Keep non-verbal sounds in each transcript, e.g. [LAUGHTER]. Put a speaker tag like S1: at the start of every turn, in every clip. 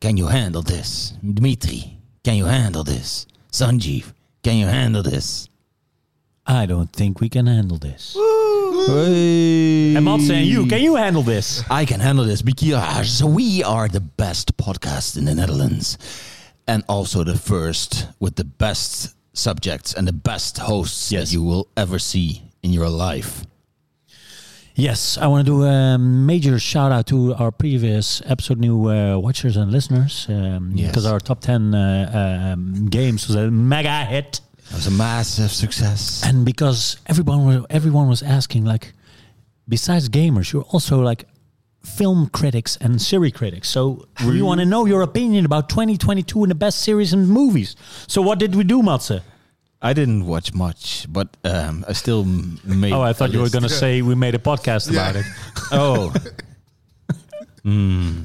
S1: Can you handle this? Dmitri, can you handle this? Sanjeev, can you handle this?
S2: I don't think we can handle this.
S1: Hey.
S2: And Mats and you, can you handle this?
S1: I can handle this because we are the best podcast in the Netherlands. And also the first with the best subjects and the best hosts
S2: Yes.
S1: that you will ever see in your life.
S2: Yes, I want to do a major shout out to our previous episode new uh, watchers and listeners um, because
S1: Yes.
S2: our top 10 uh, um, games was a mega hit.
S1: It was a massive success.
S2: And because everyone was, everyone was asking, like, besides gamers, you're also like film critics and series critics. So we want to know your opinion about 2022 and the best series and movies. So what did we do, Matze?
S1: I didn't watch much, but um, I still m- made.
S2: Oh, I
S1: [LAUGHS]
S2: thought
S1: a
S2: you were
S1: list.
S2: going to say we made a podcast
S3: Yeah.
S2: about it.
S1: Oh,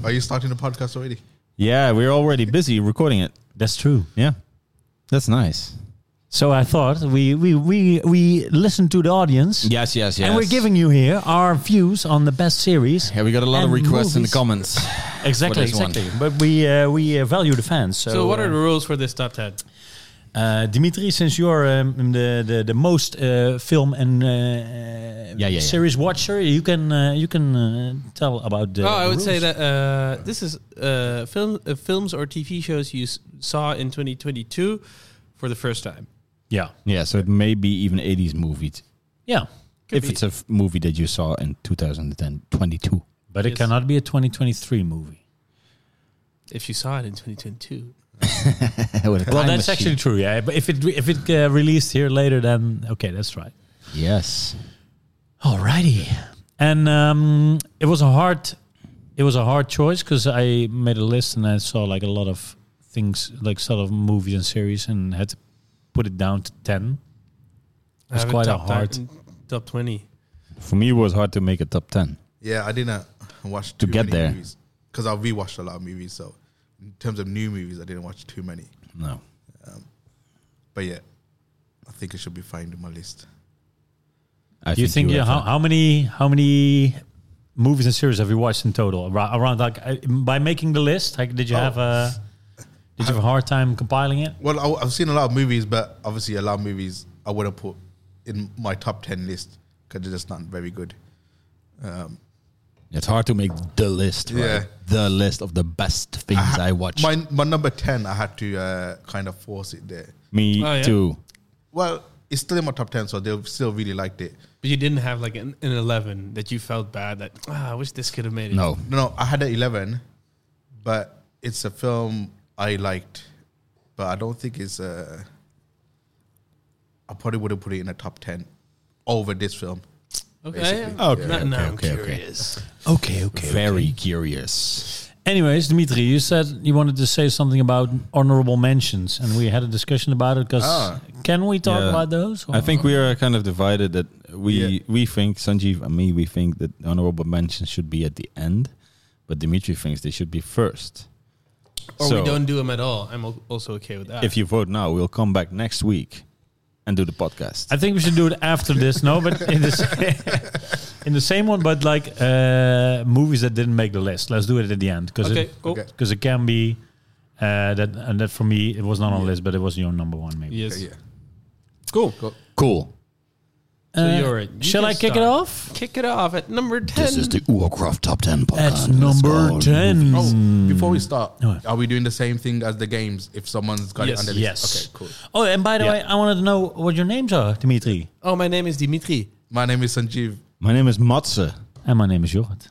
S3: Are you starting the podcast already?
S1: yeah, we're already busy recording it.
S2: That's true.
S1: Yeah, that's nice.
S2: So I thought we we we we listened to the audience.
S1: Yes, yes, yes.
S2: And we're giving you here our views on the best series.
S1: Yeah, we got a lot of
S2: and
S1: requests in the
S2: movies.
S1: comments.
S2: Exactly,
S1: for this one.
S2: exactly. But we uh, we uh, value the fans. So,
S4: So, what are
S2: uh,
S4: the rules for this top ten?
S2: uh, Dimitri? Since you're um, the, the the most uh, film and uh,
S1: yeah, yeah.
S2: series watcher, you can uh, you can uh, tell about the.
S4: oh, I would say
S2: rules.
S4: that uh, this is uh, film, uh, films or TV shows you s- saw in 2022 for the first time.
S2: Yeah,
S1: Yeah, so it may be even 80s movies.
S2: yeah.
S4: Could
S1: if
S4: be.
S1: it's a f- movie that you saw in [LAUGHS] 2022.
S2: But it
S4: Yes.
S2: cannot be a 2023 movie.
S4: if you saw it in 2022,
S2: Well, that's actually true. Yeah, but if it if it uh, released here later, then okay, that's right.
S1: Yes.
S2: Alrighty, and um, it was a hard, it was a hard choice because I made a list and I saw like a lot of things, like sort of movies and series, and had to put it down to ten.
S4: I
S2: It's
S4: have
S2: quite a
S4: top
S2: hard-
S4: ti- top 20.
S1: For me, it was hard to make a top 10.
S3: Yeah, I didn't uh, watch
S1: To
S3: too
S1: get
S3: many
S1: there.
S3: movies because I rewatched a lot of movies. So in terms of new movies, I didn't watch too many.
S1: No.
S3: But yeah, I think it should be fine in my list.
S1: I
S2: you think yeah,
S1: have
S2: how,
S1: a-
S2: how many how many movies and series have you watched in total? Around, around like uh, by making the list, like did you
S3: Oh.
S2: have a did you have a hard time compiling it?
S3: Well, I, I've seen a lot of movies, but obviously a lot of movies I wouldn't put in my top ten list because they're just not very good.
S1: It's hard to make the list, right?
S3: Yeah.
S1: The list of the best things I, watched.
S3: My my number ten, I had to uh, kind of force it there.
S1: me
S4: Oh, yeah.
S1: too.
S3: Well, it's still in my top ten, so they still really liked it.
S4: But you didn't have like an, an 11 that you felt bad that ah, I wish this could have made it.
S1: No.
S3: No, no, I had an eleven, but it's a film I liked, but I don't think it's a. I probably would have put it in a top ten over this film.
S4: Okay.
S3: Basically.
S4: Oh,
S1: Okay,
S4: now, now I'm
S1: okay, okay, okay.
S4: curious.
S2: Okay, okay.
S1: Very curious.
S2: Anyways, Dimitri, you said you wanted to say something about honorable mentions, and we had a discussion about it. Because
S3: Ah.
S2: can we talk
S5: Yeah.
S2: about those?
S5: I think we are kind of divided that we
S3: Yeah.
S5: we think Sanjeev and me we think that honorable mentions should be at the end, but Dimitri thinks they should be first.
S4: Or
S5: So-
S4: we don't do them at all. I'm al- also okay with that.
S5: If you vote now, we'll come back next week and do the podcast.
S2: I think we should do it after this. No, but in this in the same one, but like uh, movies that didn't make the list. Let's do it at the end because
S4: okay, cool.
S3: Okay.
S2: because it can be uh, that and that for me it was not on the list, but it was your number one maybe.
S4: Yes.
S3: Yeah.
S4: Cool.
S1: Cool.
S2: Uh,
S4: So you're right. You
S2: shall
S4: can
S2: I kick it
S4: start.
S2: off?
S4: Kick it off at number 10.
S1: This is the Oercraft Top 10 podcast.
S2: That's
S1: Let's
S2: number
S1: go.
S2: ten.
S3: Oh, before we start,
S2: No.
S3: are we doing the same thing as the games? If someone's got it
S4: Yes.
S3: under the
S2: Mm. Yes.
S3: okay, cool.
S2: Oh, and by the
S5: Yeah.
S2: way, I wanted to know what your names are, Dimitri.
S4: oh, my name is Dimitri.
S3: My name is Sanjeev.
S5: My name is Matze.
S2: And my name is Jorrit.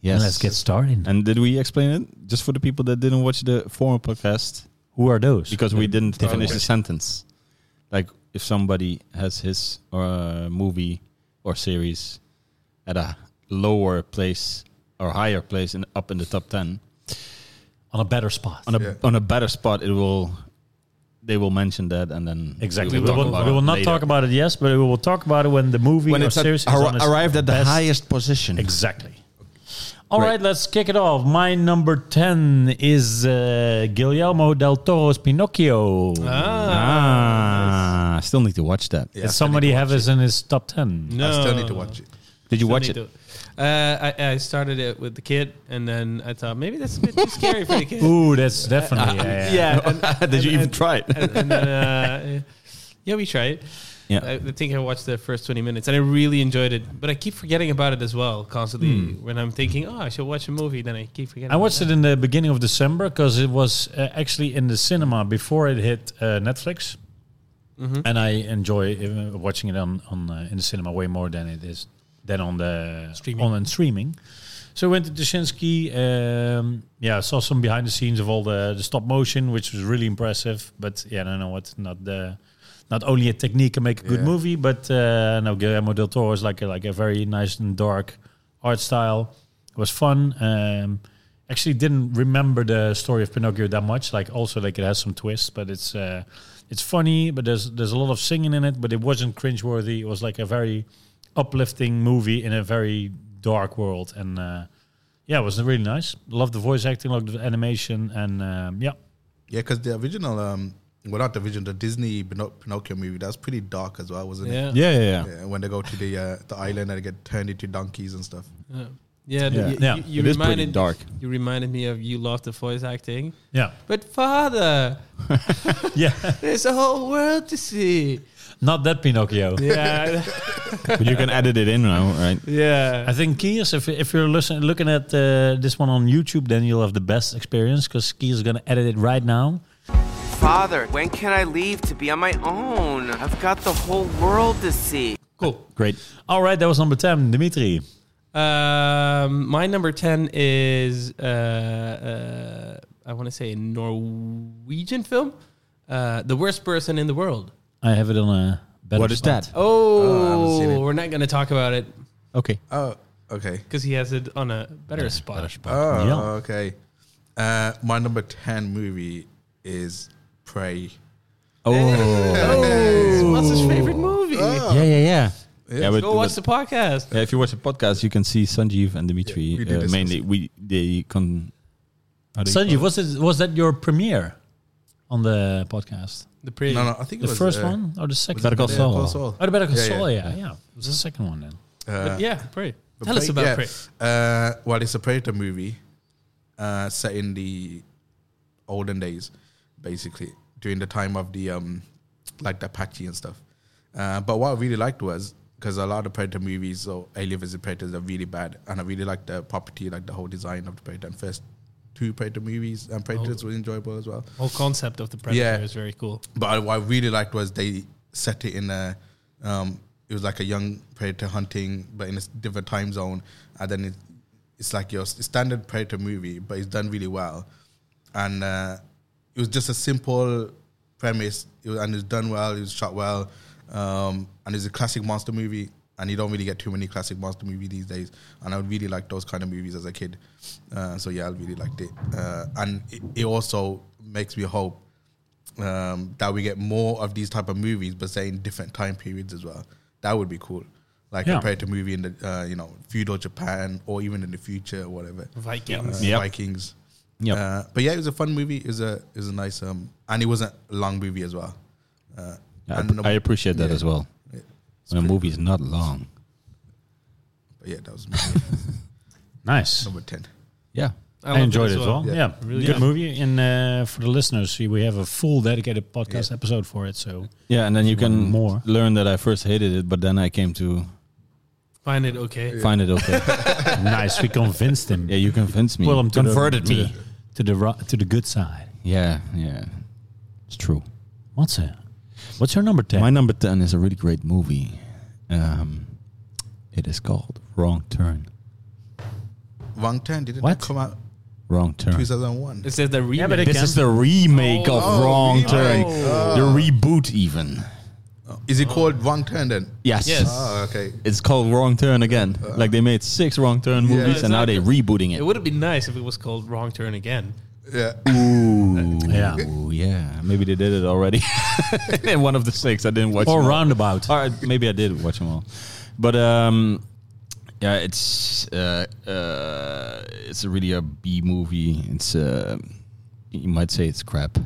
S5: Yes.
S2: Let's get started.
S5: And did we explain it just for the people that didn't watch the former podcast
S2: Who are those?
S5: because we didn't finish the sentence? Like if somebody has his uh, movie or series at a lower place or higher place in up in the top 10
S2: on a better spot.
S5: on a
S3: Yeah.
S5: on a better spot it will they will mention that and then
S2: exactly.
S5: we
S2: We
S5: will,
S2: will,
S5: talk about
S2: we
S5: it
S2: will not
S5: later.
S2: talk about it. Yes, but we will talk about it when the movie
S1: When
S2: or
S1: it's at,
S2: series is
S1: arri-
S2: on its
S1: arrived at the
S2: best.
S1: highest position.
S2: Exactly. All right, let's kick it off. My number ten is uh, Guillermo del Toro's Pinocchio.
S5: ah, I still need to watch that.
S2: Did
S3: Yeah, I still need
S2: somebody
S3: to
S2: have
S3: watch
S2: this in his top ten?
S3: it. I still need to watch it.
S5: Did you
S4: Still
S5: watch
S4: need
S5: it?
S4: to- Uh, I, I started it with the kid, and then I thought maybe that's a bit too scary for the kid. [LAUGHS]
S2: Ooh,
S5: Uh,
S2: that's definitely yeah. yeah.
S5: [LAUGHS] Did you even try it?
S4: and, and then, uh, yeah, we tried.
S5: Yeah.
S4: I, I think I watched the first 20 minutes and I really enjoyed it, but I keep forgetting about it as well constantly
S5: Hmm.
S4: when I'm thinking, oh, I should watch a movie. Then I keep forgetting.
S2: I watched it in the beginning of December because it was uh, actually in the cinema before it hit uh, Netflix, and I enjoy uh, watching it on on uh, in the cinema way more than it is than on the
S4: Streaming.
S2: on and streaming. So I went to Dushinsky. Um, yeah, I saw some behind the scenes of all the, the stop motion, which was really impressive. But yeah, I don't know what not the not only a technique can make a good
S3: Yeah.
S2: movie, but uh, no, Guillermo del Toro is like a, like a very nice and dark art style. It was fun. Um, actually, didn't remember the story of Pinocchio that much. Like also like it has some twists, but it's uh, it's funny. But there's there's a lot of singing in it, but it wasn't cringeworthy. It was like a very uplifting movie in a very dark world, and uh, yeah, it was really nice. Loved the voice acting, loved the animation, and um, yeah,
S3: Yeah, because the original, um, well, not the original, the Disney Pinoc- Pinocchio movie, that's pretty dark as well, wasn't
S4: Yeah.
S3: it?
S5: Yeah, yeah, yeah.
S3: Yeah, when they go to the uh, the island and they get turned into donkeys and stuff.
S4: Yeah. Yeah,
S5: Yeah.
S4: You,
S2: Yeah.
S4: you- you
S5: It is pretty
S4: reminded
S5: dark.
S4: you reminded me of you love the voice acting,
S2: yeah, [LAUGHS]
S4: but father,
S2: yeah.
S4: there's a whole world to see.
S2: Not that Pinocchio.
S4: Yeah,
S5: But you can edit it in now, right?
S4: [LAUGHS] yeah.
S2: I think Kiers, if, if you're listen, looking at uh, this one on YouTube, then you'll have the best experience because Kiers is going to edit it right now.
S6: Father, when can I leave to be on my own? I've got the whole world to see.
S4: Cool.
S5: Great.
S2: All right, that was number 10, Dimitri.
S4: Um, my number ten is uh, uh, I want to say a Norwegian film, uh, "The Worst Person in the World."
S2: I have it on a better
S5: What is
S2: spot.
S5: that?
S3: haven't
S4: Oh,
S3: seen it.
S4: we're not going to talk about it
S5: Okay.
S3: Oh, okay.
S4: because he has it on a better spot.
S3: Oh,
S2: Yeah.
S3: okay. Uh, my number 10 movie is Prey.
S5: Oh.
S4: Oh, what's his favorite movie?
S5: Yeah, yeah, yeah. Yeah, but,
S4: Go watch the
S5: but-
S4: podcast.
S5: yeah, if you watch the podcast, you can see Sanjeev and Dimitri
S3: we did
S5: uh,
S3: discuss
S5: mainly.
S3: it.
S5: We they con. how do you
S2: Sanji,
S5: call
S2: was, it, was that your premiere on the podcast?
S4: The pre.
S3: No, no, I think it
S2: The
S3: was
S2: first
S3: uh,
S2: one or the second
S5: Better Call
S2: one?
S5: Saul.
S3: Call Saul.
S2: Oh, the Better Call
S3: Yeah,
S2: Saul, yeah. yeah. It was the second one then.
S3: Uh,
S4: yeah, Prey.
S3: but
S4: Tell us
S3: Prey-
S4: about
S3: yeah.
S4: Prey.
S3: Uh, well, it's a Predator movie uh, set in the olden days, basically during the time of the um, like the Apache and stuff. Uh, but what I really liked was because a lot of Predator movies or Alien vs Predators are really bad, and I really liked the property, like the whole design of the Predator. And first two Predator movies and
S4: Oh.
S3: Predators were enjoyable as well.
S4: Whole concept of the Predator
S3: Yeah.
S4: is very cool.
S3: But I, what I really liked was they set it in a, um, it was like a young predator hunting, but in a s- different time zone, and then it, it's like your s- standard predator movie, but it's done really well, and uh, it was just a simple premise, it was, and it was done well, it was shot well, um, and it's a classic monster movie. And you don't really get too many classic monster movies these days, and I really liked those kind of movies as a kid. Uh, so yeah, I really liked it, uh, and it, it also makes me hope um, that we get more of these type of movies, but say in different time periods as well. That would be cool. Like
S2: Yeah.
S3: compared to movie in the uh, you know feudal Japan or even in the future or whatever uh,
S4: Vikings.
S5: Yep.
S3: Vikings.
S5: Yep.
S3: Uh, but yeah, it was a fun movie. It was a it was a nice um, and it wasn't a long movie as well. Uh,
S5: it? I,
S3: and
S5: app-
S3: the-
S5: I appreciate that
S3: yeah.
S5: as well.
S3: Yeah.
S5: When a movie is not long.
S3: But yeah, that
S5: [LAUGHS]
S3: was my
S2: Nice.
S3: number ten.
S5: Yeah.
S2: I,
S4: love
S2: enjoyed it
S4: as
S2: as well.
S3: Yeah.
S2: Yeah,
S4: Really
S2: good
S4: good.
S2: movie. And uh, for the listeners, we have a full dedicated podcast episode for it. So
S5: Yeah, and then you can
S2: More.
S5: learn that I first hated it, but then I came to
S4: Find it okay.
S5: find it
S3: [LAUGHS]
S5: okay.
S2: nice, we convinced
S5: [LAUGHS]
S2: him.
S5: yeah, you convinced me.
S2: Well, I'm to the-
S5: converted
S2: to
S5: me.
S2: the- to the ro- to the good side.
S5: Yeah, yeah. It's true.
S2: What's it? What's your number ten?
S5: My number 10 is a really great movie. Um, it is called Wrong Turn.
S3: Wrong Turn didn't
S2: What?
S3: that come out
S5: Wrong Turn.
S3: two thousand one.
S4: It says the remake.
S2: but it
S5: This
S2: can-
S5: is the remake of
S3: Oh,
S5: Wrong
S3: remake.
S5: Turn. The reboot, even.
S3: Is it called Wrong Turn then?
S5: Yes.
S4: Yes.
S3: Oh, okay.
S5: It's called Wrong Turn again. like they made six Wrong Turn movies and now they're rebooting
S4: it
S5: it.
S4: would have been nice if it was called Wrong Turn again.
S3: Yeah.
S5: Ooh.
S2: Yeah.
S5: Ooh, yeah. Maybe they did it already. [LAUGHS] In one of the six. I didn't watch
S2: or
S5: them all.
S2: roundabout.
S5: All right, maybe I did watch them all, but um, yeah, it's uh, uh, it's really a B movie. It's uh, you might say it's crap,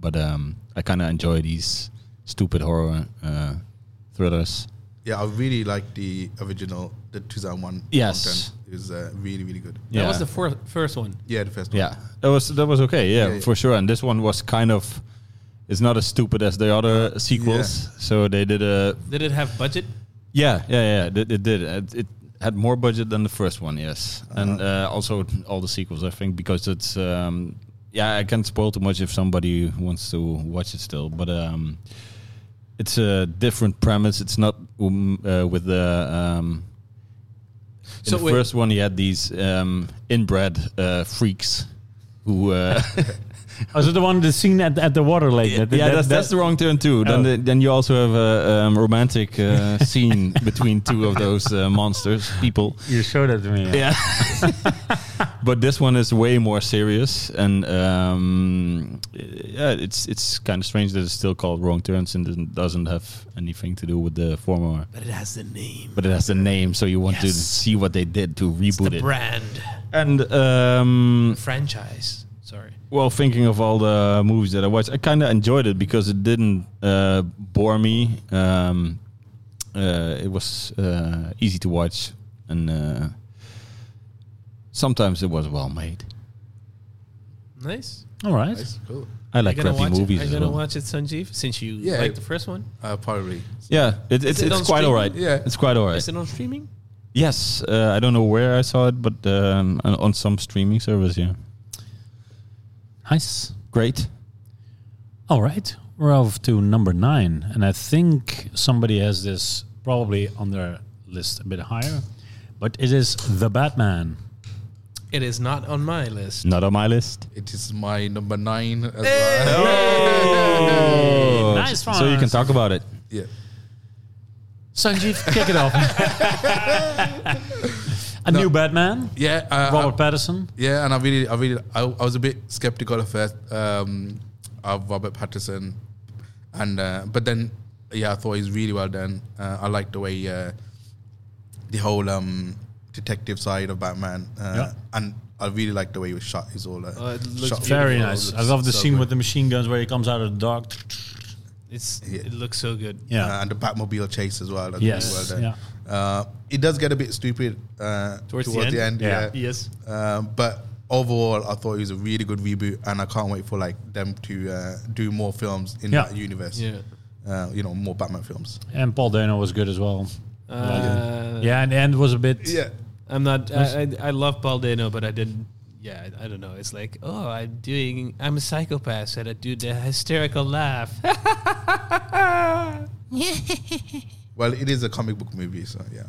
S5: but um, I kind of enjoy these stupid horror uh, thrillers.
S3: Yeah, I really like the original, the 2001
S5: Yes.
S3: content. It was uh, really, really good.
S5: Yeah.
S4: That was the fir- first one.
S3: Yeah, the first one.
S5: Yeah, that was that was okay. Yeah,
S3: Yeah, yeah.
S5: for sure. And this one was kind of, it's not as stupid as the other sequels. So they did a
S4: Did it have budget?
S5: yeah, yeah, yeah. It, it did. It, it had more budget than the first one. Yes,
S4: Uh-huh.
S5: and uh, also all the sequels. I think because it's um, yeah, I can't spoil too much if somebody wants to watch it still. But um, it's a different premise. It's not um, uh, with the. Um, in
S4: So
S5: the
S4: wait-
S5: first one, he had these um, inbred uh, freaks who
S4: [LAUGHS]
S5: uh,
S2: Oh, is it the one the scene at, at the water lake? that-
S5: yeah,
S2: that-
S5: that's,
S2: that-
S5: that's the wrong turn too.
S2: Oh.
S5: Then the, then you also have a um, romantic uh, scene between two of those uh, monsters people.
S2: you showed that to me.
S5: Yeah, [LAUGHS] but this one is way more serious, and um, yeah, it's it's kind of strange that it's still called Wrong Turns and doesn't- doesn't have anything to do with the former.
S4: But it has the name.
S5: But it has the name, so you want to
S4: Yes.
S5: see what they did to reboot
S4: The
S5: it.
S4: brand.
S5: and um,
S4: Franchise. Sorry.
S5: Well, thinking of all the movies that I watched, I kind of enjoyed it because it didn't uh, bore me. Um, uh, it was uh, easy to watch, and uh, sometimes it was well made.
S4: Nice.
S2: All right.
S3: Nice, cool.
S5: I like
S4: You're gonna
S5: crappy
S4: watch
S5: movies
S4: It? Are
S5: as
S4: you gonna
S5: well.
S4: watch it, Sanjeev? Since you
S3: Yeah.
S4: like the first one,
S3: Uh, probably.
S5: Yeah, it, it's
S4: it
S5: it's quite
S4: on streaming?
S5: alright.
S3: Yeah.
S5: it's quite alright.
S4: is it on streaming?
S5: Yes, uh, I don't know where I saw it, but um, on- on some streaming service. Yeah,
S2: Nice.
S5: great.
S2: All right. We're off to number nine. And I think somebody has this probably on their list a bit higher. But it is The Batman.
S4: It is not on my list.
S5: Not on my list.
S3: It is my number nine as well.
S5: Oh,
S2: Nice
S5: so you can
S2: one.
S5: talk about it.
S3: [LAUGHS] Yeah.
S2: Sanjeev, kick it
S5: [LAUGHS]
S2: off. a new Batman.
S3: Yeah. Uh,
S2: Robert
S3: I,
S2: Patterson.
S3: yeah, and I really, I really, I, I was a bit skeptical at first um, of Robert Patterson, and uh, but then, yeah, I thought he's really well done. Uh, I like the way uh, the whole um, detective side of Batman, uh,
S2: Yeah.
S3: and I really like the way he was shot. He's all uh,
S4: Oh, it looks
S3: shot
S2: Very
S3: beautiful.
S2: nice.
S3: It
S2: I
S3: looks
S2: love the
S3: so
S2: scene
S3: good.
S2: with the machine guns where he comes out of the dark.
S4: It's
S3: Yeah.
S4: it looks so good.
S2: Yeah.
S3: Uh, and the Batmobile chase as well. That's
S2: Yes.
S3: really well done. Uh, it does get a bit stupid uh,
S4: Towards
S3: towards,
S4: the
S3: the
S4: end?
S2: Yeah.
S3: end. yeah.
S4: Yes.
S3: Um, but overall, I thought it was a really good reboot, and I can't wait for like them to uh, do more films in
S2: Yeah.
S3: that universe.
S4: Yeah.
S3: Uh, you know, more Batman films.
S2: And Paul Dano was good as well.
S4: Uh,
S2: yeah, and, and was a bit.
S3: Yeah,
S4: I'm not. I, I, I love Paul Dano, but I didn't. Yeah, I, I don't know. It's like, oh, I'm doing. I'm a psychopath, so I do the hysterical laugh. [LAUGHS]
S3: well, it is a comic book movie, so yeah.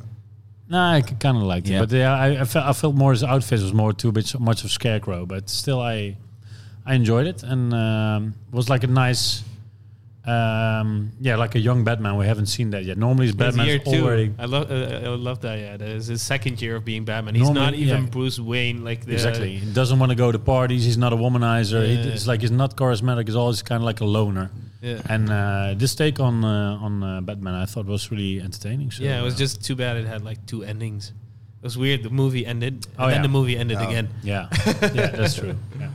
S2: Nah, I kind of liked it,
S5: Yeah.
S2: but yeah, I, I, felt, I felt more his outfit was more too bit so much of Scarecrow, but still I I enjoyed it and um, was like a nice. Um, yeah, like a young Batman. We haven't seen that yet. Normally, his
S4: His year
S2: Batman's
S4: two.
S2: already
S4: I love. Uh, I love that. Yeah, that is his second year of being Batman. He's
S2: Normally,
S4: not even
S2: yeah.
S4: Bruce Wayne. Like the,
S2: exactly. He doesn't want to go to parties. He's not a womanizer. He-
S4: Yeah.
S2: it's like he's not charismatic. He's always kind of like a loner.
S4: Yeah.
S2: And uh, this take on uh, on uh, Batman, I thought was really entertaining. So
S4: Yeah, it was
S2: uh,
S4: just too bad it had like two endings. It was weird. The movie ended, and
S2: Oh,
S4: then
S2: yeah.
S4: the movie ended again.
S2: Yeah, yeah, that's true. Yeah.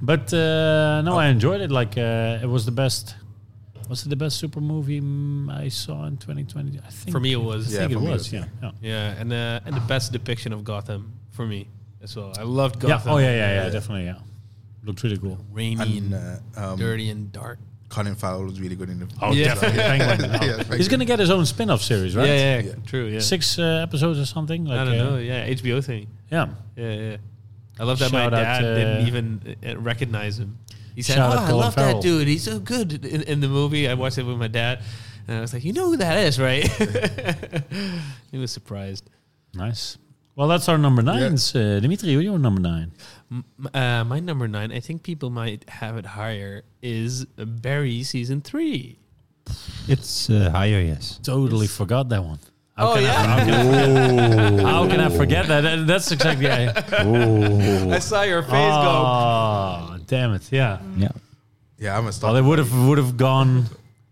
S2: But uh, no, I enjoyed it. Like uh, it was the best. Was it the best super movie mm, I saw in 2020? I think
S4: For me, it was.
S2: I
S4: Yeah,
S2: think
S3: Yeah,
S2: it
S3: for me
S2: was.
S3: as
S2: Yeah,
S3: well.
S2: yeah.
S4: and uh, and the best depiction of Gotham for me as well. I loved
S2: Yeah,
S4: Gotham.
S2: Oh yeah, yeah, yeah. Definitely. Yeah. Looked really cool.
S4: Rainy
S3: And
S4: and,
S3: uh, um,
S4: dirty and dark.
S3: Colin Farrell was really good in it.
S2: Oh,
S4: Yeah. [LAUGHS]
S2: definitely. Penguin. Oh.
S3: [LAUGHS] Yeah,
S2: He's gonna get his own spin-off series, right?
S4: Yeah, yeah,
S3: Yeah.
S4: true. Yeah,
S2: Six uh, episodes or something. Like,
S4: I don't
S2: uh,
S4: know. Yeah, HBO thing.
S2: Yeah.
S4: Yeah, yeah. I love that my
S2: Shout out,
S4: dad didn't
S2: uh,
S4: even uh, recognize him. He said, "Oh,
S2: Shout out
S4: I
S2: Colin
S4: love
S2: Farrell."
S4: that dude. He's so good in, in the movie." I watched it with my dad, and I was like, "You know who that is, right?" [LAUGHS] he was surprised.
S2: Nice. Well, that's our number nine, uh, Dimitri. You're your number nine.
S4: M- uh, my number nine, I think people might have it higher, is Barry season three.
S5: It's uh, higher, yes.
S2: Totally forgot that one. How
S4: Oh,
S2: can
S4: yeah?
S2: I, how, can I, how can I forget that? That- That's exactly. I,
S4: [LAUGHS] I saw your face
S2: Oh, damn it! Yeah.
S4: Mm.
S5: Yeah.
S3: yeah, I'm a star.
S2: Well, it would have would have gone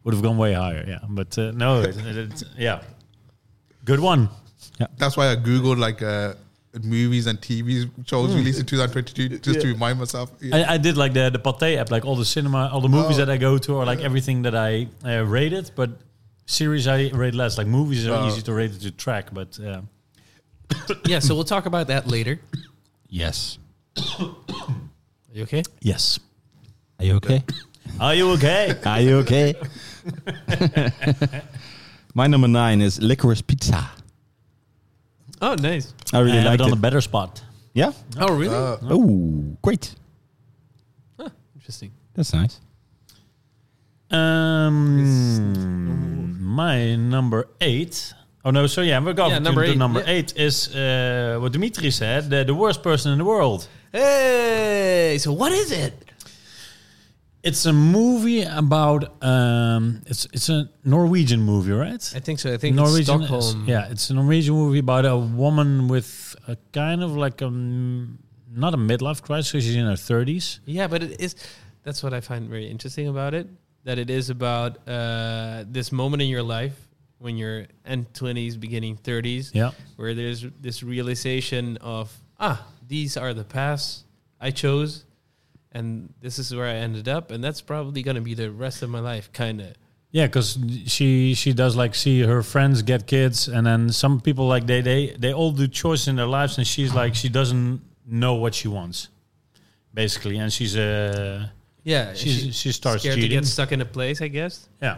S2: would have gone way higher. Yeah, but uh, no, it, it, it's- yeah, good one.
S3: That's why I googled like uh, movies and TV shows released in 2022 just to remind myself. Yeah.
S2: I, I did like the the Pathé app, like all the cinema, all the movies that I go to, or like everything that I uh, rated, but Series I rate less. Like movies are easy to rate to track, but uh,
S4: yeah, so we'll talk about that later.
S5: Yes.
S4: Are you okay?
S2: yes.
S1: Are you okay?
S2: Are you okay?
S1: Are you [LAUGHS] okay?
S5: My number nine is licorice pizza.
S4: Oh, nice.
S5: I really
S2: and
S5: like
S2: on
S5: it.
S2: a better spot.
S5: yeah.
S4: Oh, really?
S5: Oh, great.
S4: Interesting.
S5: That's nice.
S2: Um, my number eight. Oh no! So yeah, we're going
S4: Yeah,
S2: to
S4: number
S2: the
S4: eight,
S2: number
S4: yeah.
S2: eight is uh, what Dimitri said: the, the worst person in the world.
S4: Hey, so what is it?
S2: It's a movie about um, it's it's a Norwegian movie, right?
S4: I think so. I think
S2: Norwegian,
S4: it's Stockholm.
S2: yeah, it's a Norwegian movie about a woman with a kind of like a m- not a midlife crisis. She's in her thirties.
S4: Yeah, but it is. That's what I find very interesting about it. That it is about uh, this moment in your life when you're end twenties, beginning thirties,
S2: Yeah.
S4: where there's this realization of ah, these are the paths I chose, and this is where I ended up, and that's probably gonna be the rest of my life, kind of.
S2: Yeah, because she she does like see her friends get kids, and then some people like they they they all do choices in their lives, and she's like she doesn't know what she wants, basically, and she's uh
S4: Yeah,
S2: she's she,
S4: she's
S2: starts
S4: scared
S2: cheating.
S4: to get stuck in a place, I guess.
S2: yeah,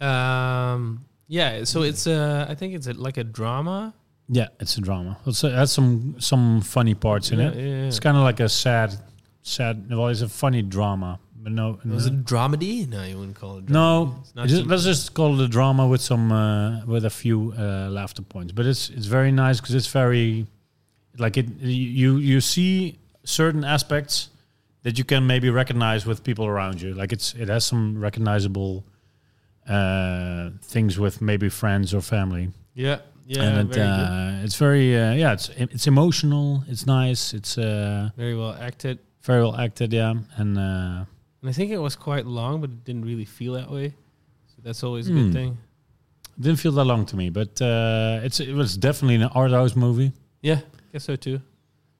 S4: Um, yeah, so it's uh, I think it's a, like a drama.
S2: yeah, it's a drama. It's a, has some some funny parts in
S4: Yeah,
S2: it.
S4: yeah, yeah.
S2: It's kind of like a sad sad. Well, it's a funny drama, but no,
S4: Was it a dramedy? No, you wouldn't call it. Drama.
S2: no.
S4: It's not
S2: just-
S4: some-
S2: let's just call it a drama with some uh, with a few uh, laughter points. But it's it's very nice because it's very like it you you see certain aspects that you can maybe recognize with people around you. Like it's it has some recognizable uh, things with maybe friends or family.
S4: Yeah, yeah,
S2: and it,
S4: very good.
S2: uh, it's very uh, yeah it's it's emotional. It's nice. It's uh,
S4: Very well acted.
S2: very well acted. Yeah, and. Uh,
S4: And I think it was quite long, but it didn't really feel that way. So that's always a
S2: Hmm.
S4: good thing.
S2: Didn't feel that long to me, but uh, it's it was definitely an art house movie.
S4: Yeah, I guess so too.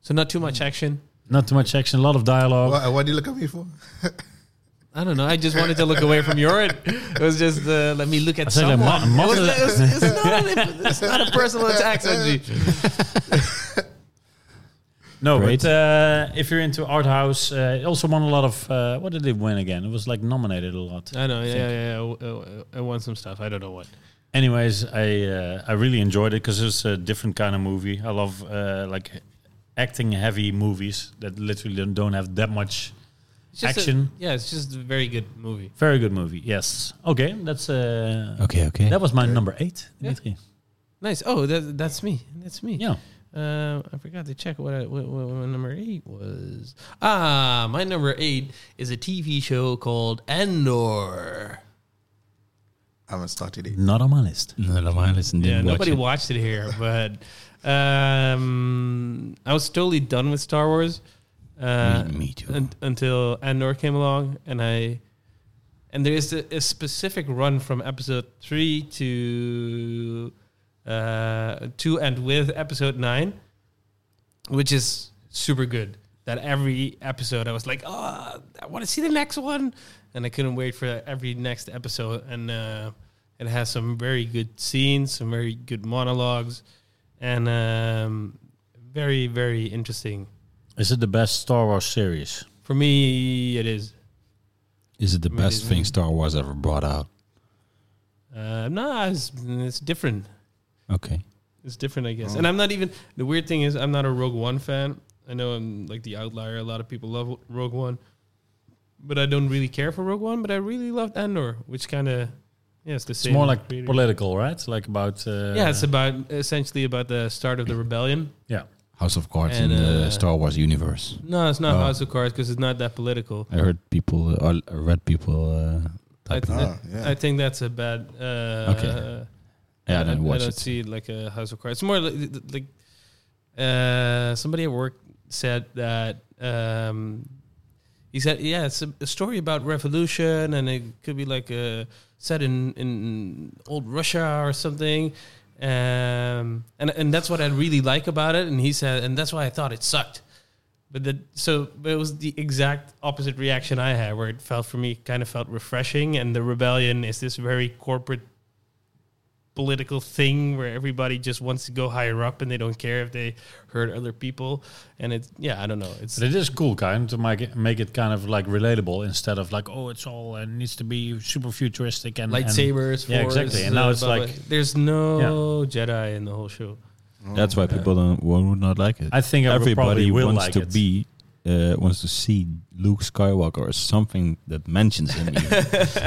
S4: So not too much action.
S2: Not too much action, a lot of dialogue.
S3: What, what do you look at me for?
S4: I don't know. I just wanted to look away from your end. It was just uh, let me look at
S2: said, like,
S4: someone.
S2: [LAUGHS] mo-
S4: [LAUGHS] It was-
S2: mo-
S4: it was- it's, not an- it's not a
S2: [LAUGHS]
S4: personal attack, Sanji.
S2: No,
S5: Great.
S2: but uh, if you're into art house, uh, it also won a lot of. Uh, what did it win again? It was like nominated a lot.
S4: I know. Yeah, yeah. yeah. I- I, I want some stuff. I don't know what.
S2: Anyways, I uh, I really enjoyed it because it's a different kind of movie. I love uh, like acting heavy movies that literally don't- don't have that much
S4: It's just a-
S2: Action.
S4: yeah, it's just a very good movie.
S2: Very good movie. Yes. Okay, that's uh,
S1: Okay, okay.
S2: that was my number eight, Dimitri.
S4: Nice. Oh, that, that's me. That's me.
S2: Yeah.
S4: Um, I forgot to check what, I, what, what my number eight was. Ah, my number eight is a TV show called Andor.
S3: I haven't started it.
S2: Not on my list.
S1: None of mine listen.
S4: Yeah,
S1: Didn't watch
S4: nobody
S1: it.
S4: watched it here, but um, I was totally done with Star Wars. Uh,
S1: Me- me too.
S4: un- until Andor came along, and I, and there is a, a specific run from episode three to, uh, to and with episode nine, which is super good. That every episode I was like, oh, I want to see the next one, and I couldn't wait for every next episode. And uh, it has some very good scenes, some very good monologues, and um, very very interesting.
S2: Is it the best Star Wars series?
S4: For me, it is.
S1: Is it the
S4: Maybe
S1: best
S4: it's-
S1: thing Star Wars ever brought out?
S4: Uh, no, it's, it's different.
S1: Okay.
S4: It's different, I
S1: Oh.
S4: guess. And I'm not even. The weird thing is, I'm not a Rogue One fan. I know I'm like the outlier. A lot of people love Rogue One, but I don't really care for Rogue One. But I really loved Andor, which kind of, yeah, it's the
S2: It's
S4: same.
S2: more like
S4: creator.
S2: political, right? Like about uh,
S4: yeah, it's about essentially about the start of the rebellion.
S2: yeah.
S1: House of Cards
S4: And,
S1: in the
S4: uh,
S1: Star Wars universe.
S4: No, it's not
S1: Oh.
S4: House of Cards because it's not that political.
S1: I heard people, uh, I read people. Uh,
S4: I,
S1: typing.
S4: th-
S3: Ah, yeah.
S4: I think that's a bad. Uh,
S1: Okay. yeah, I didn't watch
S4: don't
S1: it.
S4: see like a House of Cards. It's more like, like uh, somebody at work said that um, he said, yeah, it's a, a story about revolution, and it could be like a set in in old Russia or something. Um, and and that's what I really like about it. And he said, and that's why I thought it sucked. But the so but it was the exact opposite reaction I had, where it felt for me kind of felt refreshing, and the rebellion is this very corporate political thing where everybody just wants to go higher up and they don't care if they hurt other people. And it's yeah, I don't know. It's
S2: But it is cool, kind to make it, make it kind of like relatable instead of like, oh, it's all uh, needs to be super futuristic and and-
S4: lightsabers. uh,
S2: yeah, exactly. And now it's like,
S4: there's no Jedi in the whole show.
S5: That's why people don't one would not like it.
S2: I think I would
S5: everybody
S2: probably will
S5: wants
S2: like
S5: to
S2: it.
S5: be uh, wants to see Luke Skywalker or something that mentions him. even.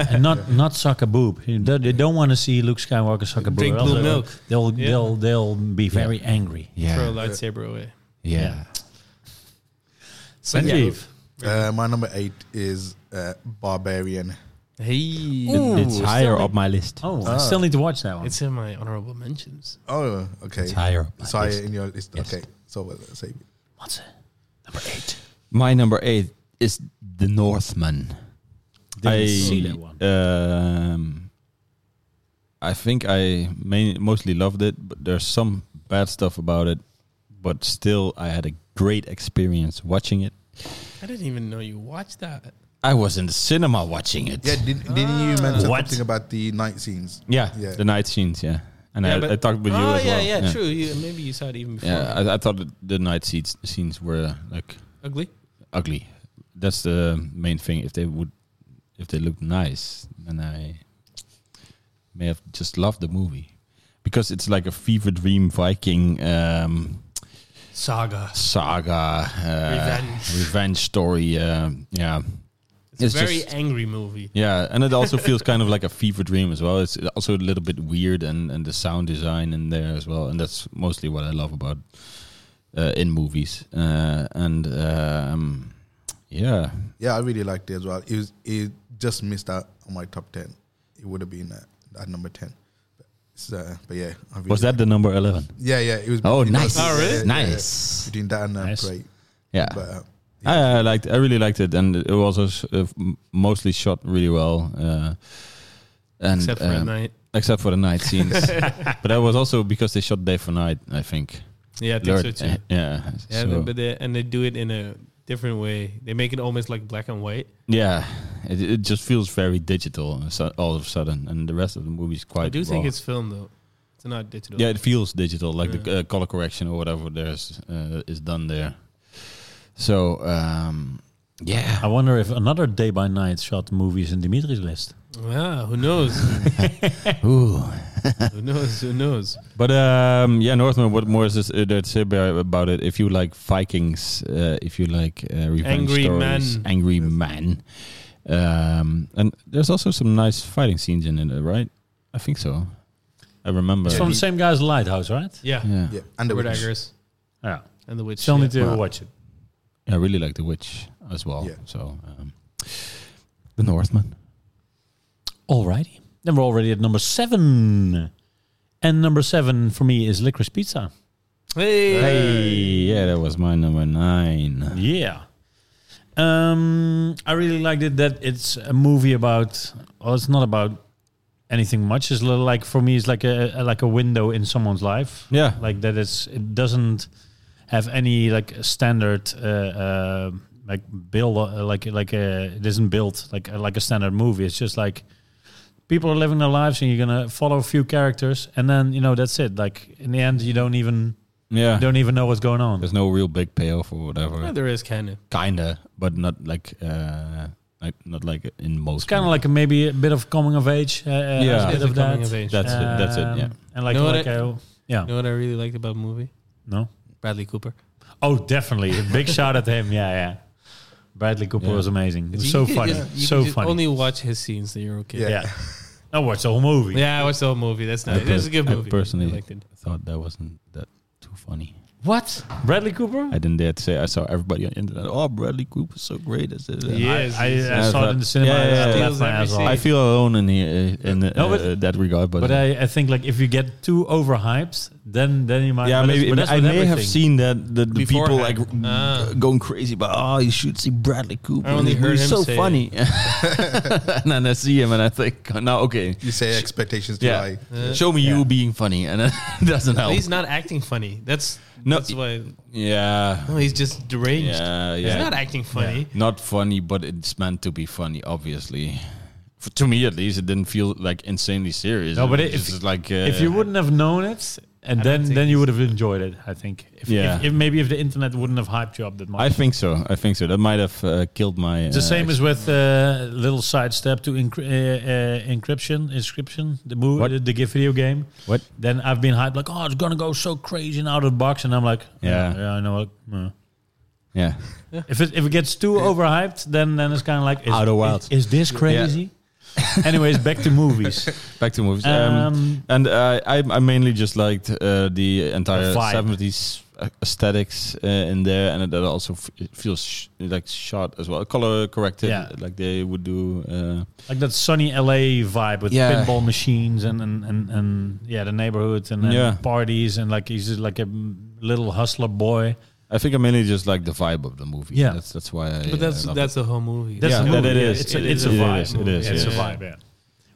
S2: and not not suck a boob. You don't- They don't want to see Luke Skywalker suck a boob.
S4: Drink
S2: or
S4: blue
S2: else they'll-
S4: milk.
S2: They'll
S4: Yeah.
S2: they'll they'll be very angry.
S1: Yeah.
S4: Throw a lightsaber away.
S1: yeah.
S2: Sanjeev.
S3: Uh, my number eight is uh, Barbarian.
S4: Hey,
S5: It- it's
S2: Ooh,
S5: higher
S2: still
S5: up my list.
S2: Oh, I still need to watch that one.
S4: it's in my honorable mentions.
S3: Oh, okay.
S1: It's higher. up my
S3: It's higher
S1: list.
S3: in your list. Okay. So uh, say it.
S2: What's it? Number eight.
S1: My number eight is The Northman.
S2: Didn't see that one.
S5: Um, I think I main, mostly loved it, but there's some bad stuff about it. But still, I had a great experience watching it.
S4: I didn't even know you watched that.
S1: I was in the cinema watching it.
S3: Yeah, did, didn't you mention
S2: What?
S3: something about the night scenes?
S5: Yeah,
S3: Yeah.
S5: the night scenes. Yeah, and
S4: yeah,
S5: I, I talked with you
S4: Oh,
S5: as
S4: yeah,
S5: well.
S4: yeah, true. You, maybe you saw it even before.
S5: Yeah, I, I thought that the night scenes scenes were uh, like
S4: Ugly.
S5: ugly. That's the main thing. If they would, if they looked nice, then I may have just loved the movie because it's like a fever dream Viking um,
S4: Saga.
S5: saga, uh,
S4: Revenge.
S5: revenge story. Um yeah,
S4: It's,
S5: It's
S4: a very
S5: just-
S4: angry movie.
S5: yeah, and it also feels kind of like a fever dream as well. It's also a little bit weird, and and the sound design in there as well, and that's mostly what I love about uh, in movies. Uh, and um, yeah,
S3: Yeah, I really liked it as well. It was, it just missed out on my top ten. It would have been at, at number ten. But, it's, uh, but yeah, I really
S5: was that the number eleven?
S3: Yeah, yeah. It was.
S1: Oh,
S3: between
S1: nice.
S3: those-
S4: Oh, really?
S1: Nice.
S3: Between that and uh,
S2: Nice.
S3: Prey.
S5: Yeah,
S3: But, uh,
S5: I, I liked. I really liked it, and it was also uh, m- mostly shot really well. Uh, and
S4: Except for
S5: um,
S4: at night.
S5: except for the night
S4: [LAUGHS]
S5: scenes, but that was also because they shot day for night. I think.
S4: Yeah, I think so
S5: Learn-
S4: too.
S5: eh, yeah,
S4: Yeah,
S5: so-
S4: but they, and they do it in a different way. They make it almost like black and white.
S5: yeah. It, it just feels very digital so- all of a sudden, and the rest of the movie is quite.
S4: I do think
S5: raw.
S4: it's film though. It's not digital.
S5: yeah, it feels digital, like the
S4: Yeah.
S5: uh, color correction or whatever there's uh, is done there. So um,
S1: Yeah.
S2: I wonder if another day by night shot movie is in Dimitri's list.
S4: Yeah, Ah, who
S5: [LAUGHS]
S4: knows?
S1: Ooh.
S4: who knows? Who knows?
S5: But um, yeah, Northman. What more is this, uh, there to say about about it? If you like Vikings, uh, if you like uh, revenge
S4: Angry
S5: stories,
S4: men.
S5: angry man, um, and there's also some nice fighting scenes in it, uh, right? I think so. I remember.
S2: It's from the same guy's Lighthouse, right?
S4: Yeah,
S5: yeah.
S3: yeah, and the
S4: Word
S3: Witch.
S4: Daggers
S2: Yeah.
S4: and the witch.
S2: Still
S4: yeah.
S2: need to watch it.
S5: I really like The Witch as well.
S3: Yeah.
S5: So um, the Northman.
S2: Alrighty. Then we're already at number seven. And number seven for me is Licorice Pizza.
S4: Hey,
S5: Hey, yeah, that was my number nine.
S2: Yeah. Um, I really liked it that it's a movie about. Well, it's not about anything much. It's li- like for me, it's like a, a- like a window in someone's life.
S5: Yeah.
S2: Like that, it's it doesn't have any like standard uh, uh, like build uh, like like a it isn't built like uh, like a standard movie. It's just like people are living their lives, and you're gonna follow a few characters, and then you know that's it. Like in the end, you don't even
S5: Yeah.
S2: you don't even know what's going on.
S5: There's no real big payoff or whatever.
S4: Yeah, there is kind of.
S5: Kinda, but not like uh, like not like in most.
S2: It's kind of like a, maybe a bit of coming of age. Uh, yeah,
S5: Yeah.
S2: a bit
S4: It's a
S2: of
S4: coming
S2: that.
S4: of age.
S5: That's it. That's it. Yeah.
S2: Um, And like,
S4: Know what
S2: like
S4: I-
S2: uh, yeah,
S4: You know what I really liked about the movie?
S2: no.
S4: Bradley Cooper.
S2: Oh, definitely. A big shout at him. Yeah, yeah. Bradley Cooper
S5: Yeah.
S2: was amazing. It was
S4: You
S2: so
S4: could
S2: funny.
S4: just- you
S2: so
S4: could just
S2: funny.
S4: Only watch his scenes, then you're okay.
S3: Yeah.
S4: Yeah,
S2: [LAUGHS] yeah. I watched the whole movie.
S4: I watched the whole movie. That's
S5: I
S4: not. It's a good
S5: per- I
S4: movie.
S5: personally-
S4: I liked it.
S5: thought that wasn't that too funny.
S2: What? Bradley Cooper?
S5: I didn't dare to say. I saw everybody on the internet. Oh, Bradley Cooper's so great. Is it?
S4: Yeah. Yes,
S2: I,
S4: yes,
S2: I,
S5: yes.
S2: saw it in the cinema.
S5: Yeah,
S2: and
S5: yeah,
S2: I
S5: yeah.
S2: laughed my ass
S5: I
S2: off.
S5: feel alone in the, uh, in uh,
S2: No, but-
S5: uh, that regard, but,
S2: But I, I think like if you get too overhyped, then then you might.
S5: uh, yeah,
S2: but that's-
S5: maybe
S2: but that's
S5: I
S2: with
S5: may have
S2: everything.
S5: seen that the, the people like
S4: Beforehand.
S5: uh, going crazy about oh you should see Bradley Cooper.
S4: I only
S5: and
S4: heard
S5: he's
S4: him
S5: so
S4: say
S5: funny, [LAUGHS] and then I see him and I think now okay,
S3: You say expectations to
S5: yeah,
S3: lie.
S5: show me you being funny, and [LAUGHS] it doesn't help.
S4: He's not acting funny. That's
S5: No,
S4: that's why.
S2: [LAUGHS]
S5: yeah,
S4: No, he's just deranged.
S5: yeah, yeah.
S4: He's not acting funny.
S5: Not funny, but it's meant to be funny, obviously. for, to me at least, it didn't feel like insanely serious.
S2: No, but
S5: It was
S2: if-
S5: just like uh,
S2: if you wouldn't have known it, and
S4: I don't
S2: then
S4: think
S2: then you
S4: it's-
S2: would have enjoyed it. I think. If,
S5: Yeah.
S2: If, if maybe if the internet wouldn't have hyped you up that much.
S5: I think so. I think so. That might have uh, killed my.
S2: It's the same as with uh, little sidestep to encry- uh, uh, encryption, inscription, the movie,
S5: What?
S2: the, the GIF video game.
S5: What?
S2: Then I've been hyped like, oh, it's gonna go so crazy and out of the box, and I'm like,
S5: Yeah.
S2: yeah, yeah, I know. Like, uh.
S5: Yeah.
S2: If it if it gets too overhyped, then then it's kind of like is,
S5: Outer Wilds.
S2: Is, is this crazy?
S5: [LAUGHS]
S2: Anyways, back to movies.
S5: Back to movies. Um,
S2: Um,
S5: and uh, I, I mainly just liked uh, the entire
S2: The vibe.
S5: seventies aesthetics uh, in there, and it also f- it feels sh- like shot as well, color corrected,
S2: Yeah.
S5: like they would do. Uh,
S2: like that sunny LA vibe with
S5: Yeah.
S2: pinball machines and and, and and yeah, the neighborhood and, and
S5: Yeah.
S2: parties and like he's just like a little hustler boy.
S5: I think I mainly just like the vibe of the movie.
S2: Yeah.
S5: that's that's why. I,
S4: But that's
S5: uh, love
S4: that's a whole movie.
S2: That's
S5: Yeah,
S2: a
S5: that
S2: movie.
S5: it
S2: yeah.
S5: is.
S2: It's, a,
S5: It is,
S2: it's a
S5: it
S2: vibe.
S5: is, it
S2: Yeah,
S5: is,
S2: It's
S5: yeah.
S2: a vibe. Yeah.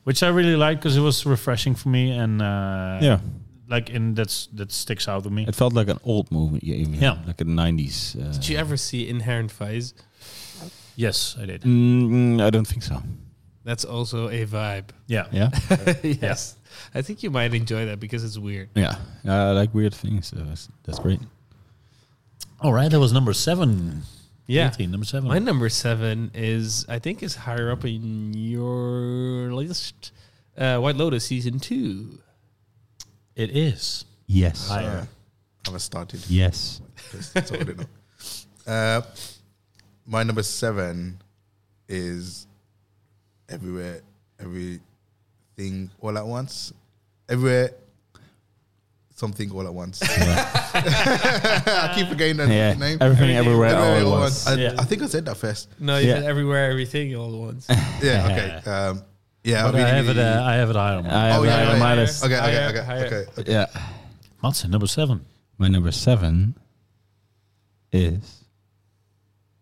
S2: Which I really liked because it was refreshing for me and uh,
S5: it. yeah,
S2: like in that's that sticks out to me.
S5: it felt like an old movie. Yeah, even,
S2: Yeah.
S5: like a nineties. Uh,
S4: Did you ever see Inherent Vice?
S2: Yes, I did.
S5: Mm, I don't think so.
S4: That's also a vibe.
S2: Yeah,
S5: [LAUGHS] Yeah,
S4: [LAUGHS] yes. I think you might enjoy that because it's weird.
S5: yeah. I like weird things. so that's, that's great.
S2: All right, that was number seven.
S4: Yeah.
S2: Guillotine, number seven.
S4: My number seven is, I think, is higher up in your list. Uh, White Lotus season two.
S2: It is.
S5: Yes.
S2: Higher.
S3: haven't started.
S5: Yes.
S3: That's- that's all I know. Uh, my number seven is everywhere, everything all at once. Everywhere, something all at
S5: [LAUGHS]
S3: once. [LAUGHS] I keep forgetting that
S5: Yeah.
S3: name.
S5: Everything, everywhere, all at
S3: Everywhere
S5: once.
S3: I,
S2: Yeah.
S3: I think I said that first.
S4: No, you
S5: Yeah.
S4: said everywhere, everything, all at [LAUGHS] once.
S3: Yeah. Okay. Um, yeah.
S2: But I
S3: really-
S2: have it. Uh, I have it higher. on
S5: I
S2: mine.
S5: have
S3: Oh, yeah,
S5: that on
S3: yeah,
S5: my
S4: yeah.
S5: list.
S3: okay. Okay.
S4: higher-
S3: Okay.
S4: higher.
S3: Okay. okay.
S5: Yeah.
S2: Matze, number seven.
S5: My number seven is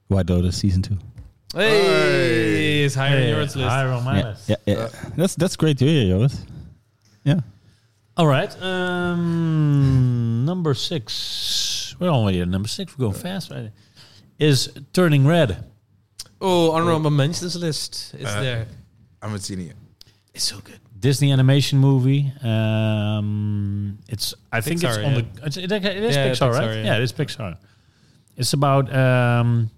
S5: White Lotus season two.
S4: Hey, it's higher in
S2: Hey,
S4: your list.
S2: Higher on my
S5: Yeah,
S2: list.
S5: yeah, yeah. that's that's great to hear, Joris. Yeah.
S2: All right. Um, number six. We're already at number six. We're going fast. Right? Is turning red.
S4: Oh, honorable mentions list is there.
S3: I haven't seen it yet.
S4: It's so good.
S2: Disney animation movie. Um, it's I think it's
S4: Pixar,
S2: on
S4: yeah.
S2: the it's, it, it is
S4: Yeah,
S2: Pixar,
S4: Pixar,
S2: right?
S4: yeah.
S2: Yeah. it is Pixar. It's about um,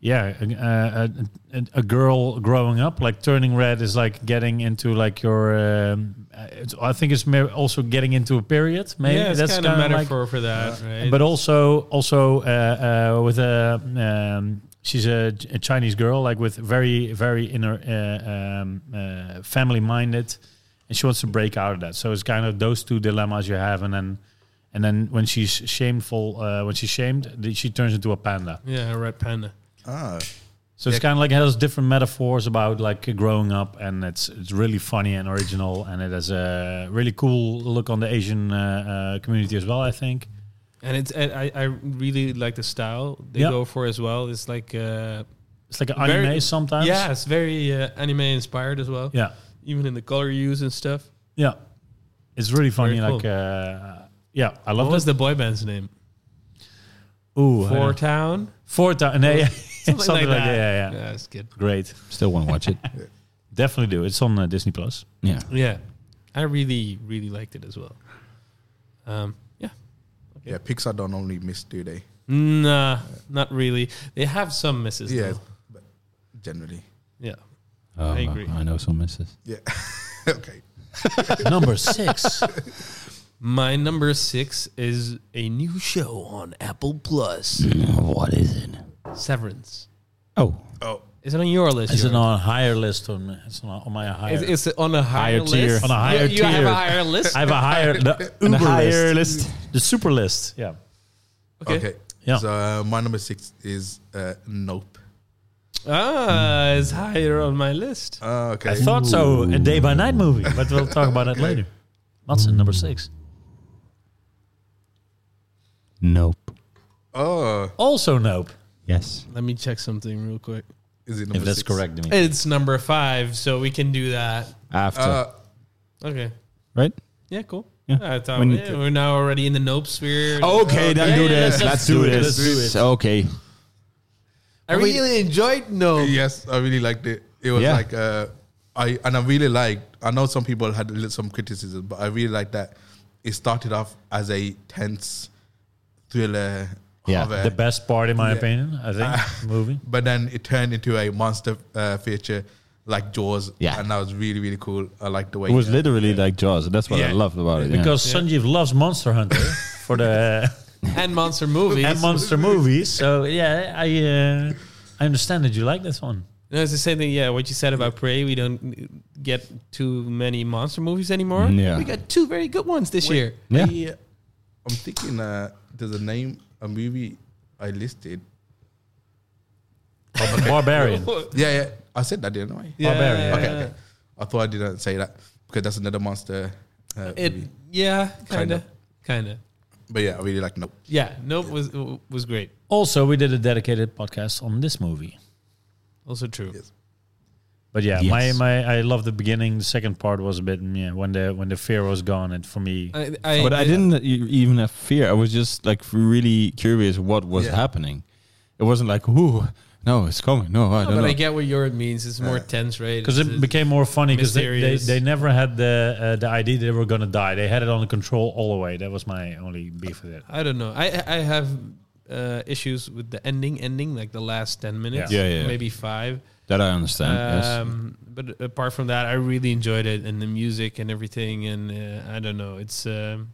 S2: yeah, a, a, a, a girl growing up, like turning red is like getting into like your. Um, uh, it's, I think it's mer- also getting into a period. Maybe
S4: yeah, it's
S2: that's
S4: kind of
S2: kinda like- Uh,
S4: metaphor for that, right?
S2: but also also uh, uh, with a um, she's a, a Chinese girl, like with very very inner uh, um, uh, family minded, and she wants to break out of that. So it's kind of those two dilemmas you have, and then and then when she's shameful, uh, when she's shamed, the- she turns into a panda.
S4: yeah, Red Panda.
S3: Ah.
S2: So it's kind of like it has different metaphors about like growing up, and it's it's really funny and original, and it has a really cool look on the Asian uh, uh, community as well. I think.
S4: And it's and I, I really like the style they
S2: Yeah.
S4: go for as well. It's like uh,
S2: It's like an
S4: Very-
S2: anime sometimes.
S4: yeah, it's very uh, anime inspired as well.
S2: Yeah.
S4: even in the color use and stuff.
S2: Yeah, it's really funny.
S4: Very
S2: like,
S4: cool.
S2: uh, yeah, I
S4: What
S2: love
S4: was
S2: this.
S4: the boy band's name?
S2: Ooh,
S4: Four Town.
S2: four times. No, yeah, [LAUGHS] something, like, that. Yeah, yeah,
S4: That's good.
S2: Great,
S5: Still want to watch it.
S2: [LAUGHS] definitely do. It's on uh, Disney Plus.
S5: yeah.
S4: Yeah, I really really liked it as well. Um, yeah,
S3: Yeah. Pixar don't only miss, do they?
S4: nah, not really. They have some misses.
S3: Yeah.
S4: though.
S3: But generally. [LAUGHS]
S4: yeah.
S5: Oh,
S4: I agree.
S5: I know some misses.
S3: Yeah. okay.
S2: Number [LAUGHS] six.
S4: My number six is a new show on Apple Plus,
S1: What is it?
S4: Severance.
S5: Oh,
S3: Oh.
S4: Is it on your list?
S2: Is it
S4: Jordi?
S2: on a higher list? On it's on, on my higher.
S4: It's, it's on a higher,
S5: Higher tier.
S4: tier.
S2: On a higher
S4: you, You have
S2: tier.
S4: a higher
S2: [LAUGHS]
S4: list.
S2: I have a higher the
S5: And
S2: Uber
S5: a higher list.
S2: the super list. Yeah.
S4: okay.
S3: Okay.
S2: Yeah.
S3: So uh, my number six is uh, Nope.
S4: Ah, it's higher on my list.
S3: Ah, okay.
S2: I thought so. A day by night movie, but we'll talk about that [LAUGHS] later. Matson, number six.
S5: Nope.
S3: oh,
S2: Also, nope.
S5: Yes.
S4: Let me check something real quick.
S3: is it number
S5: if that's
S3: six?
S5: correct, to me.
S4: It's number five, so we can do that.
S5: After,
S3: Uh,
S4: Okay.
S5: right?
S4: Yeah, cool.
S5: Yeah.
S4: I thought
S5: We
S4: we
S5: need to-
S4: are now already in the nope sphere.
S5: Okay, then do this.
S2: let's
S5: Let's
S2: do
S5: do
S2: it,
S5: this.
S2: let's do it.
S5: Okay.
S4: I really enjoyed nope.
S3: yes, I really liked it. It was
S5: Yeah.
S3: like uh, I and I really like. I know some people had a little- some criticism, but I really like that it started off as a tense thriller.
S5: Yeah,
S3: horror,
S2: the best part, in my
S3: Yeah.
S2: opinion, I think, [LAUGHS] movie.
S3: but then it turned into a monster uh, feature like Jaws.
S1: Yeah.
S3: and that was really really cool. I like the way
S5: It was
S3: uh,
S5: literally like Jaws. That's what I
S3: Yeah.
S5: loved about it. yeah.
S2: Because Sanjeev loves Monster Hunter [LAUGHS] for the
S4: and monster movies.
S2: and monster movies. So yeah, I uh, I understand that you like this one.
S4: No, it's the same thing. Yeah, what you said about Prey. We don't get too many monster movies anymore.
S5: Mm, Yeah.
S4: we got two very good ones this year.
S5: Yeah.
S3: I, I'm thinking uh, there's a name a movie I listed.
S2: Barbarian.
S3: Yeah, yeah. I said that didn't I?
S2: Barbarian.
S3: Okay, okay. [LAUGHS] I thought I didn't say that because that's another monster. Uh,
S4: It.
S3: movie.
S4: Yeah, kind of,
S3: Kinda.
S4: kind of.
S3: But yeah, I really like Nope.
S4: Yeah, Nope was was great.
S2: [LAUGHS] Also, we did a dedicated podcast on this movie.
S4: Also true.
S3: Yes.
S2: But yeah,
S1: Yes.
S2: my, my I love the beginning. The second part was a bit mm, yeah, when the when the fear was gone. It for me,
S4: I, I,
S5: but I didn't e- even have fear. I was just like really curious what was
S3: Yeah.
S5: happening. It wasn't like, ooh, no, it's coming. No, I
S4: No,
S5: don't
S4: but
S5: know.
S4: I get what your means. It's more tense, right?
S2: because
S4: It's-
S2: it became more funny because they, they
S4: mysterious.
S2: they never had the uh, the idea they were gonna die. They had it on the control all the way. That was my only beef with it.
S4: I don't know. I I have uh, issues with the ending, ending like the last ten minutes,
S5: Yeah. Yeah, yeah.
S4: maybe five.
S5: that I understand. yes.
S4: Um, But apart from that, I really enjoyed it and the music and everything. And uh, I don't know, it's um,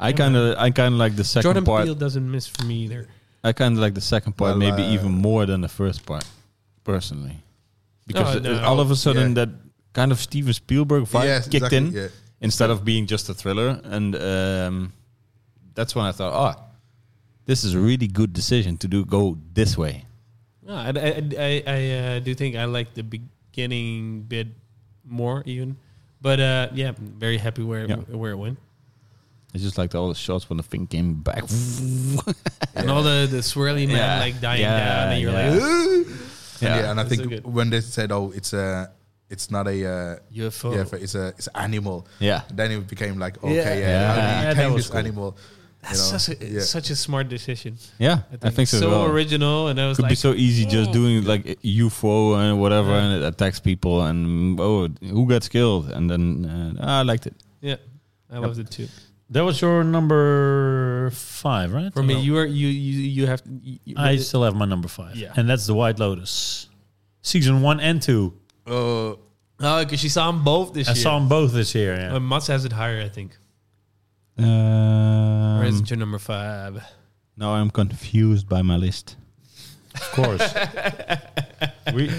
S5: I kind of, I kind of like the second
S4: Jordan
S5: part.
S4: Peele doesn't miss for me either.
S5: I kind of like the second part,
S3: Well,
S5: maybe
S3: uh,
S5: even more than the first part, personally, because
S4: Oh,
S5: it-
S4: no.
S5: all of a sudden
S3: Yeah.
S5: that kind of Steven Spielberg vibe
S3: Yes,
S5: kicked
S3: exactly,
S5: in
S3: yeah.
S5: instead of being just a thriller, and um, that's when I thought, ah, this is a really good decision to do go this way.
S4: No, I I I, I uh, do think I like the beginning bit more even. But uh, yeah, very happy where
S5: Yeah.
S4: where it went.
S5: It's just like all the shots when the thing came back.
S4: And all the, the swirly man
S5: Yeah.
S4: like dying
S5: Yeah,
S4: down, and you're
S5: yeah.
S4: like,
S3: And
S5: Yeah.
S3: yeah, and I
S4: It's so
S3: think
S4: good.
S3: when they said, "Oh, it's a, it's not a uh,
S4: UFO.
S3: yeah, it's a, it's an animal."
S5: Yeah.
S3: Then it became like, okay,
S4: Oh. Yeah.
S3: yeah,
S5: Yeah.
S3: how do
S2: Yeah,
S3: you
S2: that
S3: tame
S2: was
S3: this
S2: cool.
S3: animal?
S4: that's
S3: you know?
S4: such, a,
S3: Yeah.
S4: such a smart decision.
S5: yeah, I think, so. as well.
S4: original, and I was
S5: Could
S4: like,
S5: be so easy just doing like UFO and whatever,
S4: Yeah.
S5: and it attacks people, and oh, who gets killed? And then uh, ah, I liked it.
S4: yeah, I loved it too.
S2: That was your number five, right?
S4: For me,
S2: No.
S4: you are you you you have. You,
S2: I still have my number five,
S4: Yeah.
S2: and that's the White Lotus, season one and two.
S3: Oh,
S4: oh, because uh, she saw them both this
S2: I
S4: year.
S2: saw them both this year. Yeah.
S4: Uh, Mats has it higher, I think. Or is
S5: Um,
S4: it your number five?
S5: now I'm confused by my list.
S2: Of [LAUGHS] course. we,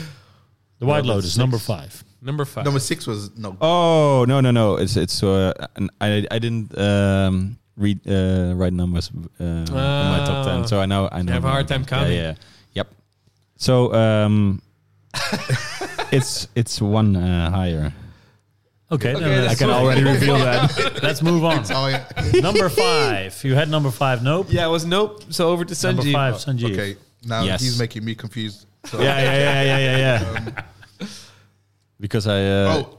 S2: the White Lotus, number five.
S4: Number five.
S3: number six was no.
S5: Oh no no no! It's it's uh, an- I I didn't um, read uh, write numbers uh, on my top
S4: Oh.
S5: ten, so I know I know.
S4: have a hard time counting.
S5: Yeah, yeah. yep. So um, [LAUGHS] it's it's one uh, higher.
S2: Okay, then
S5: I
S2: let's,
S5: can
S2: [LAUGHS]
S5: already reveal that.
S2: let's move on.
S3: Oh, yeah.
S2: number five. You had number five. Nope.
S4: yeah, it was nope. So over to
S2: number
S4: Sanjeev.
S2: five, Sanjeev.
S3: okay, now
S5: Yes.
S3: he's making me confused. So,
S5: Yeah yeah yeah yeah yeah yeah. because I uh,
S3: Oh,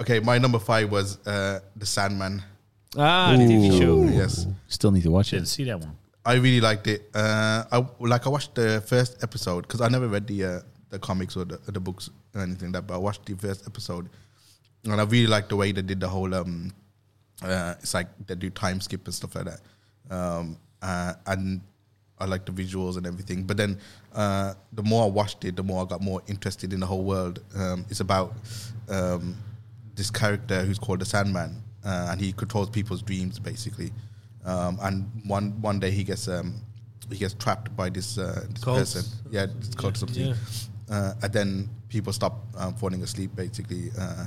S3: okay. My number five was uh, the Sandman.
S4: Ah, the TV show.
S3: Yes.
S5: still need to watch
S2: Didn't
S5: it.
S2: see that one.
S3: I really liked it. Uh, I like I watched the first episode because I never read the uh, the comics or the, the books or anything like that. But I watched the first episode, and I really liked the way they did the whole. Um, uh, it's like they do time skip and stuff like that, um, uh, and I like the visuals and everything. But then uh, the more I watched it, the more I got more interested in the whole world. Um, it's about um, this character who's called the Sandman, uh, and he controls people's dreams basically. Um, and one one day he gets um, he gets trapped by this uh, this
S4: Cult.
S3: person, yeah, it's called something.
S4: yeah.
S3: Uh, and then people stop um, falling asleep basically. Uh,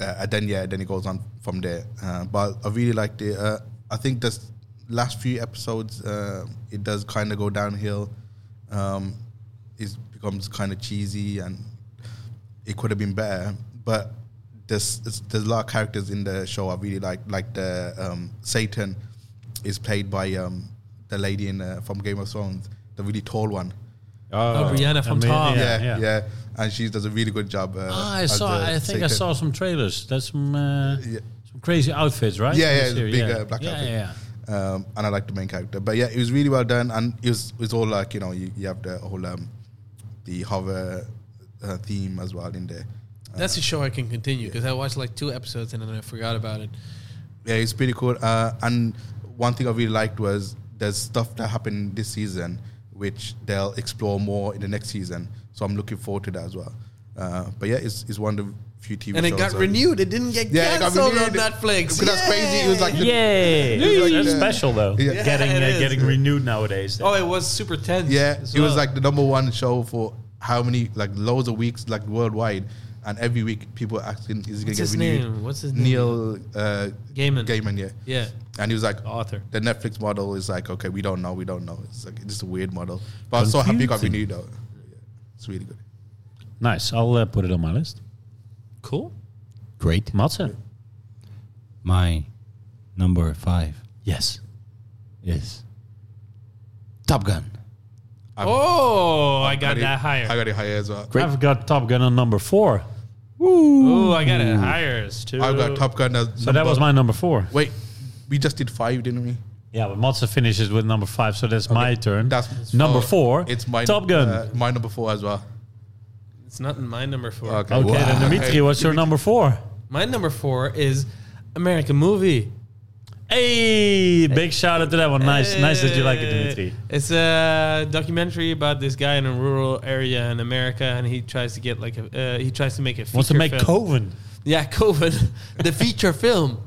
S3: uh, and then yeah, then it goes on from there. Uh, but I really liked it. Uh, I think this last few episodes, uh, it does kind of go downhill. Um, it becomes kind of cheesy, and it could have been better. But there's there's- there's a lot of characters in the show I really like. Like the um, Satan is played by um, the lady in uh, from Game of Thrones, the really tall one.
S4: Oh, Brianna from
S2: I mean,
S4: Tom.
S2: yeah.
S3: Yeah, yeah, and she does a really good job. Uh,
S2: Ah, I
S3: as
S2: saw.
S3: the
S2: I think I
S3: Satan.
S2: saw some trailers. That's some, uh,
S3: Yeah.
S2: some crazy outfits, right?
S3: Yeah,
S2: In the
S3: yeah, it's
S2: series,
S3: big, uh, black
S2: yeah,
S3: outfit.
S2: yeah,
S3: um, and I like the main character. But yeah, it was really well done, and it was it was all like you know you, you have the whole um, the horror uh, theme as well in there.
S4: That's a show I can continue because I watched like two episodes and then I forgot about it.
S3: Yeah, it's pretty cool. Uh, and one thing I really liked was there's stuff that happened this season, which they'll explore more in the next season. So I'm looking forward to that as well. Uh, but yeah, it's, it's one of the few TV
S4: And
S3: shows.
S4: it got
S3: I-
S4: renewed. It didn't get
S3: Yeah, it got
S4: canceled on
S3: renewed.
S4: Netflix.
S3: Because that's crazy. It was like the-
S2: Yay! That's special though.
S3: Yeah.
S2: getting
S4: Yeah, it
S2: uh,
S4: is.
S2: getting renewed nowadays.
S4: Oh, it was super tense. [LAUGHS]
S3: Yeah,
S4: as
S3: it was
S4: well.
S3: like the number one show for how many like loads of weeks like worldwide, and every week people asking is it gonna
S4: What's
S3: get
S4: his
S3: renewed.
S4: name? What's his name?
S3: Neil uh,
S4: Gaiman.
S3: Gaiman, yeah,
S4: Yeah,
S3: and he was like,
S4: the author.
S3: the Netflix model is like, okay, we don't know, we don't know. It's like just a weird model, but I'm so happy it got renewed though. Yeah, it's really good.
S2: Nice. I'll uh, put it on my list.
S4: Cool.
S1: Great.
S2: Matze.
S5: My number five
S2: Yes.
S5: is
S1: Top Gun.
S4: oh, I got
S3: it-
S4: that
S3: I
S4: higher.
S3: got it higher as well.
S2: I've got Top Gun on number four.
S4: Oh, I got it higher. It's two.
S3: I've got Top Gun. As
S2: So that was my number four.
S3: Wait, we just did five, didn't we?
S2: Yeah, but Matze finishes with number five, so that's my turn.
S3: That's
S2: number
S3: oh,
S2: four.
S3: It's my
S2: Top Gun.
S3: uh, my number four as well.
S4: It's not in my number four.
S3: Okay.
S2: okay, then Dimitri, what's your number four?
S4: My number four is American Movie.
S2: Hey, big shout out to that one. Nice, nice that you like it, Dimitri.
S4: It's a documentary about this guy in a rural area in America, and he tries to get like a uh, he tries to make a
S2: Wants to
S4: feature
S2: make
S4: film.
S2: Coven.
S4: Yeah, [LAUGHS] COVID, the feature film.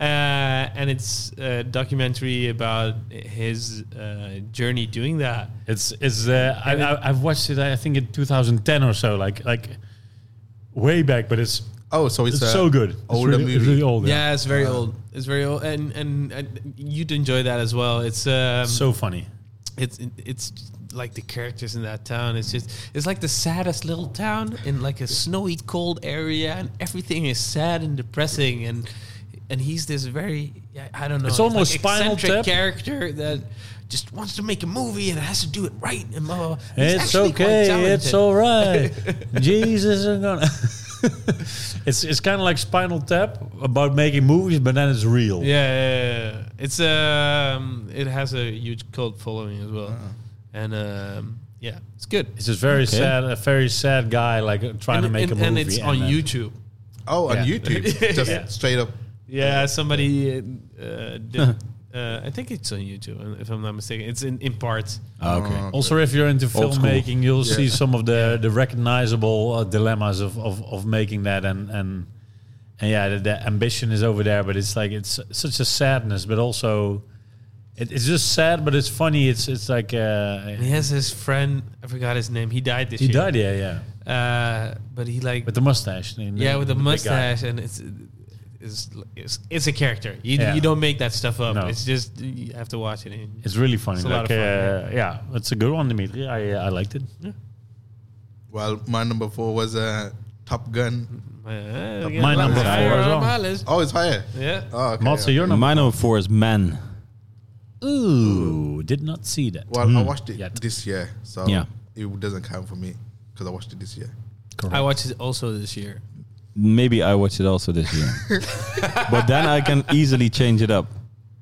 S4: Uh, and it's a documentary about his uh, journey doing that.
S2: It's it's. Uh, I, I I've watched it. I think in 2010 or so, like like way back. But it's
S3: Oh, so it's,
S2: it's
S3: uh,
S2: so good. It's
S3: older
S2: really,
S3: movie.
S2: really old.
S4: Yeah, it's very old. It's very old, and and, and you'd enjoy that as well. It's um,
S2: so funny.
S4: it's it's like the characters in that town. It's just it's like the saddest little town in like a snowy, cold area, and everything is sad and depressing. And and he's this very I- I don't know.
S2: It's
S4: he's
S2: almost Spinal
S4: eccentric
S2: Tap.
S4: character that just wants to make a movie and has to do it right. And blah, blah, blah. He's
S2: It's
S4: actually quite
S2: okay. It's
S4: talented.
S2: all right.
S4: [LAUGHS]
S2: Jesus, I'm gonna. [LAUGHS] it's it's kind of like Spinal Tap about making movies, but then it's real.
S4: Yeah, yeah, yeah, yeah. it's um, it has a huge cult following as well, and um, yeah, it's good.
S2: It's just very sad, a very sad guy like uh, trying
S4: and,
S2: to make
S4: and-
S2: a movie,
S4: and it's on
S2: then-
S4: YouTube.
S3: Oh,
S2: [LAUGHS]
S3: on
S2: Yeah.
S3: YouTube, just
S2: Yeah.
S3: straight up.
S4: Yeah, somebody uh, did. Uh, I think it's on YouTube, um, if I'm not mistaken. It's in, in parts.
S5: okay.
S2: Also, if you're into
S5: Old school.
S2: filmmaking, you'll see some of the the recognizable uh, dilemmas of, of of making that, and and and yeah, the, the ambition is over there, but it's like it's such a sadness, but also. It, it's just sad, but it's funny. It's it's like uh,
S4: And he has his friend. I forgot his name. He died this
S2: he
S4: year.
S2: died, yeah, yeah,
S4: Uh, but he like
S2: with the mustache. and
S4: yeah with
S2: the
S4: a
S2: big guy.
S4: mustache, and it's. It's, it's, it's a character. You,
S2: Yeah.
S4: you don't make that stuff up.
S2: No.
S4: It's just you have to watch it. and-
S2: It's really funny.
S4: It's a
S2: like,
S4: lot of
S2: uh,
S4: fun,
S2: yeah, it's a good one, Dimitri. I uh, I liked it.
S3: Well, my number four was uh, Top Gun.
S4: Uh,
S2: My number
S4: it's
S2: four
S4: higher
S2: as
S4: on
S2: well.
S4: my list.
S3: Oh, it's higher.
S4: Yeah.
S3: Oh, okay.
S2: Matze, your number.
S5: My number four is Man.
S2: Ooh, did not see that.
S3: Well, I watched it
S2: Yet.
S3: this year, so
S5: Yeah.
S3: it doesn't count for me because I watched it this year.
S4: I watched it also this year.
S5: Maybe I watch it also this year,
S4: [LAUGHS]
S5: but then I can easily change it up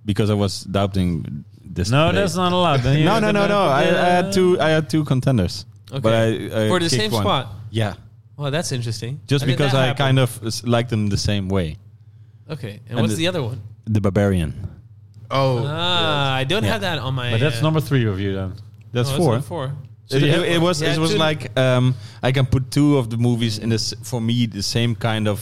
S5: because I was doubting this.
S2: No,
S5: play.
S2: that's not allowed. Then
S5: No,
S2: you're
S5: no, no,
S2: gonna-
S5: no. I, I had two. I had two contenders.
S4: Okay.
S5: But I, I
S4: For the
S5: kicked
S4: same
S5: one.
S4: spot.
S5: Yeah.
S4: Well, that's interesting.
S5: Just
S4: How did
S5: because
S4: that
S5: I
S4: happen?
S5: kind of s- like them the same way.
S4: Okay.
S5: And
S4: And, what's
S5: the-
S4: the other one?
S5: The Barbarian.
S3: Oh,
S4: Ah, I don't
S5: Yeah.
S4: have that on my.
S2: But that's
S4: uh,
S2: number three of you then.
S5: That's
S4: no, it's
S5: four.
S4: Oh, not four.
S5: So it,
S2: you
S5: it- it was
S4: Yeah,
S5: it was
S4: two-
S5: like um, I can put two of the movies in this for me the same kind of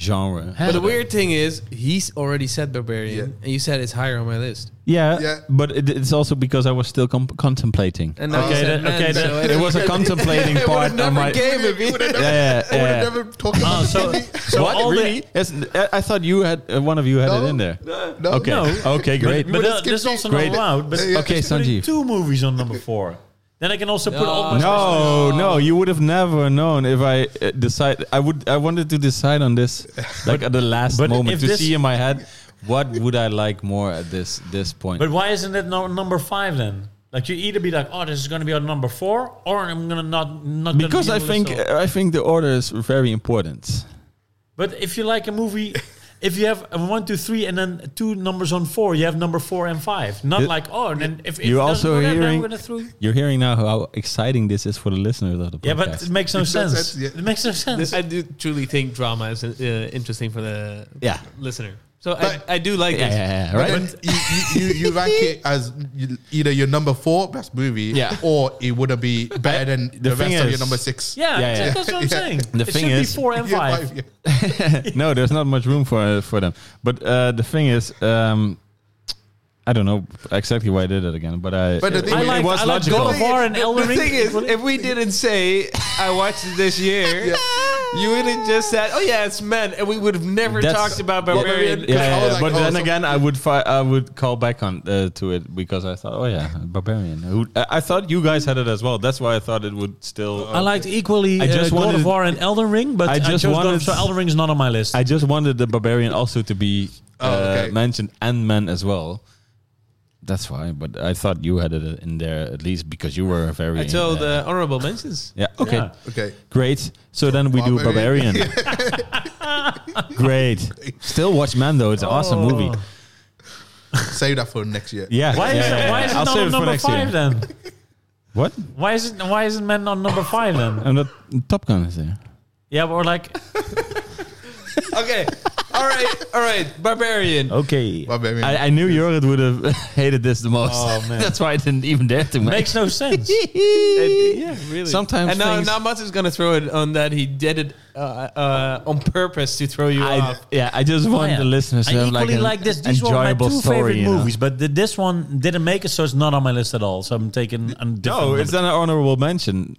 S5: genre.
S4: But the weird thing is, he's already said Barbarian, and you said it's higher on my list.
S5: Yeah,
S3: Yeah.
S5: but it, it's also because I was still com-
S3: [LAUGHS]
S5: contemplating.
S4: And now
S2: Okay,
S4: you said
S2: that- okay,
S4: Man,
S2: that-
S4: so
S5: it was
S4: [LAUGHS]
S5: a contemplating part
S4: Number
S5: of my.
S4: game, if you-
S3: [LAUGHS]
S4: [LAUGHS]
S5: Yeah, yeah,
S3: I would
S5: yeah.
S3: have never talked about
S2: Oh, so, so
S5: What?
S2: all the-
S5: really? Yes, I- I thought you had uh, one of you had
S3: No.
S5: it in there.
S3: No.
S5: Okay.
S2: No.
S5: Okay. Great.
S2: But,
S3: would've
S2: uh,
S3: skipped
S2: this is
S3: it.
S2: also
S5: Great.
S2: not allowed. But
S3: Yeah, yeah.
S5: Okay,
S2: Just putting
S5: Sanjeev.
S2: two movies on number four. Then I can also put all my.
S5: No, no, you would have never known if I uh, decide. I would. I wanted to decide on this,
S2: [LAUGHS]
S5: like at the last
S2: but if
S5: moment, to
S2: this-
S5: see in my head what would I like more at this this point.
S2: But why isn't it no, number five then? Like you either be like, oh, this is gonna be on number four, or I'm gonna not not. gonna
S5: because
S2: be
S5: I
S2: on the
S5: think
S2: show.
S5: I think the order is very important.
S2: But if you like a movie if you have a one, two, three, and then two numbers on four, you have number four and five. Not
S5: You-
S2: like oh, and then if, if
S5: You're
S2: it doesn't
S5: also
S2: go that, then
S5: hearing-
S2: we're gonna through.
S5: You're hearing now how exciting this is for the listeners of the podcast.
S2: Yeah, but it [LAUGHS] makes no
S3: Because
S2: sense.
S3: that's- yeah.
S2: It makes no sense.
S4: I do truly think drama is uh, interesting for the
S1: Yeah.
S4: listener. So I,
S3: But-
S4: I do like
S1: Yeah,
S4: this.
S1: yeah, yeah,
S3: But
S1: right?
S2: [LAUGHS]
S3: then you, you, you, you rank it as you, either your number four best movie,
S1: Yeah.
S3: or it would be better than the, rest
S5: thing
S3: of your
S5: is-
S3: number six.
S2: yeah,
S5: Yeah, yeah.
S2: that's what I'm saying.
S1: The
S2: it
S1: thing
S2: should
S1: is-
S2: be four and
S3: [LAUGHS] Yeah,
S2: five.
S3: yeah.
S5: no, there's not much room for for them. But uh, the thing is, um, I don't know exactly why I did it again. But I,
S3: But the thing
S2: I
S3: It
S2: like
S5: was
S2: I like
S5: logical.
S2: God of War and
S4: The
S2: Elden Ring.
S4: thing is,
S2: What-
S4: if we didn't say [LAUGHS] I watched it this year, you would have just said, "Oh yeah, it's men," and we would have never
S5: That's-
S4: talked about
S5: yeah,
S4: barbarian.
S5: yeah,
S3: I
S5: yeah,
S3: was like,
S5: but
S3: oh,
S5: then
S3: so-
S5: again, I would fi- I would call back on uh, to it because I thought, oh yeah, barbarian. Who, I I thought you guys had it as well. That's why I thought it would still.
S4: Oh.
S2: I liked equally
S5: I
S2: uh,
S5: just
S2: God of
S5: wanted-
S2: War and Elden Ring, but
S5: I
S2: I
S5: just
S2: chose God
S5: wanted-
S2: of, so Elden Ring is not on my list.
S5: I just wanted the barbarian also to be
S3: Oh, okay.
S5: uh, mentioned and men as well. That's why. But I thought you had it in there at least because you were very.
S4: I told
S5: uh,
S4: the honorable mentions.
S5: yeah. Okay.
S2: Yeah.
S3: Okay.
S5: Great. So then we do
S3: Barbarian.
S5: Barbarian. Great. Still watch Mando. It's an awesome movie.
S2: Oh.
S3: Save that for next year.
S5: Yeah.
S2: Why is
S5: yeah,
S2: it,
S5: yeah,
S2: why
S5: yeah.
S2: is it
S5: I'll
S2: not
S5: save
S2: on
S5: it for
S2: number
S5: next
S2: five
S5: year.
S2: then?
S5: What?
S2: Why is it why isn't men on number five then?
S5: [LAUGHS] And the Top Gun is there.
S2: Yeah, but we're like
S4: Okay, all right, all right,
S5: [LAUGHS] Oh,
S4: barbarian.
S5: Okay.
S3: Barbarian.
S5: I, I knew Jorrit would have [LAUGHS] hated this the most.
S2: Oh, man.
S5: [LAUGHS] That's why I didn't even dare to make.
S2: makes no sense.
S4: Yeah, really.
S5: Sometimes
S4: and now,
S5: things-
S4: now Mats is gonna throw it on that he did it uh, uh, on purpose to throw you
S5: I,
S4: off.
S5: yeah, I just want the listeners to
S2: Oh, I
S5: have like,
S2: equally
S5: an
S2: like this. These were my
S5: enjoyable
S2: two
S5: story.
S2: favorite
S5: you know?
S2: movies, but th- this one didn't make it, so it's not on my list at all. So I'm taking a different.
S5: No,
S2: number.
S5: it's an honorable mention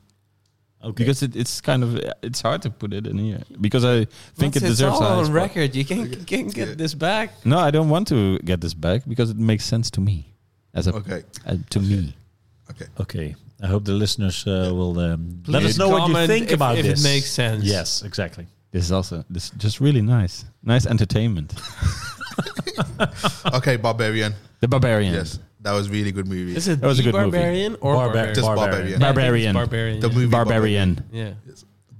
S2: okay.
S5: because it, it's kind of it's hard to put it in here because I think it
S4: Mats, it's
S5: deserves a
S4: all
S5: high
S4: on
S5: spot.
S4: record. You can not can get this back.
S5: No, I don't want to get this back because it makes sense to me as a
S3: Okay.
S5: uh, to me.
S3: Okay.
S2: okay. I hope the listeners uh, will um, let
S4: Please
S2: us know what you
S4: comment
S2: think
S4: if-
S2: about
S4: if it
S2: this.
S4: makes sense.
S2: Yes, exactly.
S5: This is also this is just really nice, nice entertainment.
S3: Okay, Barbarian.
S5: [LAUGHS] The Barbarian.
S3: Yes. That was really good movie.
S4: Is it
S5: That was a
S4: the
S5: good movie.
S4: barbarian or
S2: Barbar-
S4: barbarian?
S3: Just Barbarian.
S4: Yeah, I think
S5: Barbarian.
S4: it's Barbarian.
S3: The
S4: yeah.
S3: movie
S5: Barbarian.
S4: Yeah.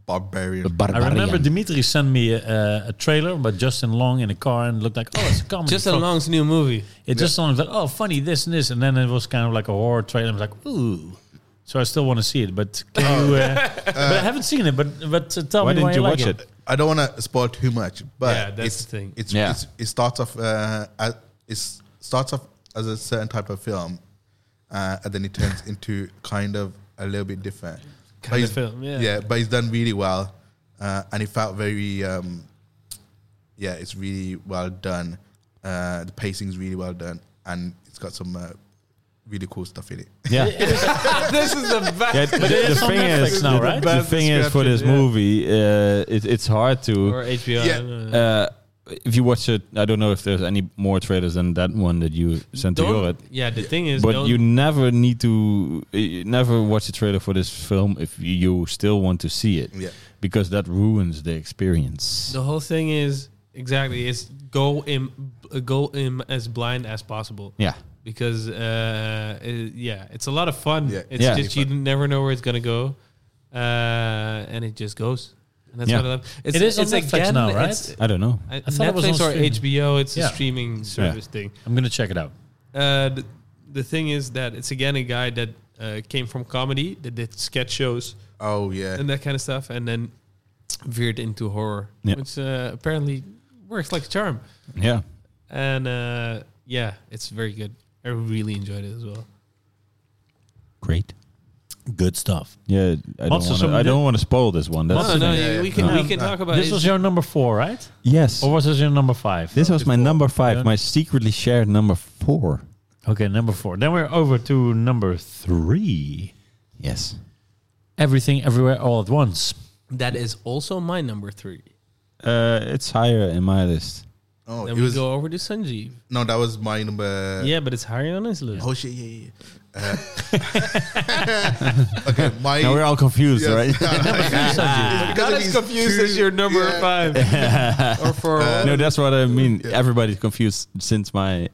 S3: Barbarian.
S1: The
S2: I remember
S1: Barbarian.
S2: Dimitri sent me uh, a, a trailer about Justin Long in a car and looked like, oh, it's a comedy.
S4: Just a
S2: Fuck.
S4: Long's new movie.
S2: It just sounded like, oh, funny, this and this. And then it was kind of like a horror trailer. I was like, ooh. So I still want to see it, but
S3: Oh.
S2: can
S3: [LAUGHS]
S2: you, uh, but I haven't seen it. But but uh, tell
S5: Why
S2: me
S5: didn't
S2: why
S5: you
S2: like
S5: watch it?
S3: I don't want to spoil too much, but
S4: Yeah, that's
S3: it's,
S4: the thing.
S3: It's,
S5: Yeah.
S3: it's it starts off uh, as it starts off as a certain type of film, uh, and then it turns into kind of a little bit different But
S4: of
S3: it's-
S4: film, yeah.
S3: but it's done really well, uh, and it felt very. Um, yeah, it's really well done. Uh, the pacing's really well done, and it's got some uh, really cool stuff
S4: [LAUGHS]
S3: in it. [LAUGHS]
S5: Yeah.
S4: [LAUGHS]
S2: [LAUGHS]
S4: this is the best.
S5: Yeah, but the
S2: is on
S5: thing
S2: Netflix
S5: is,
S2: now,
S5: the-
S2: right?
S5: the
S4: Bad
S5: thing is for this
S4: description, yeah.
S5: movie, uh, it, it's hard
S4: Or
S5: to.
S3: Yeah.
S4: HBO. I don't know.
S5: Uh, if you watch it, I don't know if there's any more trailers than that one that you sent to
S4: Don't-
S5: Jorrit.
S4: yeah, the thing is,
S5: But
S4: don't-
S5: you never need to, uh, you never watch a trailer for this film if you still want to see it,
S3: Yeah.
S5: because that ruins the experience.
S4: the whole thing is exactly is go in go in as blind as possible.
S5: Yeah,
S4: Because uh, uh, yeah, it's a lot of fun.
S3: Yeah.
S4: It's
S5: Yeah.
S4: just you never know where it's gonna go, uh, and it just goes. And that's
S5: Yeah.
S4: what I love. It's,
S2: It is on Netflix now, right?
S4: it's-
S5: I don't know.
S4: I,
S2: thought it was on
S4: Netflix or
S2: streaming.
S4: HBO. It's
S2: Yeah.
S4: a streaming service thing.
S2: I'm gonna check it out.
S4: Uh, the, the thing is that it's again a guy that uh, came from comedy that did sketch shows
S3: Oh yeah,
S4: and that kind of stuff, and then veered into horror,
S5: Yeah.
S4: which uh, apparently works like a charm.
S5: Yeah,
S4: And uh, yeah, it's very good. I really enjoyed it as well.
S5: great.
S2: Good stuff.
S5: Yeah, I don't
S2: What's the
S5: wanna-
S2: something
S5: I
S2: that-
S5: don't want to spoil this one. That's
S4: No,
S5: the
S4: no,
S5: thing.
S4: you-
S3: yeah,
S4: we can
S3: no.
S4: we can
S3: No.
S4: talk about
S2: This
S4: it.
S2: was your number four, right?
S5: Yes,
S2: Or was this your number five?
S5: this was my number
S2: Yeah.
S5: five, my secretly shared number four.
S2: okay, number four. Then we're over to number three.
S5: Yes.
S2: Everything, everywhere, all at once.
S4: that is also my number three.
S5: Uh, it's higher in my list.
S3: oh
S4: Then
S3: it
S4: we
S3: was Uh,
S4: go over to Sanjeev.
S3: no, that was my number.
S4: yeah, but it's higher on his
S3: [LAUGHS]
S4: list.
S3: Oh shit! Yeah, yeah.
S4: [LAUGHS]
S3: yeah. Uh, [LAUGHS] okay, my uh,
S5: Now we're all confused,
S3: Yes.
S5: right?
S3: [LAUGHS]
S4: Not as confused as your number
S3: yeah. [LAUGHS]
S4: five or four.
S5: no, that's what I mean. Everybody's confused since my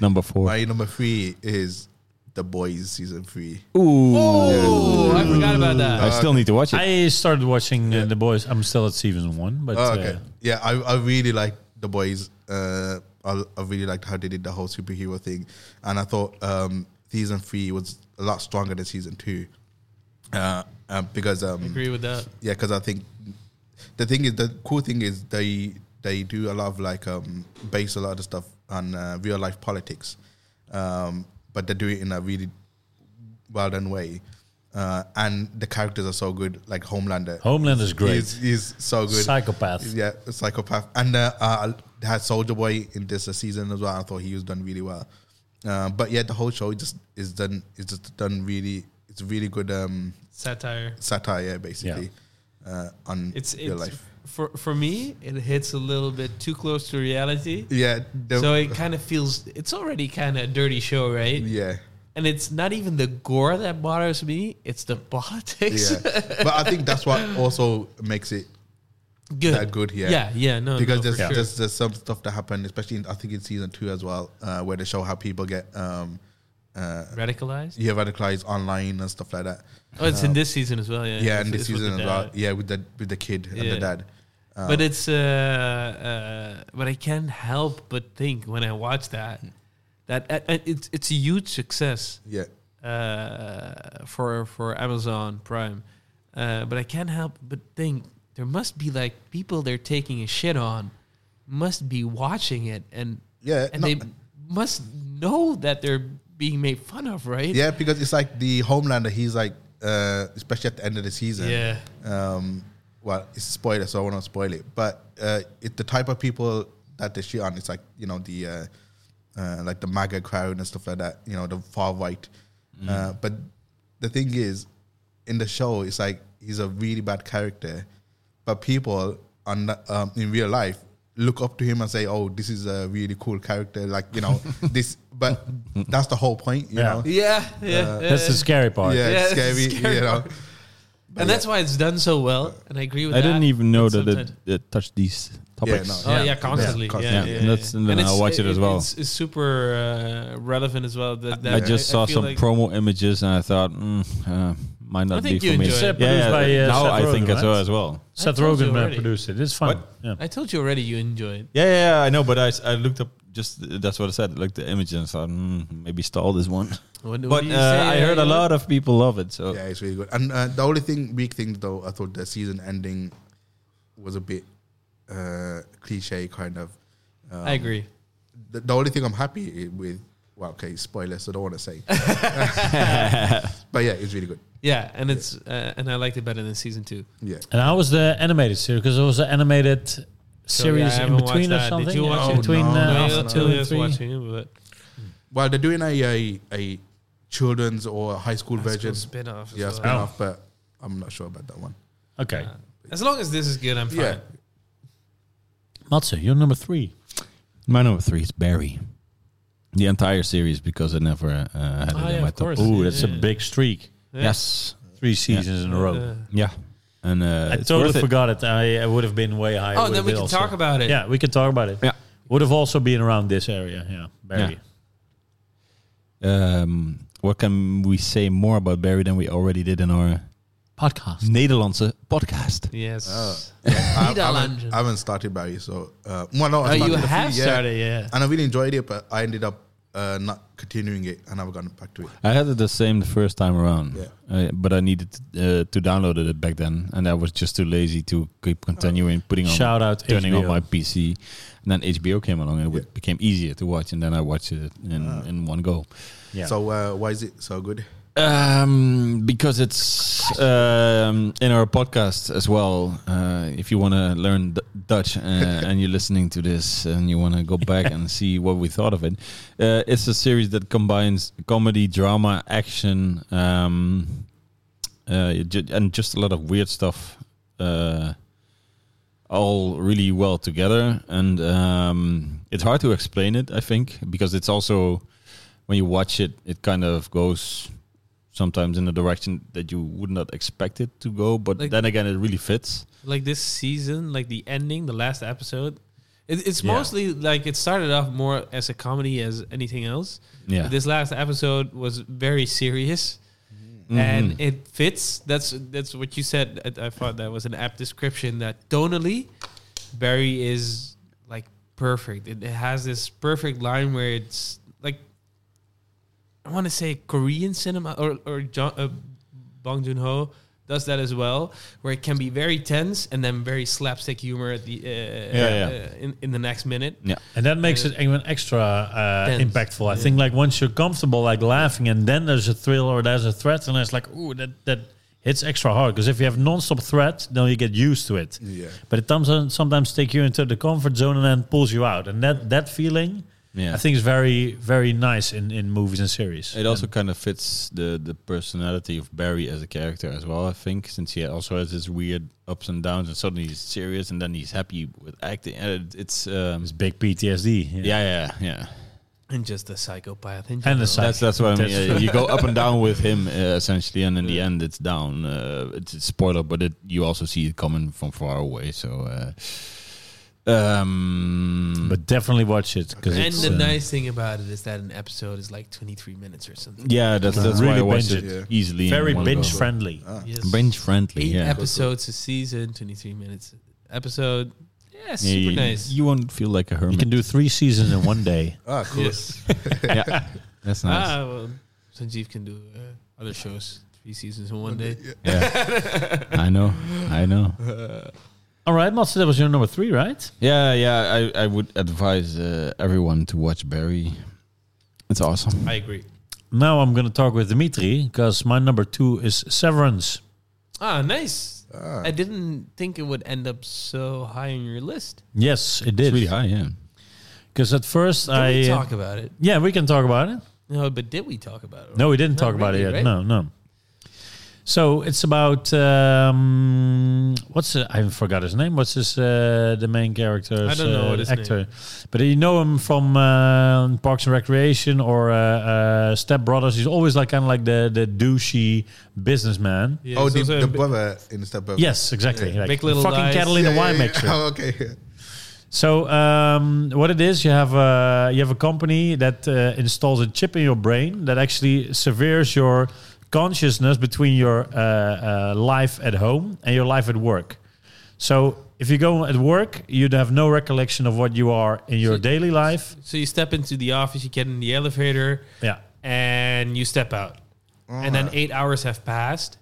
S5: number four.
S3: My number three is The Boys season three.
S4: oh, I forgot about
S3: Uh,
S4: that.
S5: I still need to watch it.
S2: I started watching uh, The Boys. I'm still at season one, but
S3: Oh, okay,
S2: uh,
S3: yeah, I, I really like The the boys. Uh, I, I really liked how they did the whole superhero thing, and I thought um, season three was a lot stronger than season two, uh, uh, because um,
S4: Agree with that.
S3: yeah, because I think the thing is the cool thing is they they do a lot of like um base a lot of stuff on uh, real life politics, um, but they do it in a really well done way, uh, and the characters are so good. Like Homelander,
S2: Homeland is Oh, great.
S3: He's, he's so good.
S2: Psychopath.
S3: Yeah, a psychopath. And uh, uh, I had Soldier Boy in this uh, season as well. I thought he was done really well. Uh, but yeah, the whole show just is done. Is just done really. It's really good um,
S4: Satire.
S3: satire, basically, uh, on
S4: It's it's
S3: real life.
S4: for for me. It hits a little bit too close to reality.
S3: Yeah. the-
S4: So it kind of feels it's already kind of a dirty show, right? [LAUGHS]
S3: yeah.
S4: And it's not even the gore that bothers me; it's the politics. [LAUGHS]
S3: Yeah. but I think that's what also makes it
S4: good.
S3: that good here.
S4: Yeah, yeah, no,
S3: because
S4: no,
S3: there's,
S4: for sure.
S3: there's there's some stuff that happened, especially in, I think in season two as well, uh, where they show how people get um,
S4: radicalized.
S3: yeah radicalized online and stuff like that.
S4: Oh, it's in this season as well. Yeah,
S3: Yeah,
S4: It's-
S3: and this
S4: it's with
S3: season
S4: the
S3: as well.
S4: dad.
S3: Yeah, with the with the kid and
S4: Yeah.
S3: the dad.
S4: but it's uh, uh, but I can't help but think when I watch that that uh, uh, it's it's a huge success
S3: Yeah,
S4: uh, for for Amazon Prime, uh, but I can't help but think there must be like people they're taking a shit on must be watching it and
S3: Yeah,
S4: and
S3: no-
S4: they must know that they're being made fun of, right?
S3: yeah, because it's like the Homelander. He's like, uh, especially at the end of the season.
S4: Yeah.
S3: Um, well, it's a spoiler, so I won't spoil it. But uh, it's the type of people that they shit on. It's like you know the uh, uh, like the MAGA crowd and stuff like that. You know the far right.
S4: Mm-hmm.
S3: Uh, but the thing is, in the show, it's like he's a really bad character, but people on the- um, in real life look up to him and say, "Oh, this is a really cool character." Like you
S4: [LAUGHS]
S3: know this, but that's the whole point. You
S2: Yeah.
S3: know,
S4: yeah,
S3: Uh,
S4: yeah.
S2: That's the scary part.
S3: yeah,
S4: Yeah,
S3: it's
S4: it's
S3: scary.
S4: scary
S3: you know,
S4: and that's why it's done so well. And I agree with
S5: I
S4: that.
S5: didn't even know
S4: But
S5: that it,
S4: sometimes-
S5: it touched these topics.
S3: no.
S4: Oh
S3: Yeah,
S4: yeah, constantly. Yeah,
S3: constantly.
S4: yeah,
S5: Yeah,
S4: yeah,
S5: and that's- and then I
S4: it's-
S5: watch it as well.
S4: It's, it's super uh, relevant as well. That, that
S5: I just saw
S4: feel
S5: some
S4: like-
S5: promo images and I thought, mm, uh, might not
S4: think
S5: be
S4: you
S5: for me.
S4: enjoy it.
S2: Yeah, produced by, uh,
S5: now
S2: Seth
S5: I think
S2: Rogen,
S5: as well
S2: right?
S5: as well.
S2: Seth
S4: I told you
S2: Rogen uh,
S4: already.
S2: produced it. It's fun.
S5: What?
S2: Yeah.
S4: I told you already. You enjoy it.
S5: Yeah, yeah, yeah, I know, but I, s- I looked up just th- that's what I said. Looked the images and thought mm, maybe stall this one.
S4: [LAUGHS] What-
S5: but
S4: what do
S5: uh,
S4: you say,
S5: I heard a
S4: Elliot?
S5: lot of people love it. So
S3: yeah, it's really good. And uh, the only thing weak thing though, I thought the season ending was a bit uh, cliche, kind of.
S4: I agree.
S3: The, the only thing I'm happy with, well, okay, spoilers, so I don't want to
S4: [LAUGHS]
S3: say. but yeah, it's really good.
S4: Yeah, and it's uh, and I liked it better than season two.
S3: Yeah,
S2: And how was the animated series? Because it was an animated
S4: yeah, I
S2: series in
S4: haven't
S2: between
S4: watched
S2: or
S4: that. Did
S2: something.
S4: you watch
S2: Yeah,
S4: it?
S2: Between
S3: No,
S2: uh,
S3: no,
S2: after
S4: Elliot-
S2: two and
S4: Elliot's
S2: three.
S4: watching it, but
S3: well, they're doing a a, a children's or a high school version.
S4: spin off.
S3: yeah, spin
S4: Oh.
S3: off, but I'm not sure about that one.
S2: Okay,
S4: As long as this is good, I'm fine.
S3: Yeah,
S2: Matze, you're number three.
S5: my number three is Barry. The entire series because I never uh, had
S4: Oh,
S5: it
S4: yeah,
S5: in my
S4: of
S5: top.
S4: course.
S5: Ooh,
S2: Ooh, that's a big streak.
S5: Yes,
S2: Three seasons in a row.
S4: Uh,
S5: yeah, and uh,
S2: I
S5: it's
S2: totally
S5: worth it.
S2: forgot it. I, I would have been way higher.
S4: Oh,
S2: Would
S4: then
S2: have
S4: we
S2: been
S4: can
S2: also-
S4: talk about it.
S2: Yeah, we can talk about it.
S5: Yeah.
S2: Would have also been around this area. Yeah, Barry.
S5: Yeah. Um, what can we say more about Barry than we already did in our
S2: Podcast.
S5: Nederlandse podcast?
S4: Yes.
S3: Oh. I, I,
S4: Nederlanden.
S3: haven't, I haven't started Barry, so uh, well, no, I
S4: Oh, you
S3: started a few,
S4: have
S3: yeah.
S4: started, yeah.
S3: and I really enjoyed it, but I ended up uh, not continuing it, and I've gone back to it.
S5: I had it the same the first time around,
S3: Yeah.
S5: I- but I needed uh, to download it back then, and I was just too lazy to keep continuing putting on
S2: Shout out
S5: turning on
S2: HBO.
S5: my PC. And then HBO came along, and it became easier to watch, and then I watched it in, in one go.
S2: Yeah.
S3: So uh, why is it so good?
S5: Um, because it's um, in our podcast as well. Uh, if you want to learn D- Dutch uh, and you're listening to this and you want to go back and see what we thought of it, uh, it's a series that combines comedy, drama, action, um, uh, ju- and just a lot of weird stuff. Uh, all really well together, and um, it's hard to explain it. I think because it's also when you watch it, it kind of goes sometimes in a direction that you would not expect it to go. But
S4: Like-
S5: then again, it really fits.
S4: like this season, like the ending, the last episode. It, it's
S5: Yeah.
S4: mostly like it started off more as a comedy as anything else.
S5: Yeah.
S4: But this last episode was very serious,
S5: Mm-hmm.
S4: and it fits. That's that's what you said. I, I thought that was an apt description. That tonally, Barry is like perfect. It, it has this perfect line where it's like I want to say Korean cinema or or John, uh, Bong Joon Ho does that as well, where it can be very tense and then very slapstick humor at the uh,
S5: yeah.
S4: Uh, in in the next minute.
S5: Yeah.
S2: And that makes it even extra uh,
S4: Tense.
S2: impactful. I think like once you're comfortable, like laughing, and then there's a thrill or there's a threat, and it's like, ooh, that that hits extra hard. Because if you have non-stop threat, then you get used to it.
S3: Yeah.
S2: But it sometimes sometimes take you into the comfort zone and then pulls you out, and that that feeling,
S5: Yeah.
S2: I think is very very nice in in movies and series.
S5: It also kind of fits the the personality of Barry as a character as well. I think since he also has his weird ups and downs, and suddenly he's serious, and then he's happy with acting. Uh, it- It's um,
S2: It's big PTSD. Yeah.
S5: yeah, yeah, yeah.
S4: And just a psychopath. In
S2: And
S4: general.
S2: the psych.
S5: That's that's
S2: [LAUGHS]
S5: what I mean.
S2: That's-
S5: Yeah, you go up and down with
S2: [LAUGHS]
S5: him uh, essentially, and in the end, it's down. Uh, it's a spoiler, but it you also see it coming from far away. So, uh, um,
S2: But definitely watch it because
S4: And
S2: it's
S4: the
S2: uh,
S4: nice thing about it is that an episode is like 23 minutes or something.
S5: yeah, that's that's
S2: Really
S5: why I watched
S2: binge
S5: it,
S3: it.
S5: easily. in
S2: very
S5: one
S2: binge
S5: go.
S2: friendly.
S4: Yes.
S5: binge friendly.
S4: Eight
S5: yeah,
S4: episodes a season, 23 minutes episode. Yeah,
S5: Yeah,
S4: super
S5: you-
S4: nice.
S5: You won't feel like a hermit.
S2: You can do three seasons in one day.
S3: Ah, cool.
S4: yes.
S5: yeah, that's nice.
S4: Ah, well, Sanjeev can do uh, other shows, three seasons in one day.
S5: Yeah.
S2: [LAUGHS]
S5: I know. I know.
S2: All right, Matsu, that was your number three, right?
S5: Yeah, yeah. I, I would advise uh, everyone to watch Barry. It's awesome.
S4: I agree.
S2: Now I'm going to talk with Dimitri because my number two is Severance.
S4: Ah, nice.
S3: Ah.
S4: I didn't think it would end up so high on your list.
S2: Yes, it
S5: It's really
S2: did.
S5: high, yeah.
S2: Because at first
S4: Did
S2: I
S4: we talk about it?
S2: Ah, yeah, we can talk about it.
S4: No, but did we talk about it?
S2: No, we didn't
S4: Not
S2: talk about it yet.
S4: really, right?
S2: No, no. So it's about um, what's the, I forgot his name. What's his uh, the main character? uh,
S4: I don't know what his
S2: actor, but you know him from uh, Parks and Recreation or uh, uh, Step Brothers. He's always like kind of like the the douchey businessman.
S4: Yeah,
S3: oh,
S4: it's
S3: the,
S4: also
S3: the
S4: a bit-
S3: brother in the step up.
S2: Yes, exactly. Like
S4: Big
S2: the
S4: Little
S2: fucking
S4: Lies.
S2: Catalina
S3: Yeah, yeah,
S2: Winemaker.
S3: yeah. [LAUGHS] Oh, okay. yeah.
S2: So um, what it is, you have a you have a company that uh, installs a chip in your brain that actually severs your consciousness between your uh, uh, life at home and your life at work. So if you go at work, you'd have no recollection of what you are in your
S4: So-
S2: daily life.
S4: so you step into the office, you get in the elevator,
S2: Yeah,
S4: and you step out. And then
S3: Ah.
S4: eight hours have passed,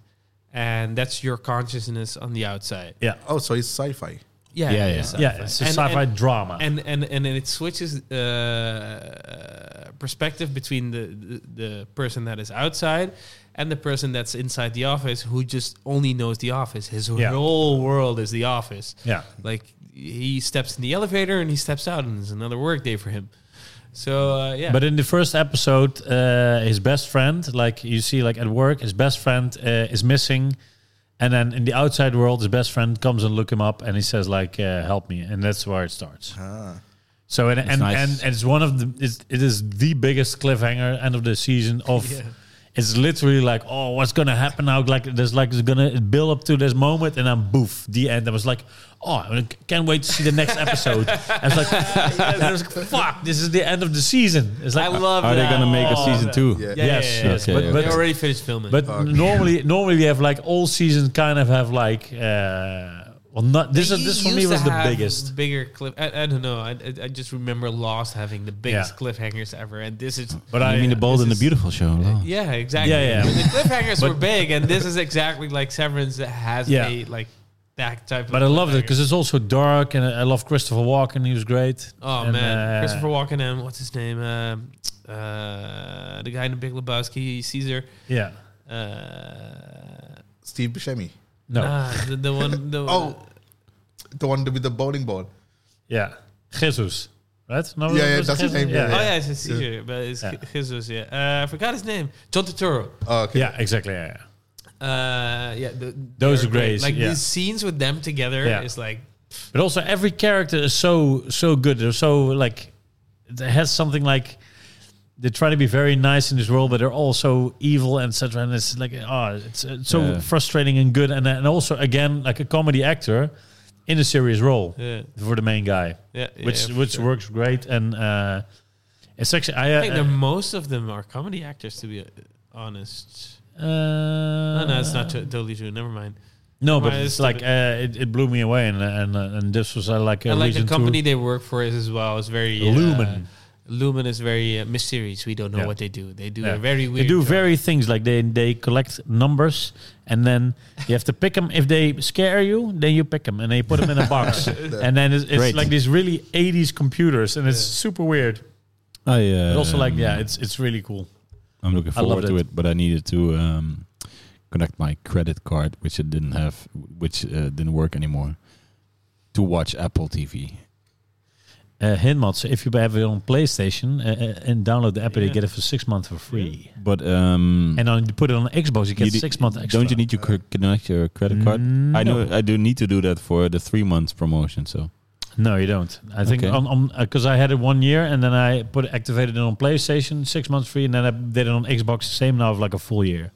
S4: and that's your consciousness on the outside.
S2: yeah,
S3: Oh, so it's sci-fi.
S4: Yeah,
S5: Yeah, yeah.
S4: sci-fi.
S2: yeah. It's a
S4: And-
S2: sci-fi
S4: and-
S2: drama.
S4: And and and it switches uh, perspective between the, the the person that is outside and the person that's inside the office, who just only knows the office. His
S2: Yeah.
S4: whole world is the office.
S2: Yeah.
S4: like he steps in the elevator and he steps out, and it's another workday for him. So uh, yeah, [LAUGHS]
S2: But in the first episode, uh, his best friend, like you see, like at work, his best friend uh, is missing, and then in the outside world, his best friend comes and look him up, and he says like, uh, "Help me," and that's where it starts. So and and,
S5: nice.
S2: and and it's one of the it's, it is the biggest cliffhanger end of the season of. It's literally like, oh, what's gonna happen now? Like, there's like, it's gonna build up to this moment, and then boof, the end. I was like, oh, I c- can't wait to see the next episode. I was like, I [LAUGHS] was like, fuck, this is the end of the season. It's
S4: I
S2: like,
S4: love.
S5: Are they
S4: that.
S5: gonna make a
S4: Oh,
S5: season
S4: that-
S5: two?
S3: Yeah.
S4: Yeah,
S2: Yes,
S4: yeah, yeah,
S2: yes,
S5: Okay,
S2: but
S5: okay.
S4: They
S2: but,
S4: already finished filming.
S2: but normally normally you have like all seasons kind of have like uh well not this
S4: They
S2: is this for
S4: used
S2: me
S4: to
S2: was the
S4: have
S2: biggest.
S4: bigger cliff. I, I don't know. I, I, I just remember Lost having the biggest cliffhangers ever, and this is.
S2: But I
S5: I mean, the Bold and the
S4: is-
S5: Beautiful show. Oh. no?
S4: yeah, exactly.
S2: Yeah, yeah.
S4: The cliffhangers
S2: [LAUGHS] But-
S4: were big, and this is exactly like Severance that has
S2: Yeah.
S4: a like that type.
S2: But I loved
S4: of
S2: it
S4: cliffhanger.
S2: because it's also dark and I I love Christopher Walken. He was great.
S4: Oh
S2: And,
S4: man,
S2: uh,
S4: Christopher Walken and what's his name? Um uh, the guy in the Big Lebowski, Caesar.
S2: Yeah.
S4: Uh,
S3: Steve Buscemi.
S2: No.
S5: Ah.
S4: nah, the, the one. The
S3: Oh, the one with the bowling ball.
S2: Yeah. Jesus. Right? No,
S3: Yeah, yeah,
S2: was it
S3: that's his
S2: Jesus?
S3: name,
S2: Yeah.
S4: Oh
S2: Yeah.
S4: yeah, it's Caesar, but it's
S2: Yeah.
S4: Jesus. Yeah, uh, I forgot his name. John Turturro.
S3: Oh, okay.
S2: Yeah, exactly. Yeah, yeah.
S4: Uh, yeah, the,
S2: Those
S4: they're
S2: are great,
S4: Like
S2: yeah.
S4: these scenes with them together
S2: Yeah.
S4: is like
S2: But also every character is so so good. They're so like it has something like they try to be very nice in this world, but they're also evil and etc. And it's like oh, it's, it's so
S5: Yeah.
S2: frustrating and good. And and also again like a comedy actor in a serious role
S4: uh, yeah,
S2: for the main guy,
S4: yeah, yeah,
S2: which
S4: for
S2: which
S4: sure.
S2: works great. And uh, it's actually I,
S4: I think
S2: uh,
S4: that most of them are comedy actors, to be honest.
S2: uh,
S4: Oh, no, it's not to- totally true. Never mind.
S2: No, but
S4: Why
S2: it's
S4: is
S2: like uh, it, it blew me away, and and uh, and this was uh, like a
S4: and like
S2: reason
S4: the company
S2: to
S4: they work for is as well is very uh,
S2: Lumen.
S4: Lumen is very uh, mysterious. We don't know
S2: Yeah.
S4: what they do. They do
S2: Yeah.
S4: a very
S2: they
S4: weird.
S2: do
S4: job.
S2: very things like they they collect numbers, and then you have to pick them. If they scare you, then you pick them, and then you put them in a
S4: [LAUGHS]
S2: box, and then it's, it's
S5: Great.
S2: like these really '80s computers, and it's super weird.
S5: I uh,
S2: But also like yeah, it's it's really cool.
S5: I'm looking
S2: I love
S5: forward to it, but I needed to um, connect my credit card, which it didn't have, which uh, didn't work anymore, to watch Apple TV.
S2: Uh, Hinmats, if you have it on PlayStation uh, uh, and download the app, you
S4: Yeah.
S2: get it for six months for free.
S5: But um,
S2: And on you put it on Xbox, you get
S5: you d-
S2: six months extra. Mm.
S5: Don't you need to cr- connect your credit card? I know I do need to do that for the three months promotion. So
S2: No, you don't. I think
S5: Okay.
S2: on on because I had it one year and then I put activated it on PlayStation six months free, and then I did it on Xbox same now of like a full year.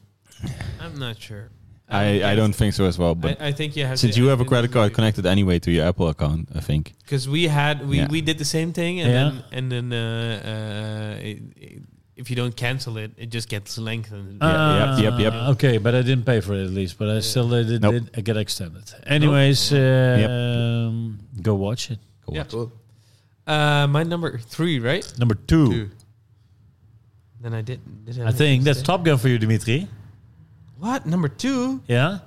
S4: I'm not sure.
S5: I, I don't think so as well. But
S4: I, I think you have.
S5: since
S4: to-
S5: you have a credit card connected anyway to your Apple account, I think.
S4: because we had we,
S5: Yeah.
S4: we did the same thing, and
S2: Yeah.
S4: then and then uh, uh, it, it- if you don't cancel it, it just gets
S2: Uh.
S4: lengthened.
S5: Yeah, yep, yep, yep.
S2: Ah, Okay, but I didn't pay for it at least, but I still uh, did,
S5: Nope.
S2: did uh, get extended. Anyways, um, go watch it.
S4: Yeah. Uh, my number three, right?
S2: Number two,
S3: Two.
S4: Then I did. did
S2: I think that's
S4: top.
S2: Top Gun for you, Dimitri.
S4: What number two?
S2: Yeah,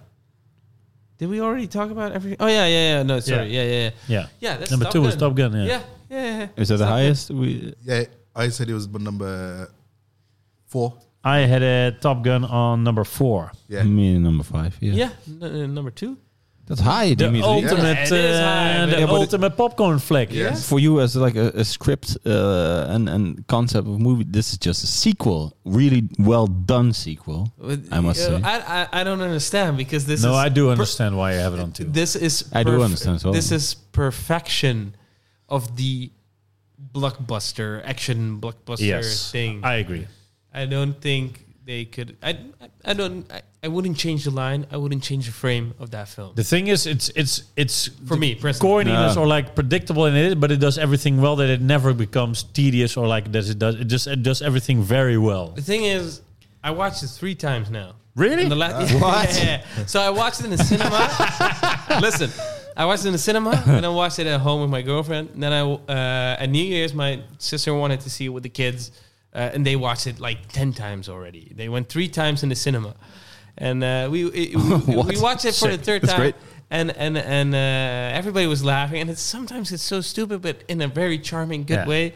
S4: Did we already talk about every? Oh yeah, yeah, yeah. No, sorry. Yeah, yeah, yeah.
S2: yeah.
S4: Yeah, that's
S2: Number
S4: Top
S2: two was
S4: Gun.
S2: Top Gun. Yeah.
S4: Yeah, yeah, yeah.
S5: Is that the highest? We
S3: Yeah, I said it was b- number four.
S2: I had a Top Gun on number four.
S3: Yeah.
S5: me number five. Yeah,
S4: Yeah, n- n- number two.
S5: that's high.
S2: The
S5: Dimitri.
S2: ultimate,
S4: Yeah, it is high,
S2: uh,
S4: but-
S2: the
S4: Yeah, but it-
S2: ultimate popcorn flick.
S3: Yeah.
S5: for you as like a, a script uh, and and concept of movie. This is just a sequel, really well done sequel. I must
S4: Uh,
S5: say.
S4: I, I I don't understand because this.
S2: No,
S4: is
S2: I do
S4: per-
S2: understand why you have it on two.
S4: This is.
S5: I do understand as well.
S4: This is perfection of the blockbuster action blockbuster thing.
S2: I agree.
S4: I don't think they could. I I don't. I, I wouldn't change the line. I wouldn't change the frame of that film.
S2: The thing is, it's it's it's
S4: For me, personally.
S2: corniness
S5: No.
S2: or like predictable in it, but it does everything well that it never becomes tedious or like does it does it just it does everything very well.
S4: The thing is, I watched it three times now.
S2: Really? Uh,
S4: In the la- [LAUGHS] yeah, yeah, yeah. So I watched it in the cinema. [LAUGHS] Listen, I watched it in the cinema, and I watched it at home with my girlfriend. And then I, uh, at New Year's, my sister wanted to see it with the kids, uh, and they watched it like ten times already. They went three times in the cinema, and uh, we it,
S2: [LAUGHS]
S4: we, we watched it for the third time. And and and uh, everybody was laughing, and it's sometimes it's so stupid, but in a very charming,
S2: Yeah.
S4: good way.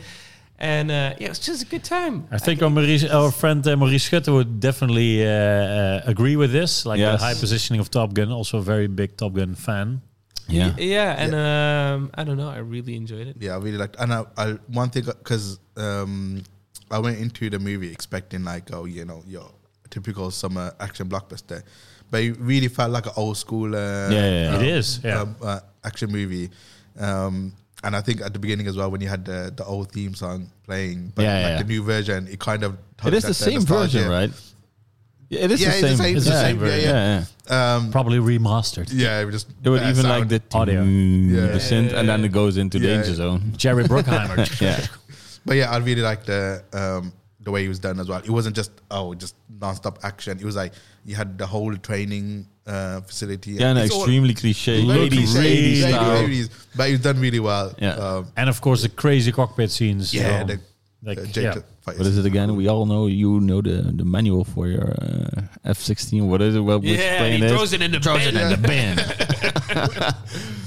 S4: And uh, yeah, it was just a good time.
S2: I think our, Maurice, our friend uh, Maurice Schutte would definitely uh, uh, agree with this. Like
S5: Yes.
S2: the high positioning of Top Gun, also a very big Top Gun fan.
S5: yeah.
S4: Yeah, and um, I don't know. I really enjoyed it.
S3: Yeah, I really liked. And I, I one thing because um, I went into the movie expecting like, oh, you know, your typical summer action blockbuster, but it really felt like an old school. Uh,
S5: Yeah, yeah, yeah.
S2: It is, yeah.
S3: um, uh, action movie. Um, and I think at the beginning as well, when you had the, the old theme song playing, but
S5: Yeah,
S3: like
S5: yeah.
S3: the new version, it kind of
S5: It is the
S3: touched that- that
S5: same version,
S3: uh, nostalgia.
S5: right? Yeah, it is
S3: Yeah,
S5: the
S3: it's
S5: same.
S3: the same- it's the
S5: yeah,
S3: same
S5: yeah,
S3: version,
S5: yeah.
S3: yeah. Um,
S2: Probably remastered.
S3: yeah, it was just
S5: It would
S3: that
S5: even
S3: sound.
S5: like the
S2: Audio.
S5: Yeah.
S3: Yeah.
S5: The synth, and then it goes into
S3: Yeah.
S5: danger
S3: [LAUGHS]
S5: zone.
S2: Jerry Bruckheimer.
S5: Yeah,
S3: But yeah, I really like the um, the way it was done as well. It wasn't just oh, just nonstop action. It was like you had the whole training uh, facility.
S5: yeah, and
S3: It's all
S5: extremely cliche,
S3: very
S5: ladies,
S3: cliche,
S5: ladies
S3: very
S5: style.
S3: 80s, but it was done really well.
S5: Yeah.
S3: um,
S2: and of course, the crazy cockpit scenes.
S3: yeah,
S2: um,
S3: the,
S2: like,
S3: the
S2: yeah.
S3: Jacob fights.
S5: What is it again? We all know you know the, the manual for your uh, F sixteen. What is it? What which
S4: yeah,
S5: plane
S4: he
S5: it is?
S4: throws it in the bin.
S7: in the bin.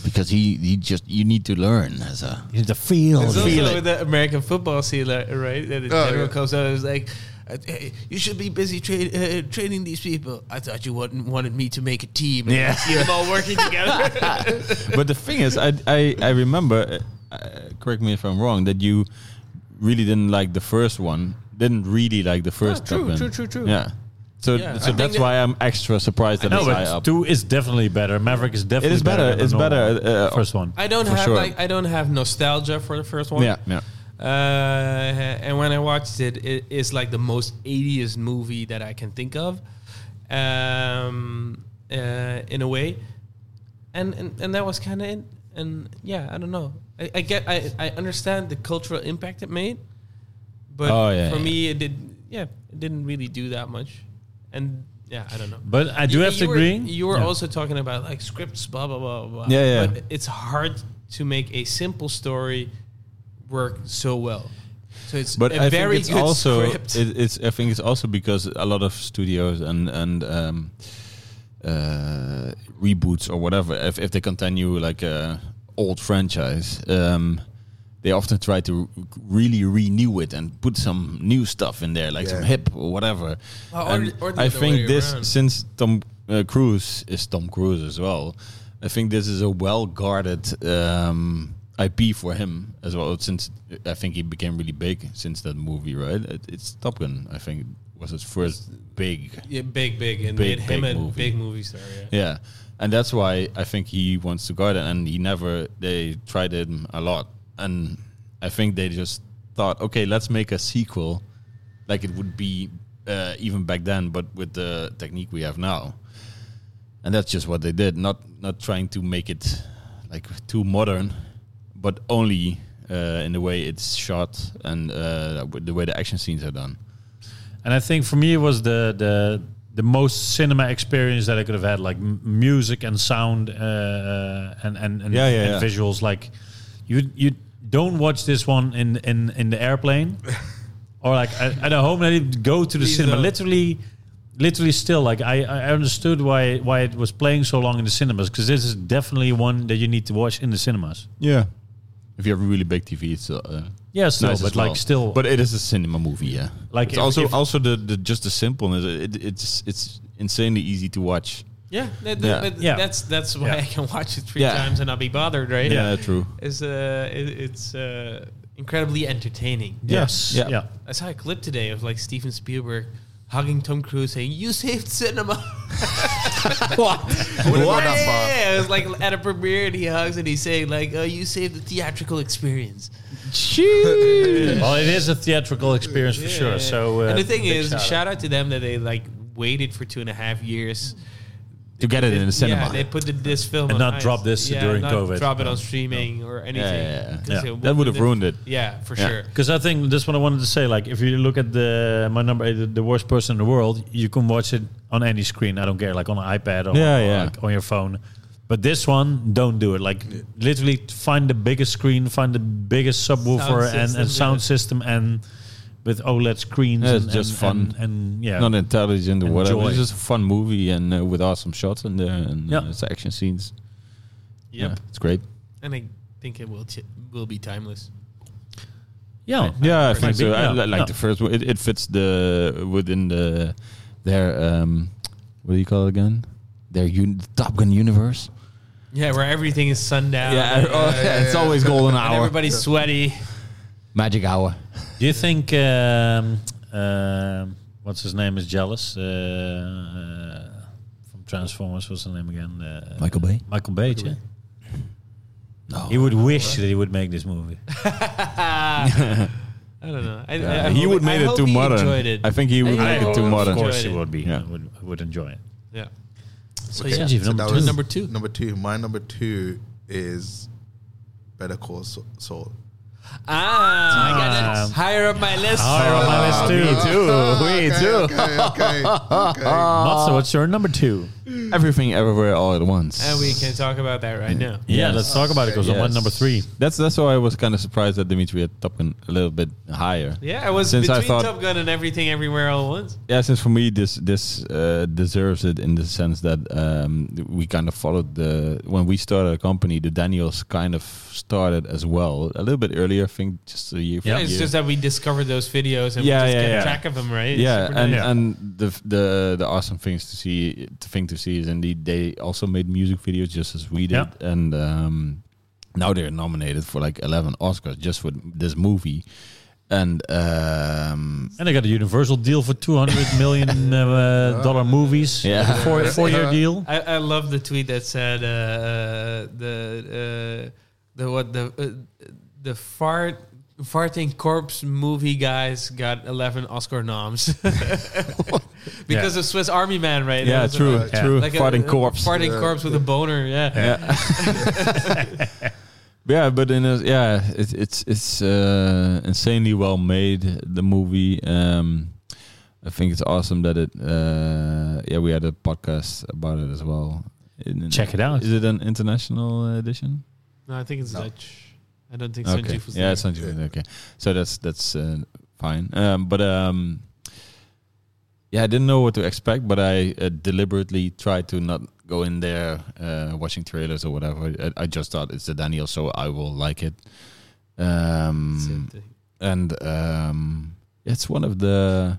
S7: because he, he just you need to learn as a
S2: You need to feel
S4: It's
S2: it.
S4: also with the American football sealer, right? That the
S3: Oh,
S4: general
S3: yeah.
S4: comes out and is like, uh, hey, "You should be busy tra- uh, training these people." I thought you wanted, wanted me to make a team. And
S5: Yeah.
S4: I see them all working together.
S5: but the thing is, I I, I remember. Uh, uh, correct me if I'm wrong. That you really didn't like the first one. Didn't really like the first.
S4: Oh, true,
S5: Top Gun.
S4: true, true, true.
S5: Yeah. So
S4: Yeah, I
S5: so
S4: think
S5: that's
S4: that-
S5: why I'm extra surprised that
S2: No,
S5: it's high
S2: but
S5: up.
S2: two is definitely better. Maverick is
S5: It
S2: definitely
S5: is better.
S2: than
S5: It's
S2: the normal
S5: better. Uh,
S2: first one.
S4: I don't
S5: For
S4: have
S5: sure.
S4: like I don't have nostalgia for the first one.
S5: yeah, yeah.
S4: Uh, and when I watched it, it is like the most 80s movie that I can think of, um, uh, in a way. And and, and that was kind of it. And yeah, I don't know. I, I get, I, I understand the cultural impact it made, but
S5: Oh, yeah,
S4: for
S5: yeah.
S4: me, it did. Yeah, it didn't really do that much. And Yeah, I don't know.
S2: But I do
S4: You-
S2: have to
S4: you were-
S2: agree.
S4: You were
S2: Yeah.
S4: also talking about like scripts, blah blah blah blah.
S5: Yeah, yeah.
S4: But it's hard to make a simple story work so well. So it's
S5: but
S4: a
S5: I
S4: very
S5: think it's
S4: good
S5: also
S4: script.
S5: it, it's I think it's also because a lot of studios and and um, uh, reboots or whatever if if they continue like a old franchise. Um, they often try to really renew it and put some new stuff in there, like some
S3: Yeah.
S5: hip or whatever.
S4: Well, or
S5: and
S4: the- or the
S5: I
S4: other way
S5: think this,
S4: around.
S5: since Tom uh, Cruise is Tom Cruise as well, I think this is a well guarded um, IP for him as well. Since I think he became really big since that movie, right? It, it's Top Gun, I think, was his first big
S4: yeah, big, big, and
S5: Big,
S4: made him
S5: big
S4: a
S5: movie.
S4: big movie star. Yeah.
S5: yeah, and that's why I think he wants to guard it, and he never. They tried him a lot, and I think they just thought, okay, let's make a sequel, like it would be uh, even back then, but with the technique we have now, and that's just what they did. Not not trying to make it like too modern, but only. Uh, in the way it's shot and uh, with the way the action scenes are done.
S2: And I think for me, it was the the the most cinema experience that I could have had, like m- music and sound uh, and and and,
S5: Yeah, yeah,
S2: and
S5: yeah.
S2: visuals. Like you you don't watch this one in in in the
S5: [LAUGHS]
S2: airplane or like at, at a home. I didn't go to the
S4: Please
S2: cinema.
S4: don't.
S2: Literally. Literally, still like I, I understood why why it was playing so long in the cinemas because this is definitely one that you need to watch in the cinemas.
S5: Yeah, if you have a really big TV, it's uh,
S2: Yes, no,
S5: nice
S2: but
S5: as
S2: like
S5: well.
S2: still,
S5: but it is a cinema movie yeah
S2: Like
S5: like it's
S2: if-
S5: also
S2: if-
S5: also the, the just the simpleness it, it's it's insanely easy to watch
S4: Yeah, that,
S5: Yeah.
S4: But
S2: Yeah.
S4: that's that's why
S2: Yeah.
S4: I can watch it three
S5: Yeah.
S4: times and not be bothered, right?
S5: yeah, true
S4: It's uh, it, it's uh, incredibly entertaining.
S2: yes,
S5: Yeah.
S2: yeah.
S4: I saw a clip today of like Steven Spielberg hugging Tom Cruise saying, You saved cinema.
S3: I wouldn't go that far.
S4: yeah, it was like at a premiere and he hugs and he's saying, like, oh, you saved the theatrical experience.
S2: Well, it is a theatrical experience for
S4: Yeah.
S2: sure. So, uh,
S4: And the thing
S2: big
S4: is, shout out.
S2: shout out.
S4: to them that they like waited for two and a half years.
S5: to get it in the cinema
S4: Yeah, they put the, this film
S2: And
S4: on
S2: not
S4: ice.
S2: drop this
S4: Yeah,
S2: during
S4: not
S2: COVID.
S4: Drop it on streaming or anything.
S5: yeah, yeah.
S4: 'Cause
S2: Yeah.
S4: it
S5: that would have ruined it
S4: Yeah, for
S5: Yeah.
S4: sure.
S2: Because I think this one I wanted to say, like, if you look at the my number, eight, the, the worst person in the world, you can watch it on any screen. I don't care, like on an iPad or,
S5: Yeah,
S2: or,
S5: yeah.
S2: like, on your phone. But this one, don't do it. Like, literally, find the biggest screen, find the biggest subwoofer and,
S4: system,
S2: and sound
S4: yeah.
S2: system, and with OLED screens.
S5: Yeah, it's
S2: and,
S5: just
S2: and-
S5: fun.
S2: and, and, yeah,
S5: not intelligent or whatever
S2: Enjoy.
S5: it's just a fun movie and uh, with awesome shots in there and
S2: Yeah.
S5: uh, it's action scenes
S4: Yep.
S5: yeah it's great
S4: And I think it will t- will be timeless.
S2: yeah,
S5: yeah i
S2: Might
S5: think so
S2: be,
S5: i
S2: yeah,
S5: li- like
S2: yeah.
S5: the first one it, it fits the within the their um what do you call it again their un- top gun universe
S4: Yeah, where everything is sundown. uh,
S5: yeah, [LAUGHS] oh, it's always golden
S4: And
S5: hour
S4: everybody's sweaty.
S5: magic hour
S2: Do you think um, um, what's his name is jealous uh, uh, from Transformers? What's the name again? Uh,
S1: Michael [LAUGHS] Bay?
S2: Michael Bay. yeah. He would wish that he would make this movie.
S4: I don't know. I,
S5: Yeah,
S4: I, I
S5: he
S4: hope-
S5: would made
S4: I
S5: it
S4: hope
S5: too
S4: he
S5: modern.
S4: enjoyed it.
S5: I think he would
S4: I
S5: make
S4: hope
S5: it too
S4: he
S5: modern.
S2: of course,
S4: enjoyed
S2: he
S4: it.
S2: would be.
S5: Yeah.
S2: Would, would enjoy it.
S4: Yeah. So
S2: Okay.
S4: yeah,
S2: Sanjeev,
S4: so
S2: number
S4: that
S2: two.
S4: was number two.
S3: Number two. My number two is Better Call Sa- Saul.
S4: Ah, I got it. Higher up Oh, my list.
S2: Higher up my list Ah, too.
S5: Oh, me too.
S3: Ah,
S5: [LAUGHS]
S3: Okay, okay, okay.
S2: Matze, what's your number two?
S5: Everything, everywhere, all at once.
S4: And we can talk about that right now.
S2: Yeah, let's talk about it because I'm
S5: Yes.
S2: on number three.
S5: That's that's why I was kind of surprised that Dimitri had Top Gun a little bit higher.
S4: Yeah, I was
S5: Since I
S4: between
S5: thought-
S4: Top Gun and Everything Everywhere All at Once.
S5: Yeah, since for me this this uh, deserves it in the sense that um, we kind of followed the when we started a company, the Daniels kind of started as well a little bit earlier. I think just a year.
S4: It's just that we discovered those videos and
S5: Yeah,
S4: we just
S5: yeah,
S4: kept
S5: yeah.
S4: track of them, right? It's
S5: yeah,
S4: super
S5: and
S4: nice.
S5: and the f- the the awesome things to see the thing to see is indeed they also made music videos just as we did,
S2: Yeah.
S5: and um, now they're nominated for like eleven Oscars just for this movie, and um,
S2: And I got a universal deal for 200 million uh, dollar movies.
S5: Yeah.
S2: Like a four, four year deal.
S4: I, I love the tweet that said uh, uh, the uh, the what the uh, the fart farting corpse movie guys got 11 Oscar noms [LAUGHS] because
S2: Yeah.
S4: of Swiss Army Man, right?
S5: yeah,
S4: That was
S5: true,
S4: a-
S2: yeah.
S5: true,
S4: like uh, a-
S5: fighting
S4: a
S5: corpse.
S4: farting
S3: Yeah.
S4: corpse with a boner. Yeah,
S2: [LAUGHS]
S5: yeah. yeah, but in a, yeah, it, it's it's uh, insanely well made the movie. Um, I I think it's awesome that it. Uh, yeah, we had a podcast about it as well. In-
S2: Check it out.
S5: Is it an international uh, edition?
S4: No, I think it's
S3: No.
S4: Dutch. I don't think
S5: Okay.
S4: Sanjeev was
S5: Yeah,
S4: there.
S5: it's not Sanjeev. Okay, so that's that's uh, fine. Um, but um, yeah, I didn't know what to expect, but I uh, deliberately tried to not go in there uh, watching trailers or whatever. I, I just thought it's the Daniel, so I will like it.
S3: Hmm.
S4: Same
S5: Um,
S4: thing.
S5: and um, it's one of the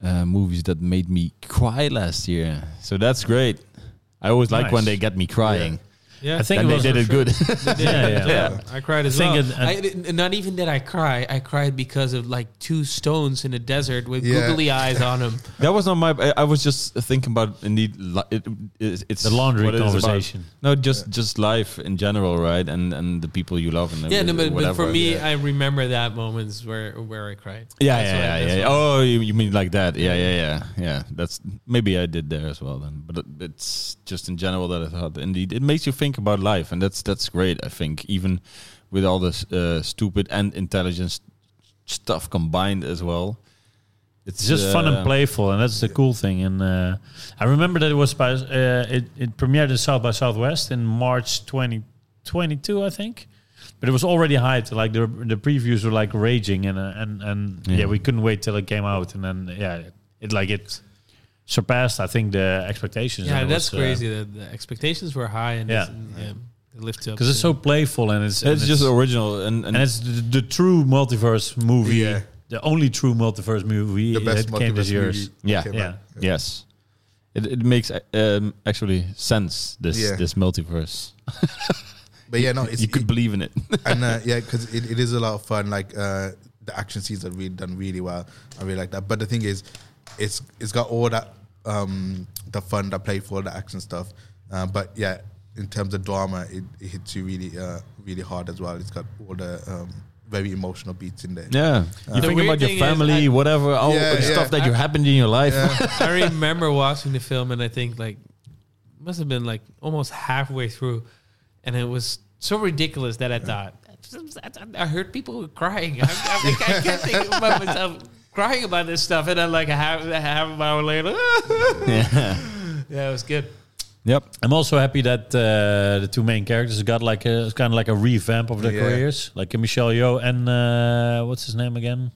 S5: uh, movies that made me cry last year. So that's great. I always like when
S2: Nice.
S5: they get me crying.
S4: Yeah,
S2: I think
S5: And
S2: it
S5: they
S2: was
S5: did it good.
S2: Yeah, yeah.
S4: I cried as
S2: I think
S4: well.
S2: it-
S4: I didn't- not even that I cry. I cried because of like two stones in a desert with
S3: Yeah.
S4: googly eyes on them.
S5: That was not my. I, I was just thinking about indeed. li- It, it, it's
S2: The laundry
S5: what it is about.
S2: conversation.
S5: No, just just life in general, right? And and the people you love and
S4: yeah, no, but, but
S5: whatever.
S4: for me, I remember that moments where where I cried.
S5: yeah,
S4: That's what
S5: yeah, yeah,
S4: I- that's
S5: yeah.
S4: what-
S5: Oh, you, you mean like that? Yeah, yeah, yeah, yeah. That's maybe I did there as well then. But it, it's just in general that I thought indeed it makes you think about life, and that's that's great. I think even with all this uh, stupid and intelligence stuff combined as well,
S2: It's just fun
S5: uh,
S2: and playful, and that's the cool thing. And uh, I remember that it was by uh, it, it premiered in South by Southwest in March 2022, I think. But it was already hyped. Like the the previews were like raging, and uh, and and yeah.
S5: Yeah.
S2: we couldn't wait till it came out. And then yeah, it like it surpassed, I think, the expectations.
S4: Yeah, that's crazy. that the expectations were high and
S2: uh, Yeah.
S4: it's- and, yeah, they lived up.
S2: because it's
S4: to-
S2: so playful and it's and
S5: it's, just original and and,
S2: and it's the, the true multiverse movie.
S3: Yeah.
S2: The only true multiverse movie
S3: The best
S2: that came this
S3: multiverse
S2: year.
S3: movie
S5: Yeah.
S3: came
S2: Yeah.
S3: out.
S5: Yes, it, it makes uh, um, actually sense this
S3: Yeah.
S5: this multiverse.
S3: But yeah, no, it's
S5: you could
S3: it-
S5: believe in
S3: [LAUGHS]
S5: it.
S3: and
S5: [LAUGHS]
S3: uh, yeah, because it, it is a lot of fun. Like uh, the action scenes are really done really well. I really like that. But the thing is, it's it's got all that um, the fun, the playful, the action stuff. Uh, but yeah, in terms of drama, it, it hits you really uh, really hard as well. It's got all the um, very emotional beats in there.
S5: yeah, you think
S4: weird
S5: about
S4: thing
S5: your
S4: is
S5: family,
S4: I-
S5: whatever, all
S3: Uh, Yeah,
S5: the
S3: yeah.
S5: stuff that you happened in your life.
S4: I remember watching the film and I think like must have been like almost halfway through, and it was so ridiculous that I thought I heard people crying. I, I, think I kept thinking about myself crying about this stuff, and then like a half, a half an hour later,
S5: [LAUGHS]
S4: [LAUGHS]
S5: yeah.
S4: yeah, it was good.
S5: Yep.
S2: I'm also happy that uh, the two main characters got like a kind of like a revamp of their
S3: Yeah.
S2: careers, like uh, Michelle Yeoh and uh, what's his name again?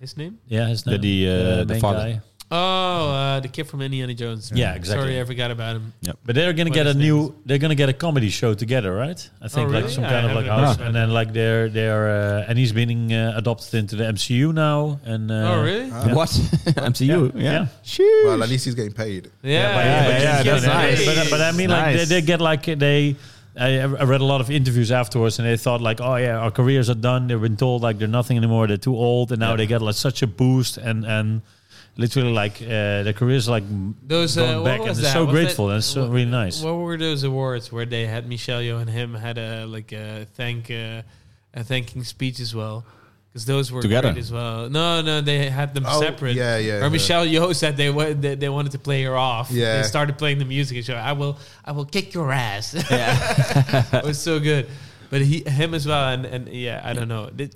S4: His name?
S2: Yeah, his
S5: The-
S2: name.
S5: the, uh, the
S2: main
S5: father.
S2: guy.
S4: Oh, uh, the kid from Indiana Jones.
S2: Yeah, exactly.
S4: Sorry, I forgot about him.
S2: But they're gonna
S4: What
S2: get a
S4: his name Oh,
S2: new. They're gonna get a comedy show together, right? I think like
S4: really?
S2: some
S4: I
S2: kind of
S4: haven't
S2: like house,
S4: heard
S2: and then like they're they're uh, and he's being uh, adopted into the MCU now. And uh,
S4: oh, really? Yeah,
S5: What [LAUGHS] MCU? Yeah.
S2: Yeah.
S3: Well, at least he's getting paid.
S2: But-
S5: yeah,
S2: but-
S5: yeah,
S2: but-
S5: that's
S2: but-
S5: nice.
S2: But, but I mean, like they,
S5: Nice.
S2: they get like they. I, I read a lot of interviews afterwards, and they thought like, "Oh yeah, our careers are done. They've been told like they're nothing anymore. They're too old, and now they get like such a boost and and literally like uh, their careers are, like m-
S4: Those,
S2: going
S4: uh, what
S2: back,
S4: was
S2: and
S4: that?
S2: they're so
S4: Was
S2: grateful
S4: that-
S2: and so
S4: what-
S2: really nice.
S4: What were those awards where they had Michelle Yeoh and him had a like a thank uh, a thanking speech as well? Because those were
S5: Together.
S4: great as well. No, no, they had them
S3: Oh,
S4: separate.
S3: yeah, yeah,
S4: Or
S3: yeah.
S4: Michelle Yeoh said they, wa- they they wanted to play her off.
S3: Yeah.
S4: They started playing the music and showed I will I will kick your ass. [LAUGHS] it was so good. But he him as well and, and yeah I don't know. Did-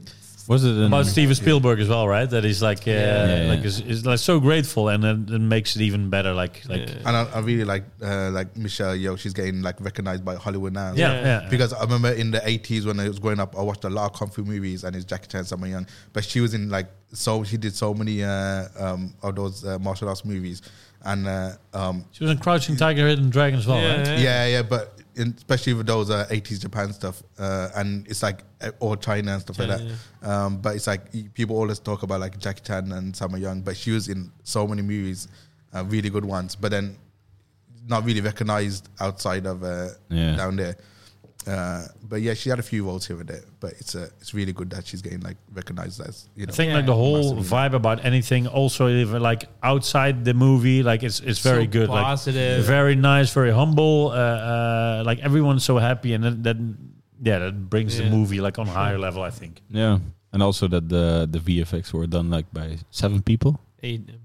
S5: Was it? An,
S2: About Steven Spielberg as well, right? That he's like, uh,
S4: Yeah.
S5: Yeah,
S2: like
S5: yeah.
S2: Is, is like so grateful, and then it makes it even better. Like, like, yeah,
S3: And I, I really like uh, like Michelle Yo. She's getting like recognized by Hollywood now.
S2: yeah.
S3: Because I remember in the eighties when I was growing up, I watched a lot of kung fu movies, and it's Jackie Chan, Summer Young. But she was in like so she did so many uh, um, of those uh, martial arts movies, and uh, um,
S2: she was in Crouching Tiger, Hidden Dragon as well, right?
S4: Yeah.
S3: yeah, yeah, But in, especially with those uh, eighties Japan stuff, uh, and it's like uh, all China and stuff like
S4: China,
S3: that. Um, but it's like y- people always talk about like Jackie Chan and Summer Young, but she was in so many movies, uh, really good ones. But then not really recognized outside of uh,
S5: Yeah.
S3: down there. Uh, but yeah, she had a few roles here and there. But it's uh, it's really good that she's getting like recognized as you know.
S2: I think like the whole vibe about anything, also even like outside the movie, like it's it's very
S4: So
S2: good,
S4: positive.
S2: like very nice, very humble. Uh, uh, like everyone's so happy, and then, then yeah, that brings
S4: Yeah.
S2: the movie like on a higher level. I think.
S5: yeah, and also that the the VFX were done like by seven people.
S4: Eight, I believe.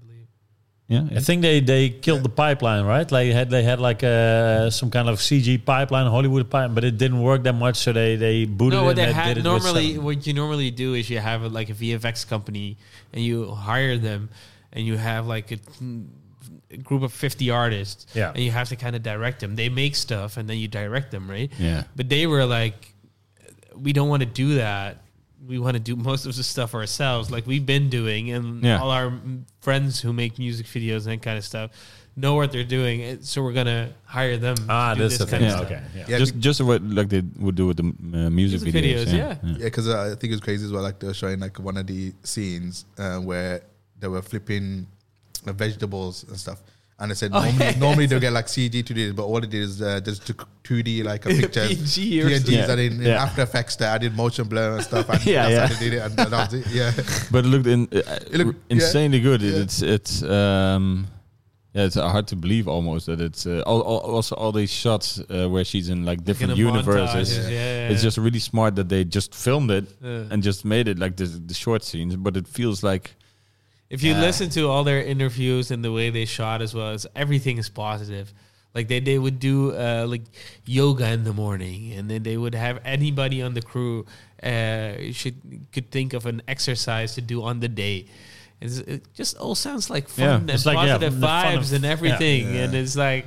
S5: Yeah,
S2: I think they they killed the pipeline, right? Like had they had like uh, some kind of CG pipeline, Hollywood pipeline, but it didn't work that much, so they they booted
S4: No,
S2: it. and
S4: what they
S2: did
S4: had
S2: it with
S4: normally,
S2: seven.
S4: what you normally do is you have a, like a VFX company and you hire them, and you have like a, a group of 50 artists
S2: Yeah.
S4: and you have to kind of direct them they make stuff and then you direct them right
S5: Yeah.
S4: but they were like we don't want to do that we want to do most of the stuff ourselves like we've been doing and
S5: Yeah.
S4: all our m- friends who make music videos and that kind of stuff know what they're doing and so we're gonna hire them to
S2: Ah,
S4: do
S2: that's the
S4: kind
S2: thing.
S4: of stuff.
S2: Okay. Yeah.
S3: Yeah,
S5: just just what like they would do with the uh, music,
S4: Music
S5: videos.
S4: videos, yeah.
S3: Yeah, because I think it's crazy as well. Like they were showing like one of the scenes uh, where they were flipping uh, vegetables and stuff, and they said
S4: Oh,
S3: normally,
S4: yeah.
S3: normally they'll get like CG to do this, but all it is uh, just two D like a picture.
S4: PG or
S3: PNGs,
S5: something.
S3: and in, in
S5: Yeah.
S3: After Effects, they added motion blur and stuff, and
S5: Yeah,
S3: that's
S5: yeah.
S3: how they did it. And that was it. Yeah,
S5: But it looked in, uh,
S3: looked- yeah.
S5: insanely good. It,
S3: Yeah.
S5: It's it's um, yeah, it's uh, hard to believe almost that it's uh, all, all, also all these shots uh, where she's in like
S4: Like in
S5: different
S4: a
S5: universes.
S4: montage, yeah. yeah,
S5: It's just really smart that they just filmed it
S4: Yeah.
S5: and just made it like the the short scenes. But it feels like
S4: If you listen to all their interviews and the way they shot as well, it's, everything is positive. Like they, they would do uh, like yoga in the morning, and then they would have anybody on the crew uh, should could think of an exercise to do on the day. It's, it just all sounds like fun
S5: Yeah,
S4: and
S2: it's like, yeah,
S4: positive
S2: the fun
S4: vibes
S2: of-
S4: and
S2: yeah.
S4: everything, and it's like,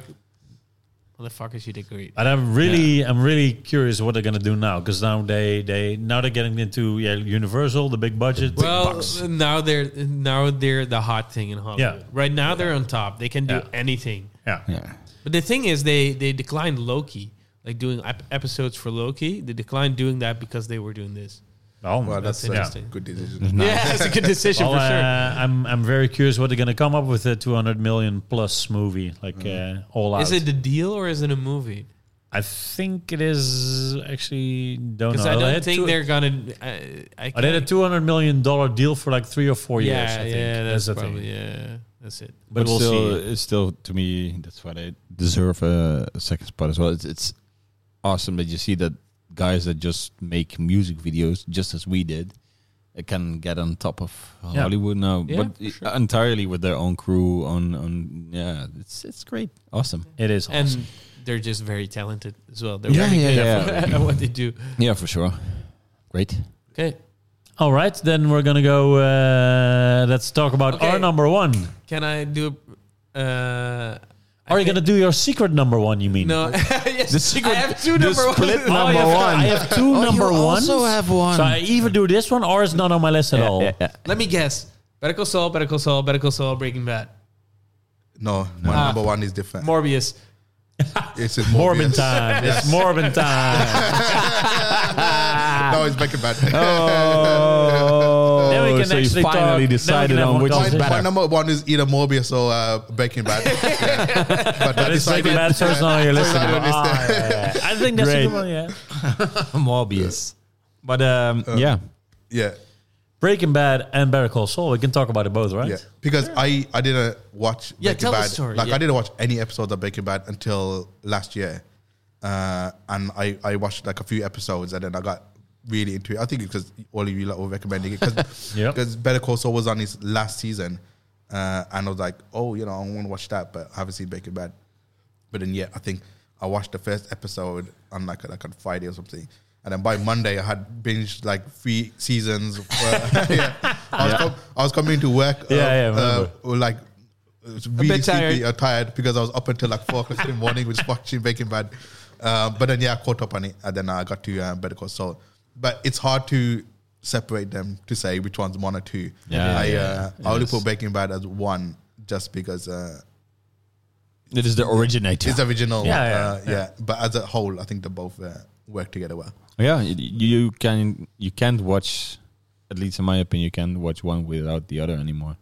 S4: motherfuckers, you did great.
S2: And I'm really, I'm really curious what they're gonna do now because now they, they, now they're getting into yeah, Universal, the big budget.
S4: Well, now they're now they're the hot thing in Hollywood.
S2: Yeah.
S4: Right now they're on top. They can do
S2: Yeah.
S4: anything.
S2: yeah,
S5: yeah,
S4: But the thing is, they they declined Loki, like doing ep- episodes for Loki. They declined doing that because they were doing this.
S2: Oh,
S3: well, that's,
S4: That's
S3: a
S4: interesting.
S3: good decision.
S4: [LAUGHS] Yeah, it's a good decision
S2: [LAUGHS] Well,
S4: for sure.
S2: uh, I'm, I'm very curious what they're gonna come up with a 200 million plus movie like uh, all out.
S4: Mm. is it a deal or is it a movie?
S2: I think it is actually don't know.
S4: Because I
S2: Oh, They
S4: don't
S2: had
S4: think
S2: two-
S4: they're gonna. I, I
S2: I did a
S4: can't-
S2: two hundred million dollar deal for like three or four
S4: Yeah,
S2: years. I think.
S4: yeah, that's,
S2: the
S4: probably
S2: thing.
S4: yeah, that's it.
S2: But, we'll
S5: still,
S2: see.
S5: it's still to me that's why they deserve uh, a, a second spot as well. It's, it's awesome that you see that guys that just make music videos, just as we did, uh, can get on top of
S2: Yeah.
S5: Hollywood now,
S4: Yeah,
S5: but
S4: for
S5: i-
S4: sure.
S5: entirely with their own crew. On on yeah, it's it's great, awesome.
S2: It is
S4: And
S2: awesome.
S4: they're just very talented as well. They're
S5: Yeah,
S4: very
S5: yeah,
S4: good
S5: yeah.
S4: at [LAUGHS] what they do.
S5: Yeah, for sure, great.
S4: Okay,
S2: All right, then we're gonna go. Uh, let's talk about
S4: Okay.
S2: our number one.
S4: can I do? Uh,
S2: Are you gonna do your secret number one? You mean? [LAUGHS]
S4: no? [LAUGHS] yes,
S5: The secret-
S4: I have two
S5: the
S4: number ones.
S5: split
S4: [LAUGHS] Oh,
S5: number
S4: yeah,
S5: one.
S2: I have two number ones.
S1: Oh, also have one.
S2: So I either do this one or it's not on my list at all.
S4: Let me guess. Better Call Saul, Better Call Saul, Better Call Saul, Breaking Bad.
S3: No, my
S4: Ah.
S3: number one is different.
S4: Morbius.
S3: it's just
S2: Morbin
S3: Morbius.
S2: time. It's Morbin time.
S3: No, it's back and bad.
S5: Oh,
S2: Then we can
S5: so you
S2: actually talk- then we
S5: finally
S2: can
S5: decided
S2: have
S5: on
S2: one
S5: which
S3: my,
S5: is
S2: conversation.
S3: my
S5: better.
S3: number one is either Morbius or uh, Breaking Bad. Yeah. But, that
S2: It's like
S3: decided-
S2: bad,
S3: [LAUGHS]
S2: so it's not on your list.
S3: not on your list.
S2: Ah, yeah, yeah. I think that's a good one. Yeah.
S5: Morbius. But um, yeah,
S3: yeah,
S2: Breaking Bad and Better Call Saul. We can talk about it both, right?
S3: yeah. Because I, I didn't watch
S4: Yeah,
S3: Breaking
S4: tell the
S3: Bad.
S4: story,
S3: like
S4: yeah.
S3: I didn't watch any episodes of Breaking Bad until last year, uh, and I, I watched like a few episodes and then I got really into it. I think because all of you like were recommending it because
S4: [LAUGHS]
S2: Yep.
S3: Better Call Saul was on his last season, uh, and I was like, oh, you know, I want to watch that, but I haven't seen Breaking Bad. But then yeah, I think I watched the first episode on like like on Friday or something. And then by Monday, I had binged like three seasons. Uh, [LAUGHS] yeah. I, was com- I was coming to work, uh,
S2: Yeah, yeah,
S3: uh,
S2: remember.
S3: like uh, really
S4: bit tired.
S3: sleepy or tired because I was up until like four o'clock in the morning, was watching Breaking Bad. Um, but then yeah, I caught up on it, and then I got to um, Better Call Saul. But it's hard to separate them to say which one's one or two.
S5: Yeah,
S3: I,
S5: yeah,
S3: uh, I only
S5: yes.
S3: put Breaking Bad as one just because. Uh,
S5: it is the originator.
S3: it's original.
S2: Yeah,
S3: uh, yeah. But as a whole, I think they both uh, work together well.
S5: Oh, Yeah, y- you can you can't watch, at least in my opinion, you can't watch one without the other anymore.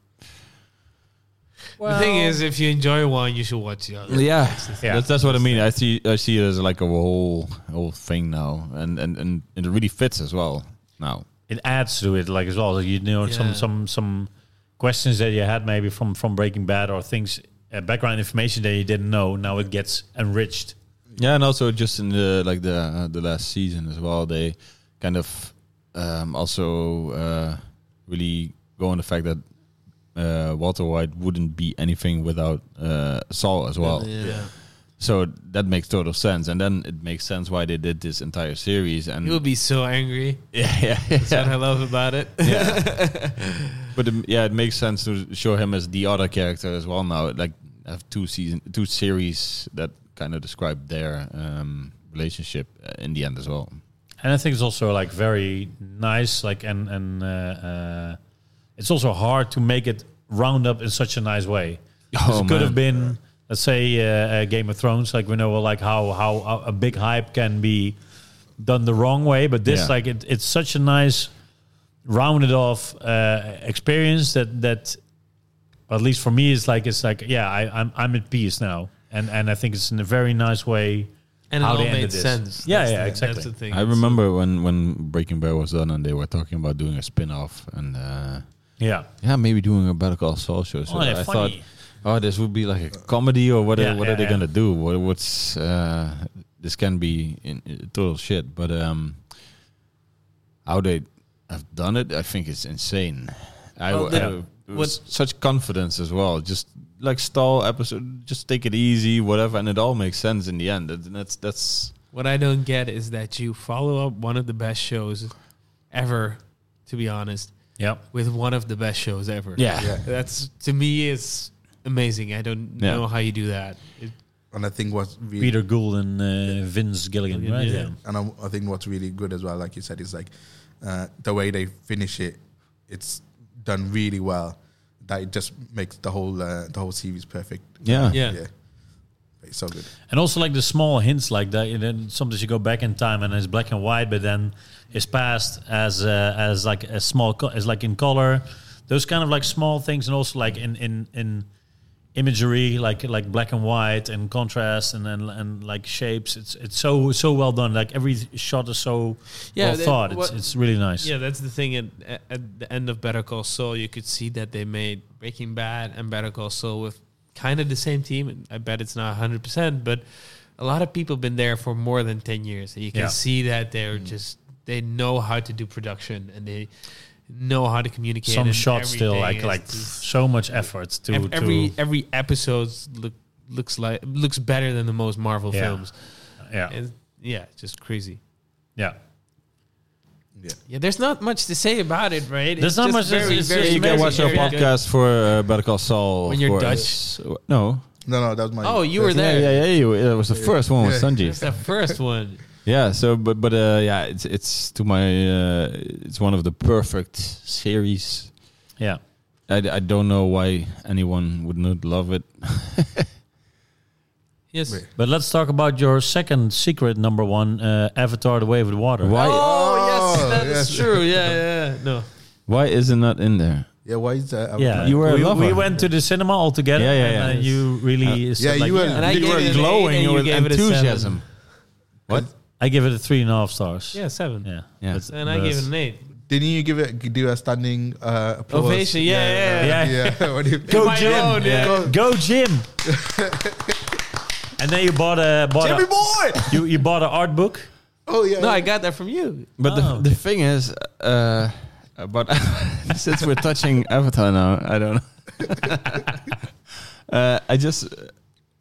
S4: the thing is, if you enjoy one, you should watch the other.
S5: Yeah,
S2: Yeah.
S5: that's that's what I mean. I see I see it as like a whole whole thing now, and and and it really fits as well now.
S2: it adds to it like as well like, you know
S4: Yeah.
S2: some some some questions that you had maybe from from breaking bad or things uh, background information that you didn't know now it gets enriched
S5: Yeah, and also just in the like the uh, the last season as well, they kind of um, also uh, really go on the fact that uh, Walter White wouldn't be anything without uh, Saul as well.
S4: Yeah.
S5: So that makes total sense, and then it makes sense why they did this entire series. And
S4: You'll be so angry.
S5: yeah, [LAUGHS] yeah,
S4: That's what I love about it.
S5: But um, yeah, it makes sense to show him as the other character as well. Now, like I have two season, two series that kind of describe their um, relationship uh, in the end as well.
S2: and I think it's also like very nice, like and and uh, uh, it's also hard to make it round up in such a nice way. 'Cause
S5: Oh,
S2: it could have
S5: man.
S2: been, let's say, uh, uh, Game of Thrones. Like we know, well, like how how uh, a- a big hype can be done the wrong way, but this
S5: Yeah.
S2: like it, it's such a nice rounded off uh, experience that that at least for me it's like it's like yeah I, I'm I'm at peace now and and I think it's in a very nice way
S4: And it
S2: How
S4: all
S2: they ended
S4: made
S2: this.
S4: sense.
S2: Yeah,
S4: That's
S2: yeah,
S4: the-
S2: exactly.
S4: That's the thing.
S5: I remember when when Breaking Bad was done, and they were talking about doing a spin off, and uh,
S2: yeah
S5: yeah, maybe doing a Better Call Saul show. So
S2: Oh, they're
S5: I
S2: funny.
S5: thought, oh, this would be like a comedy, or what?
S2: Yeah,
S5: are, what
S2: yeah,
S5: are they
S2: yeah.
S5: gonna do? What, what's uh, this can be in, in total shit, but um, how they have done it, I think it's insane. I,
S4: Well,
S5: w-
S4: the-
S5: I w-
S4: what-
S5: was such confidence as well. Just like stall episode, just take it easy, whatever, and it all makes sense in the end. That- That's that's
S4: What I don't get is that you follow up one of the best shows ever, to be honest,
S2: yeah
S4: with one of the best shows ever.
S5: yeah.
S4: That's to me is amazing. I don't
S5: Yeah.
S4: know how you do that. It,
S3: And I think what's really
S2: Peter Gould and uh, Vince Gilligan right
S4: Yeah.
S2: yeah.
S3: and I, I think what's really good as well, like you said, is like uh, the way they finish it. It's done really well. That it just makes the whole uh, the whole series perfect.
S5: Yeah.
S4: Yeah.
S3: it's so good.
S2: And also like the small hints like that. And then sometimes you go back in time and it's black and white, but then it's passed as uh, as like a small co- as like in color. Those kind of like small things, and also like in in in imagery, like like black and white and contrast, and then and like shapes. It's it's so so well done. Like every shot is so
S4: Yeah,
S2: well
S4: they-
S2: thought. It's
S4: what-
S2: it's really nice.
S4: yeah, that's the thing. At, at- at the end of Better Call Saul, you could see that they made Breaking Bad and Better Call Saul with kind of the same team. And I bet it's not 100%, but a lot of people been there for more than 10 years. And you can
S2: Yeah. Mm.
S4: see that they're just, they know how to do production and they know how to communicate.
S2: Some
S4: and
S2: shots still
S4: everything
S2: like
S4: is
S2: like
S4: just-
S2: so much effort to
S4: Ev- every
S2: to
S4: every episode look, looks like looks better than the most Marvel
S2: Yeah.
S4: films.
S2: yeah
S4: And yeah, it's just crazy.
S2: yeah.
S3: Yeah,
S4: Yeah, there's not much to say about it, right?
S2: There's
S4: It's
S2: not
S4: just
S2: much- it's- it's just
S5: You can
S2: amazing.
S5: watch our
S4: very good.
S5: podcast for uh, Better Call Saul.
S4: When you're
S5: for
S4: Dutch.
S5: us. No.
S3: no, no, that was my.
S4: Oh, you were
S3: that's-
S4: there.
S5: Yeah, yeah, yeah. you- That was the first one with
S3: Yeah.
S4: It's
S5: Sanji.
S4: the first one.
S5: Yeah. So, but but uh, yeah, it's it's to my uh, it's one of the perfect series.
S2: yeah.
S5: I, I don't know why anyone would not love it.
S4: Yes.
S3: Wait.
S2: But let's talk about your second secret number one, uh, Avatar: The Way of the Water.
S5: Why
S4: Oh,
S3: Oh,
S4: yes, that is
S3: yes.
S4: true. Yeah, yeah, yeah. No.
S5: why is it not in there?
S3: Yeah, why is that?
S2: Yeah,
S5: You were a
S2: we, we
S5: lover.
S2: went to the cinema all together.
S5: Yeah, yeah, yeah.
S2: And, uh, you really, said
S3: Yeah,
S2: like,
S3: you were-
S2: yeah.
S4: And I
S5: you
S4: gave
S5: were
S4: it an eight and
S5: glowing
S4: you
S5: with
S4: gave it a seven.
S5: enthusiasm. What?
S2: I give it a three and a half stars.
S4: Yeah, seven.
S2: yeah,
S5: Yeah.
S2: But-
S4: And I
S2: but-
S4: gave it an eight.
S3: Didn't you give it do a standing uh, applause?
S4: Ovation. Yeah, yeah, yeah.
S2: Yeah.
S3: [LAUGHS] yeah. What do
S4: [LAUGHS]
S3: you-
S4: Go, My Jim. own, yeah.
S3: Go,
S2: Go,
S3: [LAUGHS]
S2: Jim. and then you bought a bought
S3: Jimmy
S2: a,
S3: boy.
S2: you you bought an art book.
S3: Oh yeah.
S4: No, I got that from you.
S5: But
S2: Oh.
S5: the the thing is, uh, but [LAUGHS] since we're
S4: [LAUGHS]
S5: touching Avatar now, I don't know. [LAUGHS] uh, I just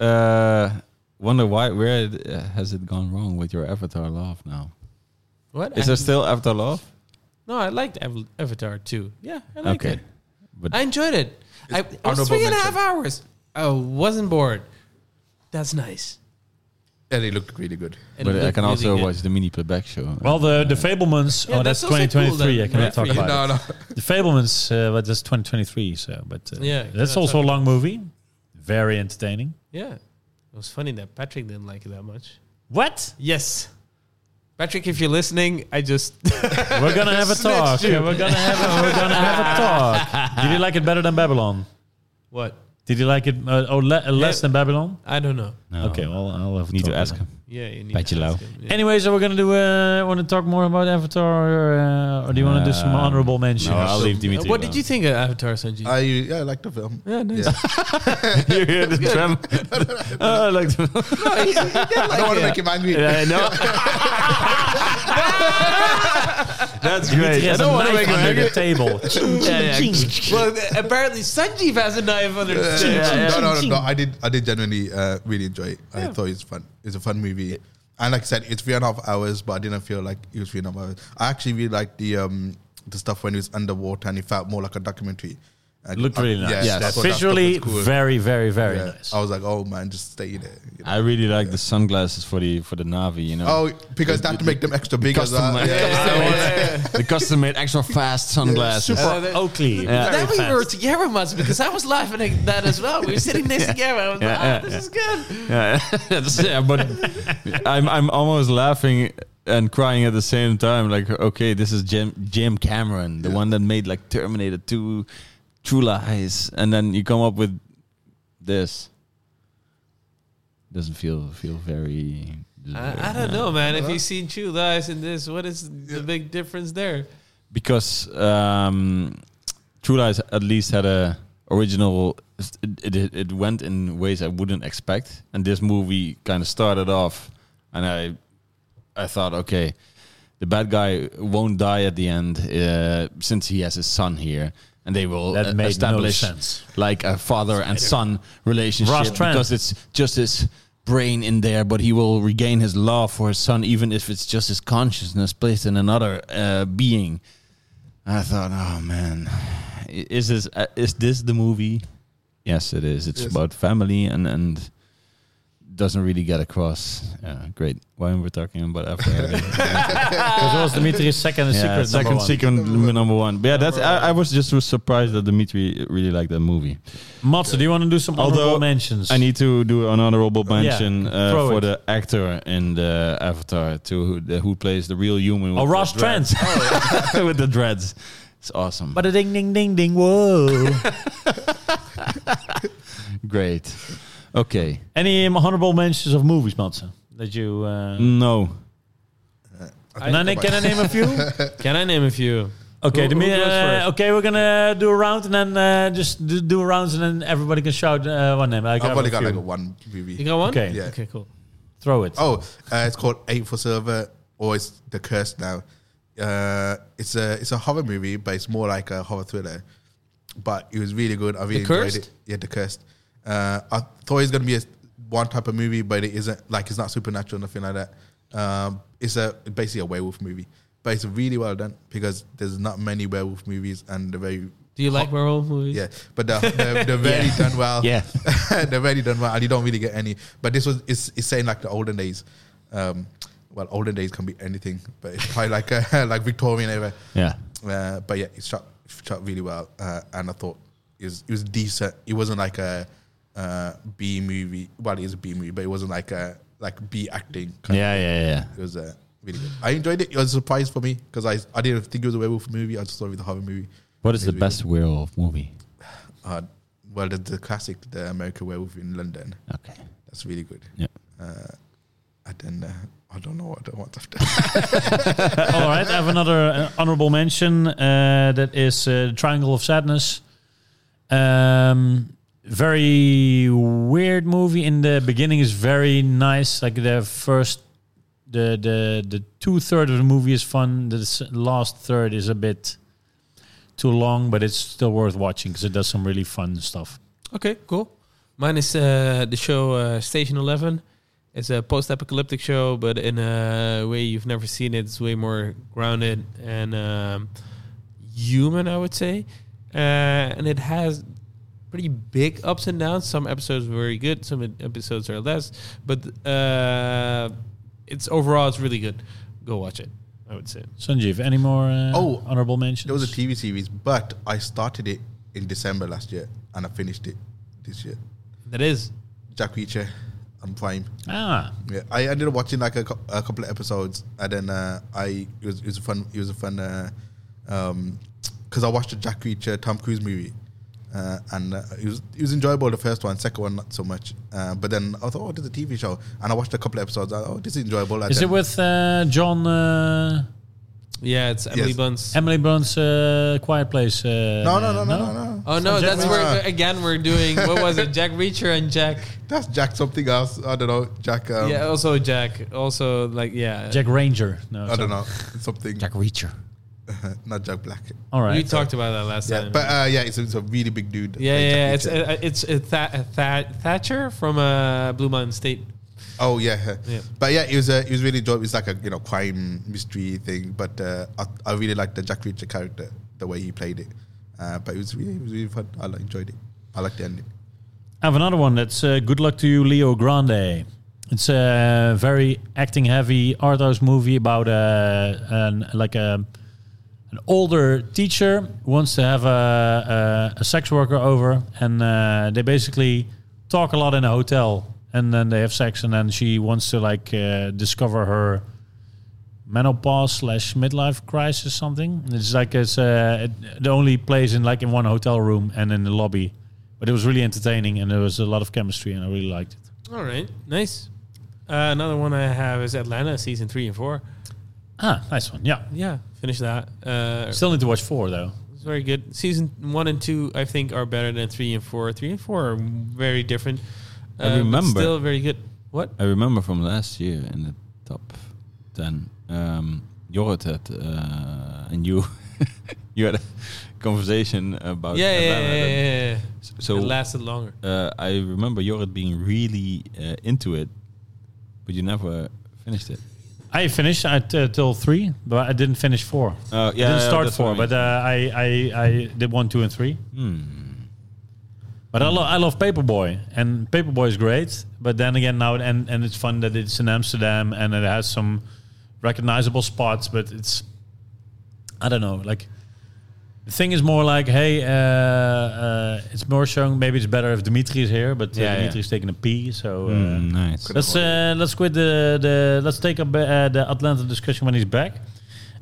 S5: uh, wonder why. Where it, uh, has it gone wrong with your Avatar love now?
S4: What?
S5: Is
S4: I-
S5: there still Avatar love?
S4: no, I liked Av- Avatar too. Yeah, I liked it.
S5: but
S4: I enjoyed it. I, it was
S3: honorable
S4: three and a half
S3: mention.
S4: hours. I wasn't bored. That's nice.
S3: And it looked really good.
S4: And
S5: but
S4: it
S5: I
S4: looked
S5: can
S4: really
S5: also
S4: good.
S5: watch the mini playback show.
S2: Well, the the Fablemans.
S4: Yeah,
S2: oh,
S4: that's
S2: that's,
S4: also cool
S2: 2023.
S4: then.
S2: I cannot talk
S4: Yeah.
S2: about
S3: No,
S2: it.
S3: no.
S2: The Fablemans, uh, but that's 2023. So, but uh,
S4: Yeah,
S2: that's
S4: cannot
S2: also a long movie, very entertaining.
S4: Yeah, it was funny that Patrick didn't like it that much.
S2: What?
S4: Yes, Patrick, if you're listening, I just [LAUGHS]
S2: We're gonna have a talk. Yeah, We're gonna have a, we're gonna
S5: [LAUGHS]
S2: have a talk. Did you like it better than Babylon?
S4: what
S2: Did you like it uh, or le- uh, less
S4: Yeah.
S2: than Babylon?
S4: I don't know.
S5: No.
S2: Okay, well I'll have a
S5: need
S2: talk
S5: to ask him.
S2: then.
S4: Yeah, you need
S5: Beetje
S4: to
S5: lauw.
S4: ask him, yeah.
S2: Anyway, so we're gonna do. Uh, want to talk more about Avatar, or, uh, or do you want to do some
S5: Um,
S2: honorable mentions?
S5: No, I'll
S3: So-
S5: [LAUGHS] leave Dimitri.
S4: Uh, what did you think of Avatar, Sanji?
S3: I yeah, I like the film.
S4: yeah, nice.
S3: Yeah.
S5: you hear the tram? [LAUGHS] Uh, like the-
S3: I don't want to make him angry.
S5: Yeah, I know. [LAUGHS] That's great.
S2: He
S5: I
S2: has a
S5: don't want to
S2: knife
S5: make him
S2: under
S5: angry.
S2: the table.
S4: Yeah, yeah. [LAUGHS] well, apparently Sanjeev has a knife under his
S3: Yeah,
S4: chin.
S3: yeah, Uh, no, no, no, no. I did. I did genuinely uh, really enjoy it. I thought it's fun. It's a fun movie, and like I said, it's three and a half hours, but I didn't feel like it was three and a half hours. I actually really liked the um the stuff when it was underwater, and it felt more like a documentary. And
S5: Looked
S3: I-
S5: really nice.
S3: Yeah,
S5: Yes.
S3: I thought that stuff was
S2: Visually,
S3: cool.
S2: very, very, very
S3: Yeah.
S2: nice.
S3: I was like, oh man, just stay there. you know.
S5: I really like the sunglasses for the for the Navi. You know. [LAUGHS]
S3: Oh, because that to make them extra big. as
S5: custom
S3: well.
S5: made,
S3: Yeah, yeah,
S5: custom
S3: yeah.
S5: made, the custom made extra fast sunglasses.
S4: Uh, that-
S2: Oakley.
S4: That we were together once because I was laughing at that as well. We were sitting
S3: [LAUGHS]
S4: next together. I was
S5: Yeah,
S4: like, ah,
S5: yeah,
S4: this
S5: yeah.
S4: is good.
S5: Yeah, [LAUGHS] that's- yeah, but I'm I'm almost laughing and crying at the same time. Like, okay, this is Jim Jim Cameron, the one that made like Terminator Two, True Lies, and then you come up with this. Doesn't feel feel very.
S4: I, I don't know, man. If you've seen True Lies in this, what is the big difference there?
S5: because um, True Lies at least had a original. It, it it went in ways I wouldn't expect, and this movie kind of started off, and I I thought, okay, the bad guy won't die at the end uh, since he has his son here. And they will
S2: That
S5: uh,
S2: made no
S5: establish
S2: sense.
S5: like a father and son
S2: Ross
S5: relationship
S2: Trent.
S5: because it's just his brain in there, but he will regain his love for his son, even if it's just his consciousness placed in another uh, being. I thought, oh man, I- is this uh, is this the movie? Yes, it is. It's
S3: Yes.
S5: about family and and doesn't really get across. Yeah, great. Why are we talking about after?
S2: Because it was Dimitri's second and
S5: yeah,
S2: secret number
S5: second
S2: one.
S5: secret number, one. But yeah, that's I, I was just was surprised that Dimitri really liked that movie.
S2: Matze, do you want to do some
S5: Although,
S2: honorable mentions?
S5: I need to do an honorable mention uh,
S2: throw
S5: for
S2: it.
S5: the actor in the Avatar too, who, the, who plays the real human. with
S2: oh,
S5: the
S2: Ross
S5: dreads.
S2: Trent.
S5: [LAUGHS] with the dreads. It's awesome.
S2: But a ding, ding, ding, ding. Whoa.
S5: Great. Okay.
S2: Any um, honorable mentions of movies, Matze? That you. Uh,
S5: No.
S2: can, I, na- can I name a [LAUGHS] few?
S4: Can I name a few?
S2: Okay,
S4: Who-
S2: the
S4: who
S2: mi-
S4: goes
S2: uh,
S4: first?
S2: okay, we're gonna do a round and then uh, just do, do a round and then everybody can shout uh, one name. I
S3: I've
S2: have
S3: only
S2: a
S3: got
S2: few.
S3: like a one movie.
S4: You got one?
S2: Okay.
S3: Yeah.
S4: Okay, cool.
S2: Throw it.
S3: Oh, uh, it's called Eight for Silver, or it's The Curse now. Uh, it's a it's a horror movie, but it's more like a horror thriller. But it was really good. I really enjoyed
S4: Cursed?
S3: it. Yeah, The Cursed. Uh, I thought it was gonna be a, one type of movie, but it isn't. Like it's not supernatural, nothing like that. Um, it's a basically a werewolf movie, but it's really well done because there's not many werewolf movies, and they're very
S4: Do you
S5: Oh.
S4: like werewolf movies?
S3: yeah. But they're,
S5: [LAUGHS]
S3: they're, they're really done well. [LAUGHS]
S5: Yeah.
S3: they're really done well, and you don't really get any. But this was it's, it's saying like the olden days. Um, well, olden days can be anything, but it's probably like uh, [LAUGHS] like Victorian era.
S5: Yeah.
S3: Uh, but yeah, it shot shot really well, uh, and I thought it was it was decent. It wasn't like a uh, B movie. Well, it is a B movie, but it wasn't like a like B acting. Kind
S5: Yeah, yeah, yeah.
S3: It was uh, really good. I enjoyed it. It was a surprise for me because I I didn't think it was a werewolf movie. I just thought it was a horror movie.
S5: What is
S3: It's
S5: the
S3: really
S5: best werewolf movie?
S3: uh, well, the, the classic, the American Werewolf in London.
S5: Okay.
S3: That's really good.
S5: Yeah.
S3: Uh, I don't know. I don't know what I want after.
S2: All right, I have another uh, honorable mention uh, that is uh, Triangle of Sadness. Um, very weird movie. In the beginning is very nice. Like the first, the the the two third of the movie is fun. The s- last third is a bit too long, but it's still worth watching because it does some really fun stuff.
S4: Okay, cool. Mine is uh, the show uh, Station Eleven. It's a post-apocalyptic show, but in a way you've never seen it. It's way more grounded and um, human, I would say. Uh, and it has pretty big ups and downs. Some episodes were very good, some episodes are less. But uh, it's overall, it's really good. Go watch it. I would say.
S2: Sanjeev, any more uh,
S3: Oh,
S2: honorable mentions?
S3: there was a TV series, but I started it in December last year and I finished it this year.
S4: That is.
S3: Jack Reacher on Prime.
S2: ah,
S3: Yeah, I ended up watching like a, cou- a couple of episodes, and then uh, I it was, it was a fun it was a fun because uh, um 'cause I watched the Jack Reacher Tom Cruise movie, Uh, and uh, it was it was enjoyable the first one, second one not so much. Uh, but then I thought, oh, this is a TV show, and I watched a couple episodes. I, oh, this is enjoyable. And
S2: Is it
S3: then-
S2: with uh, John uh,
S4: Yeah, it's Emily
S3: Yes.
S4: Bunt's.
S2: Emily Blunt's uh, Quiet Place? Uh,
S3: No, no, no, no, no, no. Uh,
S4: oh no,
S2: Jack
S4: that's where again we're doing. What was it? Jack Reacher and Jack.
S3: That's Jack something else. I don't know. Jack. Um,
S4: yeah, oh. also Jack. Also like yeah.
S2: Jack Ranger. No,
S3: I
S2: sorry.
S3: don't know. Something.
S8: Jack Reacher.
S3: [LAUGHS] Not Jack Black.
S2: All right.
S4: We talked about that last
S3: Yeah,
S4: time.
S3: but uh, yeah, it's, it's a really big dude.
S4: yeah,
S3: Uh,
S4: yeah,
S3: Jack
S4: yeah, it's
S3: Reacher.
S4: uh, it's uh, Tha- uh, Tha- Thatcher from uh, Blue Mountain State.
S3: Oh yeah.
S4: Yeah.
S3: but yeah, it was a, it was really dope. It's like a you know crime mystery thing, but uh, I, I really liked the Jack Reacher character, the way he played it. Uh, but it was really, it was really fun. I li- enjoyed it. I liked the ending.
S2: I have another one that's uh, Good Luck to You, Leo Grande. It's a very acting heavy art house movie about uh, an, like a, an older teacher who wants to have a, a, a sex worker over, and uh, they basically talk a lot in a hotel, and then they have sex, and then she wants to like uh, discover her menopause slash midlife crisis something. It's like it's uh, it, the only place in like in one hotel room and in the lobby, but it was really entertaining and there was a lot of chemistry and I really liked it.
S4: All right, nice. Uh, another one I have is Atlanta season three and four.
S2: Ah, nice one. Yeah,
S4: Yeah, finish that. Uh,
S2: still need to watch four though.
S4: it's very good. Season one and two, I think, are better than three and four. Three and four are very different. Um,
S5: I
S4: but
S5: remember.
S4: still very good. What?
S5: I remember from last year in the top ten, um, Jorrit had uh, and you [LAUGHS] you had a conversation about
S4: Yeah, yeah, yeah,
S5: Oh, Atlanta.
S4: yeah, yeah, yeah.
S5: So
S4: it lasted longer.
S5: uh, I remember Jorrit being really uh, into it, but you never finished it.
S2: I finished at uh, till three, but I didn't finish four.
S5: Uh,
S2: I didn't start
S5: that's what I mean.
S2: four,
S5: Hmm.
S2: but uh, I, I I did one, two, and three. But I, lo- I love Paperboy, and Paperboy is great. But then again, now and and it's fun that it's in Amsterdam and it has some recognizable spots. But it's I don't know. Like the thing is more like, hey, uh, uh, it's more showing. Maybe it's better if Dimitri is here, but uh,
S5: Yeah, yeah.
S2: Dimitri is taking a pee, so. Uh,
S5: Mm, nice.
S2: Let's uh, let's quit the, the let's take up uh, the Atlanta discussion when he's back.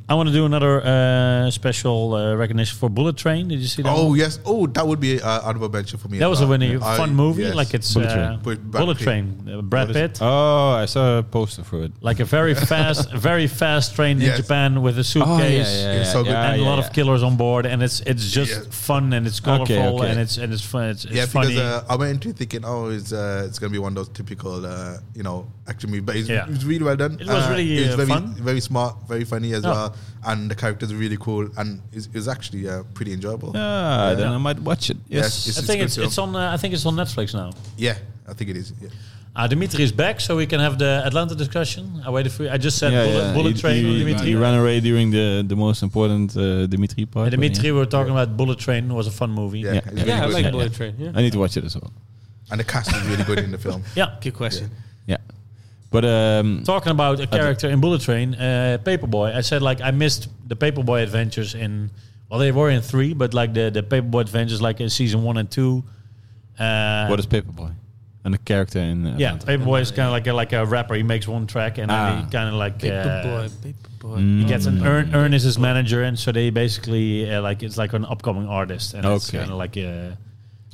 S2: I want to do another uh, special uh, recognition for Bullet Train. Did you see that?
S3: Oh
S2: one?
S3: yes. Oh, that would be uh, honorable mention for me.
S2: that
S3: as
S2: was a
S3: well.
S2: really
S3: I-
S2: fun movie.
S3: yes.
S2: Like it's
S5: Bullet
S2: uh,
S5: Train.
S3: With Brad
S2: Bullet
S3: Pitt.
S2: Train, uh, Brad
S3: What is
S2: Pitt,
S5: Oh, I saw a poster for it.
S2: like a
S3: [LAUGHS]
S2: very fast, very fast train
S3: Yes.
S2: in Japan
S5: Oh,
S2: with a suitcase.
S3: It's so good.
S2: Oh, And a lot of killers on board, and it's it's just
S3: Yes.
S2: fun and it's colorful
S5: okay.
S2: and it's and it's fun. It's, it's
S3: yeah,
S2: funny.
S3: because uh, I went into it thinking, oh, it's uh, it's gonna be one of those typical, uh, you know, action movies. But it's,
S2: Yeah.
S3: it was really well done.
S2: It was
S3: Uh,
S2: really,
S3: it was
S2: uh,
S3: very,
S2: fun.
S3: very smart, very funny as
S2: Yeah.
S3: well, and the characters are really cool, and it's, it's actually uh, pretty enjoyable.
S5: Ah, then I might watch it.
S3: Yes,
S5: Yes.
S2: I
S3: it's
S2: think
S3: good
S2: it's,
S3: film.
S2: it's on. Uh, I think it's on Netflix now.
S3: Yeah, I think it is. Yeah.
S2: Uh, Dimitri is back, so we can have the Atlanta discussion. I waited for you. I just said bullet, bullet
S5: He-
S2: train,
S5: he-
S2: Dimitri.
S5: He ran away during the, the most important uh, Dimitri part.
S2: Uh,
S5: but
S2: Dimitri,
S5: yeah.
S2: we were talking about Bullet Train. was a fun movie.
S3: Yeah,
S5: Yeah.
S3: it's really
S4: yeah, I
S3: good.
S4: like Bullet Train. Yeah.
S5: I need to watch it as well.
S3: and the cast is really good in the film.
S2: Yeah.
S4: Good question.
S5: Yeah. But um,
S2: Talking about a character in Bullet Train, uh, Paperboy. I said like I missed the Paperboy adventures in. Well, they were in three, but like the the Paperboy adventures, like in season one and two. Uh,
S5: what is Paperboy? And the character in. Uh,
S2: yeah, Paperboy is kind of like a, like a rapper. He makes one track and
S5: Ah.
S2: then he kind of like uh,
S4: Paperboy, Paperboy.
S2: he gets an Ern, Ern is his manager, and so they basically uh, like it's like an upcoming artist, and it's
S5: Okay.
S2: kind of like uh,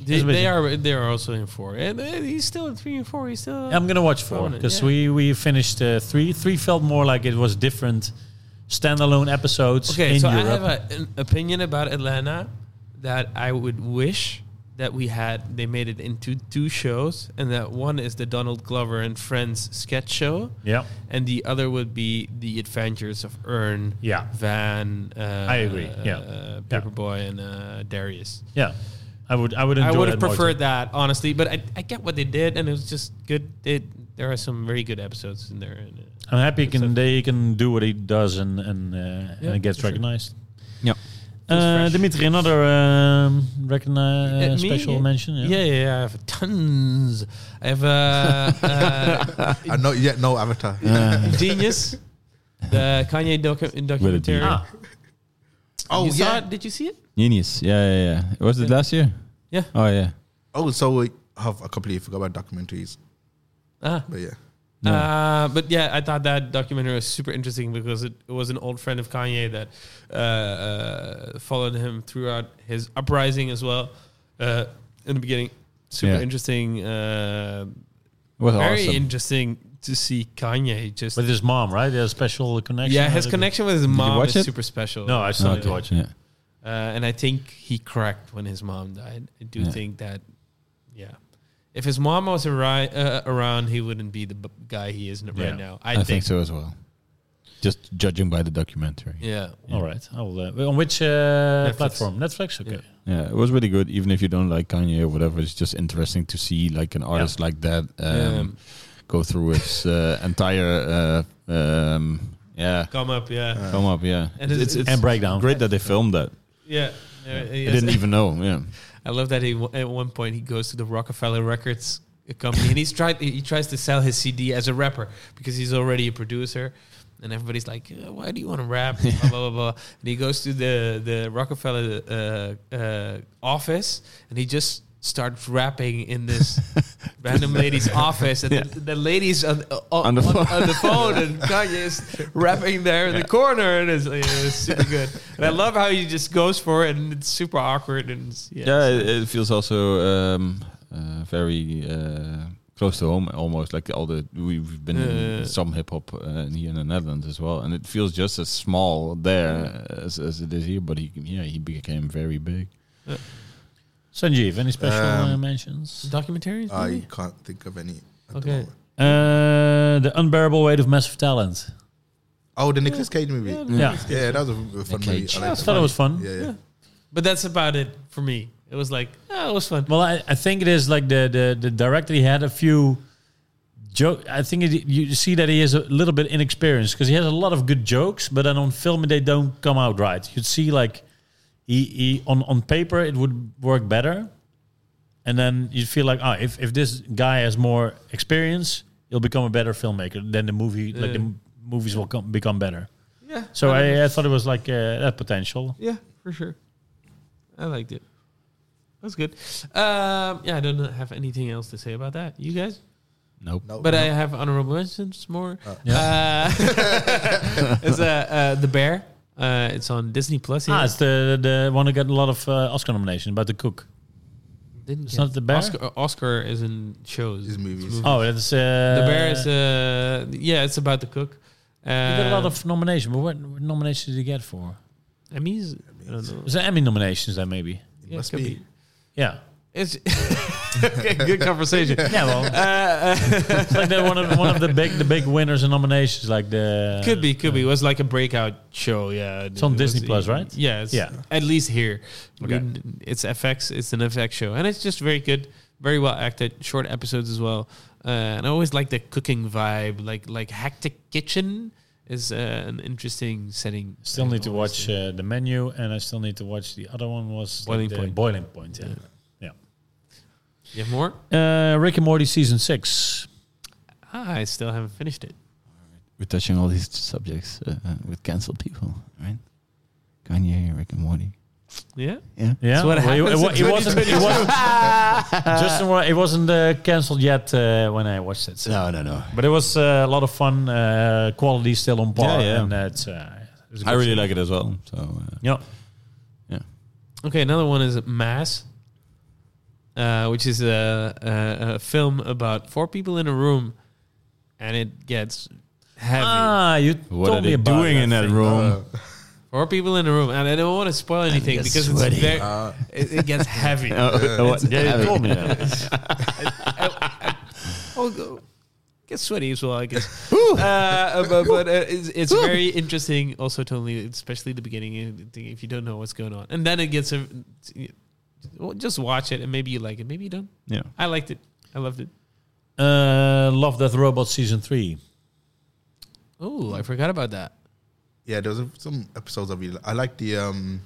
S4: They,
S2: It's amazing.
S4: they are they are also in four, and uh, he's still in three and four. He's still.
S2: I'm gonna watch four
S4: Prominent,
S2: because
S4: yeah.
S2: we we finished uh, three. Three felt more like it was different standalone episodes.
S4: okay,
S2: in
S4: so
S2: Europe.
S4: I have a, an opinion about Atlanta that I would wish that we had. They made it into two shows, and that one is the Donald Glover and Friends sketch show,
S2: yeah,
S4: and the other would be the Adventures of Ern,
S2: Yeah.
S4: Van. Uh,
S2: I agree, yeah.
S4: uh, Paperboy and uh, Darius.
S2: yeah. I would I would enjoy.
S4: I would have
S2: that more
S4: preferred
S2: too.
S4: that honestly, but I, I get what they did, and it was just good. They, there are some very good episodes in there. And, uh,
S2: I'm happy he can they can do what he does and and, uh, and it gets
S4: for sure.
S2: recognized.
S5: Yeah.
S2: Uh,
S4: fresh.
S2: Dimitri, another um, recogni-
S4: Uh,
S2: uh,
S4: me?
S2: special
S4: Yeah.
S2: mention. Yeah.
S4: Yeah, yeah, yeah, I have tons. I have uh, uh,
S3: And not yet, no Avatar.
S4: Genius, the Kanye docu- documentary.
S5: Ah.
S3: oh
S4: you saw
S3: yeah.
S4: it? Did you see it?
S5: Genius. Yeah, yeah, yeah. Was it last year?
S4: Yeah.
S5: Oh, yeah.
S3: [LAUGHS] Oh, so we have I completely forgot about documentaries,
S4: Ah.
S3: but yeah.
S5: No.
S4: Uh, but yeah, I thought that documentary was super interesting because it, it was an old friend of Kanye that uh, uh, followed him throughout his uprising as well. uh, in the beginning. Super
S5: Yeah.
S4: interesting. Uh,
S5: It was
S4: very
S5: awesome.
S4: interesting to see Kanye just.
S2: With his mom, right? They had a special connection.
S4: yeah,
S2: How
S4: his
S2: did it-
S4: connection with his mom
S5: watch
S4: is
S5: it?
S4: super special.
S2: No, I still need to
S5: Okay,
S2: watch it.
S5: yeah.
S4: uh, and I think he cracked when his mom died. I do
S5: Yeah.
S4: think that, yeah, if his mom was arri- uh, around, he wouldn't be the b- guy he is n-
S2: Yeah.
S4: right now. I,
S5: I,
S4: think.
S5: think so as well. Just judging by the documentary.
S4: Yeah,
S2: All right. I will, uh, on which uh, platform? Netflix. Okay.
S5: Yeah, it was really good. Even if you don't like Kanye or whatever, it's just interesting to see like an artist like that um, go through his
S4: [LAUGHS]
S5: uh, entire uh, um, yeah
S4: come up. Yeah,
S5: come up. Yeah,
S4: And
S5: it's,
S4: it's-
S5: it's, it's
S2: And breakdown.
S5: great that they filmed that.
S4: yeah. Uh, yes.
S5: I didn't even know. Yeah,
S4: I love that he w- at one point he goes to the Rockefeller Records company and he's tried he tries to sell his CD as a rapper because he's already a producer and everybody's like "Uh, why do you want to
S5: [LAUGHS]
S4: rap blah, blah blah blah and he goes to the the Rockefeller uh, uh, office and he just starts rapping in
S5: [LAUGHS]
S4: this random lady's office and the, the lady's on, uh, on,
S5: On the
S4: on,
S5: phone.
S4: on the phone
S5: [LAUGHS]
S4: and Kanye is rapping there in the corner and it's, uh, it's super good and I love how he just goes for it and it's super awkward and it's- yeah,
S5: yeah,
S4: it's-
S5: it, it feels also um, uh, very uh, close to home, almost like all the we- we've been
S4: Yeah.
S5: in some hip hop uh, here in the Netherlands as well, and it feels just as small there as, as it is here. But he, yeah, he became very big.
S2: Sanjeev, any special uh,
S3: Um,
S2: mentions?
S4: documentaries?
S3: I
S4: maybe?
S3: can't think of any. at the
S4: Okay.
S3: moment.
S2: Uh, the unbearable weight of massive talent.
S3: Oh, the Nicolas Cage movie. Yeah,
S2: Yeah.
S3: that was a a fun
S1: Cage.
S3: movie. I
S2: I
S3: liked
S2: thought it was fun.
S3: Yeah, yeah.
S4: But that's about it for me. It was like, oh, it was fun.
S2: Well, I, I think it is like the the, the director. He had a few joke. I think it, you see that he is a little bit inexperienced because he has a lot of good jokes, but then on film they don't come out right. You'd see like he, he on on paper it would work better, and then you feel like ah, if if this guy has more experience, he'll become a better filmmaker. Then the movie like the
S4: Yeah.
S2: m- movies will come, become better.
S4: Yeah.
S2: So
S4: I,
S2: I, I thought it was like uh, that potential.
S4: yeah, for sure. I liked it. That's good. Um, yeah, I don't have anything else to say about that. You guys?
S5: Nope.
S3: No,
S4: But
S3: no.
S4: I have honorable mentions more. Uh, [LAUGHS] it's uh, uh, The Bear. Uh, it's on Disney Plus. Here.
S2: Ah, it's the the one who got a lot of uh, Oscar nominations about the cook.
S4: Didn't
S2: it's
S4: get-
S2: not The Bear?
S4: Oscar, Oscar is in shows.
S3: His movies.
S2: Oh, that's uh,
S4: the Bear is, uh, yeah, it's about the cook. Uh,
S2: He got a lot of nominations, but what what nominations did he get for?
S4: Emmys. Uh, I don't know.
S2: Was there Emmy nominations then maybe?
S3: It
S4: yeah,
S3: must
S4: could
S3: be.
S4: be.
S2: Yeah.
S4: It's [LAUGHS] okay, good conversation.
S3: [LAUGHS]
S4: Uh,
S2: Yeah, well, it's [LAUGHS] like they're one of one of the big the big winners and nominations, like the
S4: Could be, could be. It was like a breakout show. Yeah, it's
S2: on Disney Plus, right?
S4: Yeah, it's
S2: Yeah.
S4: At least here,
S2: Okay.
S4: And it's FX. It's an FX show, and it's just very good, very well acted. Short episodes as well, uh, and I always like the cooking vibe, like like hectic kitchen is uh, an interesting setting.
S2: Still
S4: I
S2: need to
S4: always
S2: watch
S4: do.
S2: uh, the menu, and I still need to watch the other one was like
S4: Boiling
S2: the
S4: Point.
S2: Boiling Point, yeah.
S4: You have more?
S2: Uh, Rick and Morty season six.
S4: Ah, I still haven't finished it.
S1: We're touching all these subjects uh, uh, with canceled people, right? Kanye, Rick and Morty.
S4: Yeah,
S1: Yeah.
S2: Yeah,
S4: That's what
S2: Well, it-
S4: happens
S2: it, wa-
S4: in
S2: it wasn't. It wasn't
S4: [LAUGHS]
S2: Justin, wa- [LAUGHS] it wasn't uh, cancelled yet uh, when I watched it. so-
S1: No, no, no.
S2: But it was uh, a lot of fun. Uh, quality still on par.
S5: Yeah, yeah.
S2: And, uh, it's, uh, it was
S5: I
S2: a good
S5: really
S2: show.
S5: like it as well. So uh,
S2: Yeah.
S4: Okay, another one is Mass, uh, which is a, a, a film about four people in a room, and it gets heavy.
S1: Uh.
S2: Ah, you
S5: what
S2: told
S5: are
S2: me
S5: they
S2: about
S5: doing
S2: it,
S5: in
S2: I
S5: that
S2: think.
S5: room?
S4: Four people in a room, and I don't want to spoil anything
S1: gets
S4: because
S1: sweaty. Uh.
S4: it's very, it, it
S1: [LAUGHS]
S4: gets heavy.
S5: [LAUGHS]
S2: Yeah, you told me. That.
S4: Oh, go. Gets sweaty as well, I
S1: [LAUGHS]
S4: guess. uh, but but uh, it's, it's very interesting. Also, totally, especially the beginning. If you don't know what's going on, and then it gets a, well, just watch it, and maybe you like it, maybe you don't.
S5: Yeah.
S4: I liked it. I loved it.
S2: Uh, Love Death Robot season three.
S4: Oh, I forgot about that.
S3: Yeah, there was a- some episodes of it. I like the um,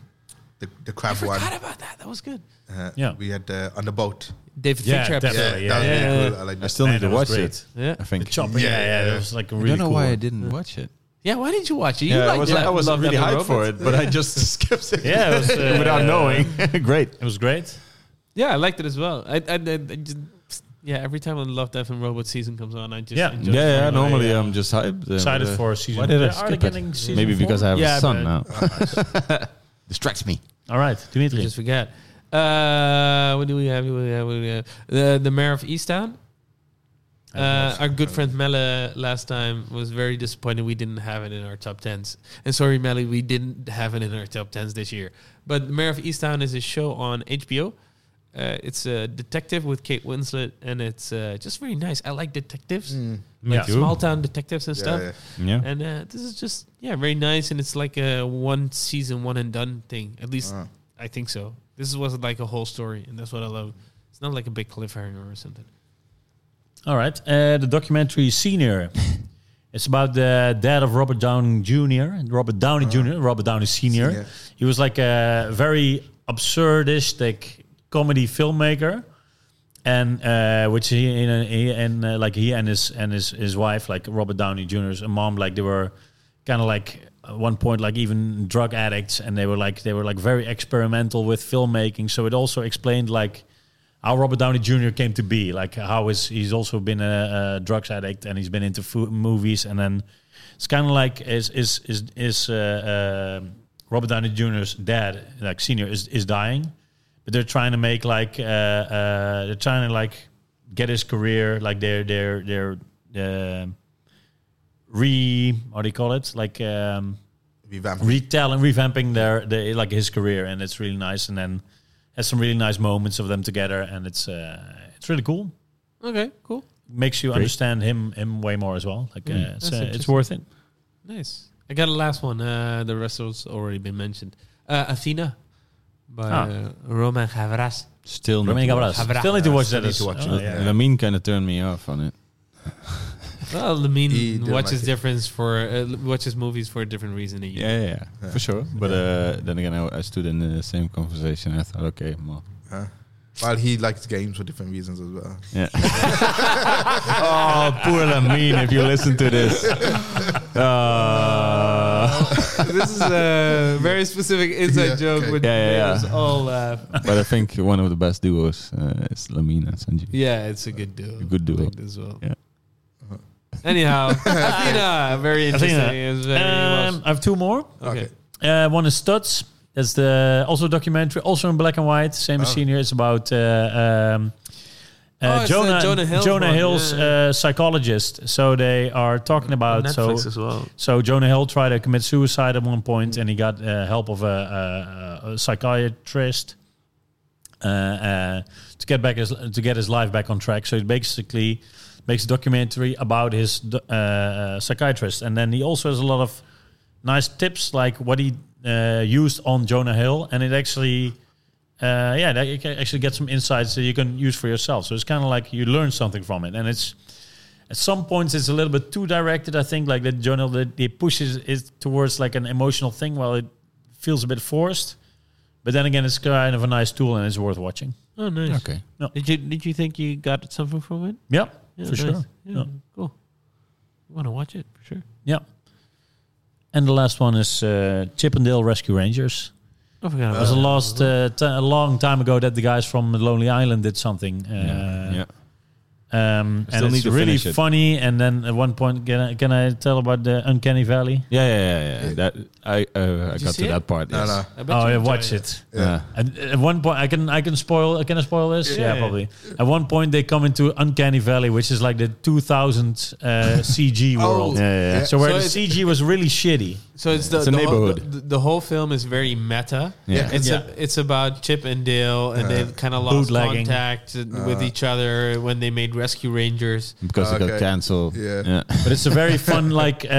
S3: the the crab one.
S4: Forgot about that. That was good.
S3: Uh,
S2: Yeah.
S3: we had uh, on the boat.
S4: David
S2: Yeah,
S4: Fincher
S2: definitely.
S4: episode.
S2: yeah,
S3: Yeah, that was really
S4: yeah.
S3: cool. I like
S5: I
S3: that.
S5: still need to
S2: that
S5: watch
S2: was great.
S5: it.
S4: Yeah.
S5: I think.
S2: The chopper. Yeah,
S3: Yeah,
S2: yeah.
S3: yeah.
S2: It was like a
S5: I
S2: really
S5: don't know
S2: cool
S5: why I
S2: one.
S5: didn't watch it.
S4: Yeah, why did you watch it? You
S5: yeah, I
S4: liked
S5: was,
S4: Love-
S5: I was
S4: Love
S5: really
S4: Death and
S5: hyped for
S4: Robots.
S5: it, but I just [LAUGHS] skipped it
S2: Yeah, it was, uh,
S5: without knowing. [LAUGHS] Great.
S2: It was great.
S4: Yeah, I liked it as well. I, I, I, I just, yeah, every time when Love, Death, and Robots season comes on, I just
S2: Yeah.
S4: enjoy it.
S5: Yeah, yeah.
S2: from my,
S5: Normally,
S2: uh,
S5: I'm just hyped. uh,
S2: Excited
S5: but, uh,
S2: for season.
S5: Why did I
S2: Are they
S5: skip it?
S2: getting season
S5: Maybe
S2: four?
S5: because I have
S4: Yeah,
S5: a son
S4: but-
S5: now.
S1: Distracts me.
S2: All right,
S4: I
S2: Dimitri.
S4: just forget. Uh, what do we have? What do we have? What do we have? The the mayor of Easttown. Uh, our good friend Melle last time was very disappointed we didn't have it in our top tens. And sorry, Melle, we didn't have it in our top tens this year. But the mayor of Easttown is a show on HBO. Uh, it's a detective with Kate Winslet, and it's uh, just very nice. I like detectives, like
S2: Yeah.
S4: small town detectives and stuff.
S3: yeah.
S5: Yeah.
S4: And uh, this is just yeah, very nice, and it's like a one season, one and done thing. At least
S3: Ah.
S4: I think so. This was like a whole story, and that's what I love. It's not like a big cliffhanger or something.
S2: All right. Uh, the documentary Senior. it's about the dad of Robert Downey Jr. and Robert Downey Jr.
S5: Uh-huh.
S2: Robert Downey Sr.
S3: Senior.
S2: He was like a very absurdistic comedy filmmaker. And uh, which he and, he and uh, like he and his and his, his wife like Robert Downey Jr.'s mom like they were kind of like at one point like even drug addicts and they were like they were like very experimental with filmmaking so it also explained like how Robert Downey Jr. came to be, like how is he's also been a, a drugs addict and he's been into fo- movies, and then it's kind of like is is is is uh, uh, Robert Downey Jr.'s dad, like senior, is is dying, but they're trying to make like uh, uh, they're trying to like get his career, like they're they're they're uh, re how do you call it, like. Um,
S3: Revamp.
S2: retelling, revamping their, their like his career, and it's really nice. And then has some really nice moments of them together, and it's uh, it's really cool.
S4: Okay, cool,
S2: Makes you understand him him way more as well. Like
S4: Mm,
S2: uh, it's, uh, it's worth it.
S4: nice. I got a last one. Uh, the rest was already been mentioned. Uh, Athena by
S2: Ah.
S4: uh, Roman Gavras.
S5: Still not.
S2: Romain Gavras.
S4: Gavras.
S2: Still need to watch
S3: Still
S2: that.
S3: need
S2: as-
S3: to watch
S2: oh,
S3: it.
S2: yeah.
S5: Lamine kind of turned me off on it.
S4: Well, I
S3: He
S4: mean,
S3: didn't
S4: watches
S3: like it.
S4: difference for uh, watches movies for a different reason. Than you.
S5: Yeah, yeah, yeah, for sure. But uh, then again, I, I stood in the same conversation. I thought, okay, well,
S3: Huh? Well, he likes games for different reasons as well.
S5: [LAUGHS] yeah. oh, poor Lamine, if you listen to this. Uh,
S4: this is a very specific inside
S3: Yeah,
S4: joke.
S3: okay.
S4: With
S5: Yeah, yeah, yeah.
S4: us all laugh.
S5: but I think one of the best duos uh, is Lamine and Sanji.
S4: Yeah, it's a good duo.
S5: good duo.
S4: I like this well.
S5: Yeah.
S4: [LAUGHS] Anyhow, Athena, very interesting. It's very well-
S2: Um, I have two more.
S4: okay.
S2: Uh, one is Studs. That's the also a documentary, also in black and white, same as Senior. It's about uh, um,
S4: Oh,
S2: uh,
S4: it's the
S2: Jonah
S4: Jonah Hill's
S2: Jonah
S4: one,
S2: Hill's
S4: yeah.
S2: uh, psychologist. So they are talking about so
S4: Netflix as well.
S2: So Jonah Hill tried to commit suicide at one point, and he got uh, help of a, a, a psychiatrist uh, uh, to get back his, to get his life back on track. So he basically makes a documentary about his do- uh, uh, psychiatrist, and then he also has a lot of nice tips, like what he uh, used on Jonah Hill, and it actually. Uh, yeah, that you can actually get some insights that you can use for yourself. So it's kind of like you learn something from it, and it's at some points it's a little bit too directed. I think like that journal that it pushes it towards like an emotional thing while it feels a bit forced. But then again, it's kind of a nice tool and it's worth watching.
S4: Oh, nice.
S5: Okay.
S4: Did you did you think you got something from it?
S2: Yeah,
S4: Yeah,
S2: for
S4: nice.
S2: sure.
S4: Yeah,
S2: Yeah.
S4: Cool. Want to watch it for sure?
S2: yeah. And the last one is uh, Chippendale Rescue Rangers.
S4: I forgot
S2: It
S4: about
S2: was a
S5: Oh,
S4: that.
S2: last uh, t- a long time ago that the guys from Lonely Island did something. Uh,
S5: yeah.
S2: Um,
S5: Still
S2: and
S5: need
S2: it's
S5: to
S2: really
S5: finish it.
S2: funny. And then at one point, can I, can I tell about the Uncanny Valley?
S5: Yeah, yeah, yeah, yeah. That I uh, I
S4: you
S5: got
S4: see
S5: to
S4: it?
S5: that part.
S3: No,
S5: yes. Uh,
S3: no.
S4: I bet
S2: Oh,
S4: you
S2: yeah,
S4: enjoyed
S2: watch it.
S5: Yeah.
S2: And at one point, I can I can spoil. Can I spoil this? Yeah,
S4: Yeah.
S2: probably. At one point, they come into Uncanny Valley, which is like the 2000 uh, [LAUGHS] CG world.
S3: Oh, Yeah, yeah, yeah.
S2: So where
S4: So
S2: the
S4: it's-
S2: CG was really shitty.
S4: So it's the,
S5: It's a
S4: the whole,
S5: neighborhood.
S4: the, the whole film is very meta.
S5: Yeah.
S4: It's
S2: Yeah.
S4: A, it's about Chip and Dale, and they've kind of lost
S2: bootlegging.
S4: contact with
S3: Uh.
S4: each other when they made Rescue Rangers.
S5: Because it got
S3: Okay.
S5: cancelled.
S3: Yeah.
S2: But it's a very fun, like, uh,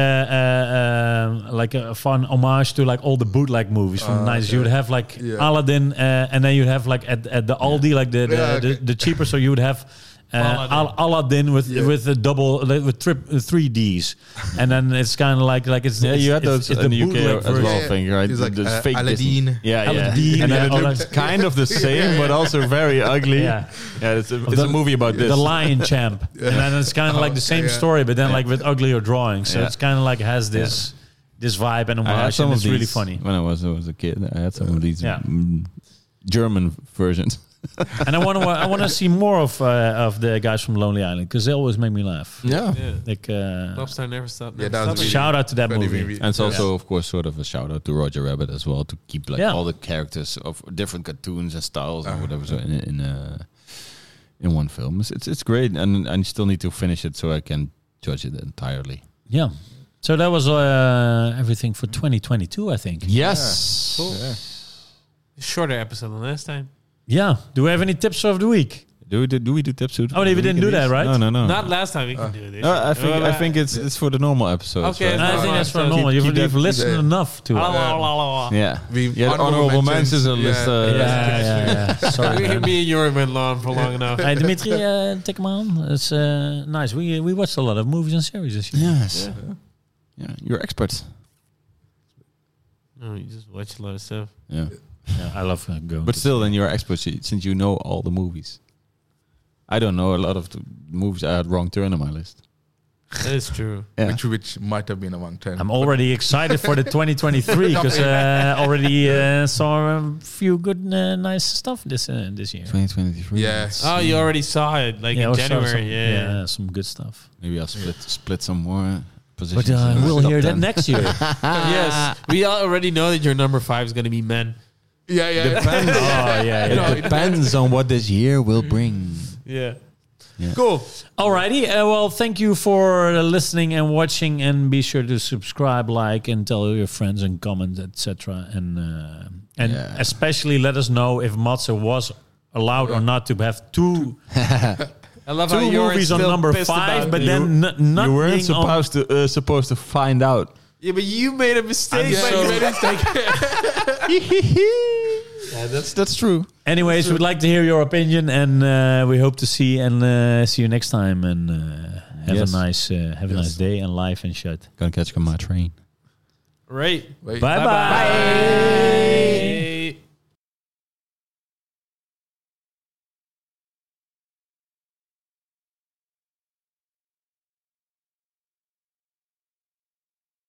S2: uh, um, like a fun homage to like all the bootleg movies from the 90s. You would have like
S3: Yeah.
S2: Aladdin, uh, and then you'd have like at, at the Aldi, like the the,
S3: Yeah,
S2: the
S3: okay.
S2: the cheaper. So you would have. Uh, Al- Aladdin with
S3: Yeah.
S2: with a double with trip uh, three Ds, and then it's kind of like like it's
S5: Yeah,
S2: it's-
S5: you had
S2: it's-
S5: those
S2: it's
S5: in the UK
S2: bootleg
S5: as
S2: version.
S5: well,
S3: Yeah.
S5: thing, right?
S3: It's like,
S5: Those
S3: uh,
S5: Disney-
S3: Aladdin.
S5: Yeah, yeah.
S2: Aladdin,
S5: and then
S2: yeah,
S5: it
S2: all
S5: looked kind of the
S2: [LAUGHS]
S5: same, but also very ugly.
S2: Yeah.
S5: Yeah, it's, a, it's
S2: the-
S5: a movie about this. Oh,
S2: The Lion
S5: [LAUGHS]
S2: Champ. And then it's kind of like the same
S3: yeah.
S2: story, but then like with uglier drawings. So
S5: Yeah.
S2: it's kind of like has this this vibe and
S5: I had
S2: homage,
S5: some
S2: and
S5: of [LAUGHS]
S2: it's
S5: these
S2: really funny.
S5: when I was I was a kid. I had some of these
S2: Yeah.
S5: mm, German versions.
S2: and I want to I want to see more of uh, of the guys from Lonely Island because they always make me laugh.
S1: Yeah.
S4: Yeah.
S2: Like uh,
S4: Lobster never stopped.
S3: Yeah, that was
S4: never stopped.
S3: really-
S2: shout out to that
S3: But if
S2: movie.
S3: we-
S5: And it's also, of course, sort of a shout out to Roger Rabbit as well to keep like
S2: Yeah.
S5: all the characters of different cartoons and styles
S3: Uh-huh.
S5: and whatever so in in, uh, in one film. It's, it's it's great, and I still need to finish it so I can judge it entirely.
S2: Yeah. So that was uh, everything for 2022, I think.
S1: Yes.
S4: Shorter episode than last time.
S2: Yeah. Do we have any tips of the week?
S5: Do we do, do we do tips? Oh,
S2: we didn't do that, right?
S5: No, no, no.
S4: Not last time we can do this.
S5: Oh. No, I think
S4: Uh,
S5: I think it's it's for the normal episodes.
S4: Okay.
S5: right?
S2: I think
S4: Uh,
S2: that's for
S4: so-
S2: normal.
S5: Keep-
S2: You've,
S5: keep that-
S2: you've listened
S3: keep that-
S2: enough to
S4: la,
S2: it.
S4: la, la, la, la.
S5: Yeah,
S3: We've-
S5: yeah. the
S3: honorable
S5: Honorable mentions
S3: mentions,
S5: a list.
S3: yeah.
S5: Uh,
S2: Yeah, yeah, yeah. Sorry.
S4: We,
S2: man.
S4: [LAUGHS] me and Jorik went long for long enough.
S2: Hey, Dimitri, uh, take him on. It's uh, nice. We we watched a lot of movies and series this year.
S5: Yes. Yeah. you're experts.
S4: No, Oh, you just watch a lot of stuff.
S5: Yeah,
S2: Yeah, I love uh, going.
S5: but
S2: to-
S5: still, then you're experts y- since you know all the movies. I don't know a lot of the movies. I had wrong turn on my list.
S4: That is true.
S5: Yeah.
S3: Which which might have been among ten.
S2: I'm already excited for the 2023 because uh, already uh, saw a few good, uh, nice stuff this uh, this year.
S5: 2023.
S3: Yeah.
S5: Let's
S4: [LAUGHS] Oh,
S5: see.
S4: you already saw it, like
S2: Yeah,
S4: in
S2: I saw
S4: January.
S2: some-
S4: yeah.
S2: yeah, some good stuff.
S5: Maybe I'll split split some more uh, positions.
S2: But uh,
S5: in the
S2: we'll
S5: top
S2: hear that
S5: 10.
S2: next year.
S4: Ah. yes, we all already know that your number five is going to be men.
S3: yeah, yeah.
S2: oh yeah. yeah.
S3: No, it-
S5: Depends on what this year will bring.
S4: Yeah.
S3: cool.
S2: Alrighty. Uh, well, thank you for uh, listening and watching, and be sure to subscribe, like, and tell your friends and comment, etc. And uh, and
S5: Yeah.
S2: especially let us know if Matze was allowed or not to have two
S4: I love
S2: two
S4: how Jorik's
S2: movies on
S4: still
S2: number
S4: pissed
S2: five,
S4: about
S2: but
S4: it.
S2: then n- not
S5: You weren't
S2: being on-
S5: supposed to uh, supposed to find out.
S4: yeah, but you made a mistake.
S2: I'm
S4: by
S2: so-
S4: doing that.
S5: Yeah,
S4: [LAUGHS]
S5: that's that's true.
S2: Anyways, we'd like to hear your opinion, and uh, we hope to see and uh, see you next time. And uh, have
S5: Yes.
S2: a nice uh, have a nice day and life and shut.
S5: Gonna catch my train.
S4: right.
S3: Wait.
S2: bye. bye.
S4: Bye.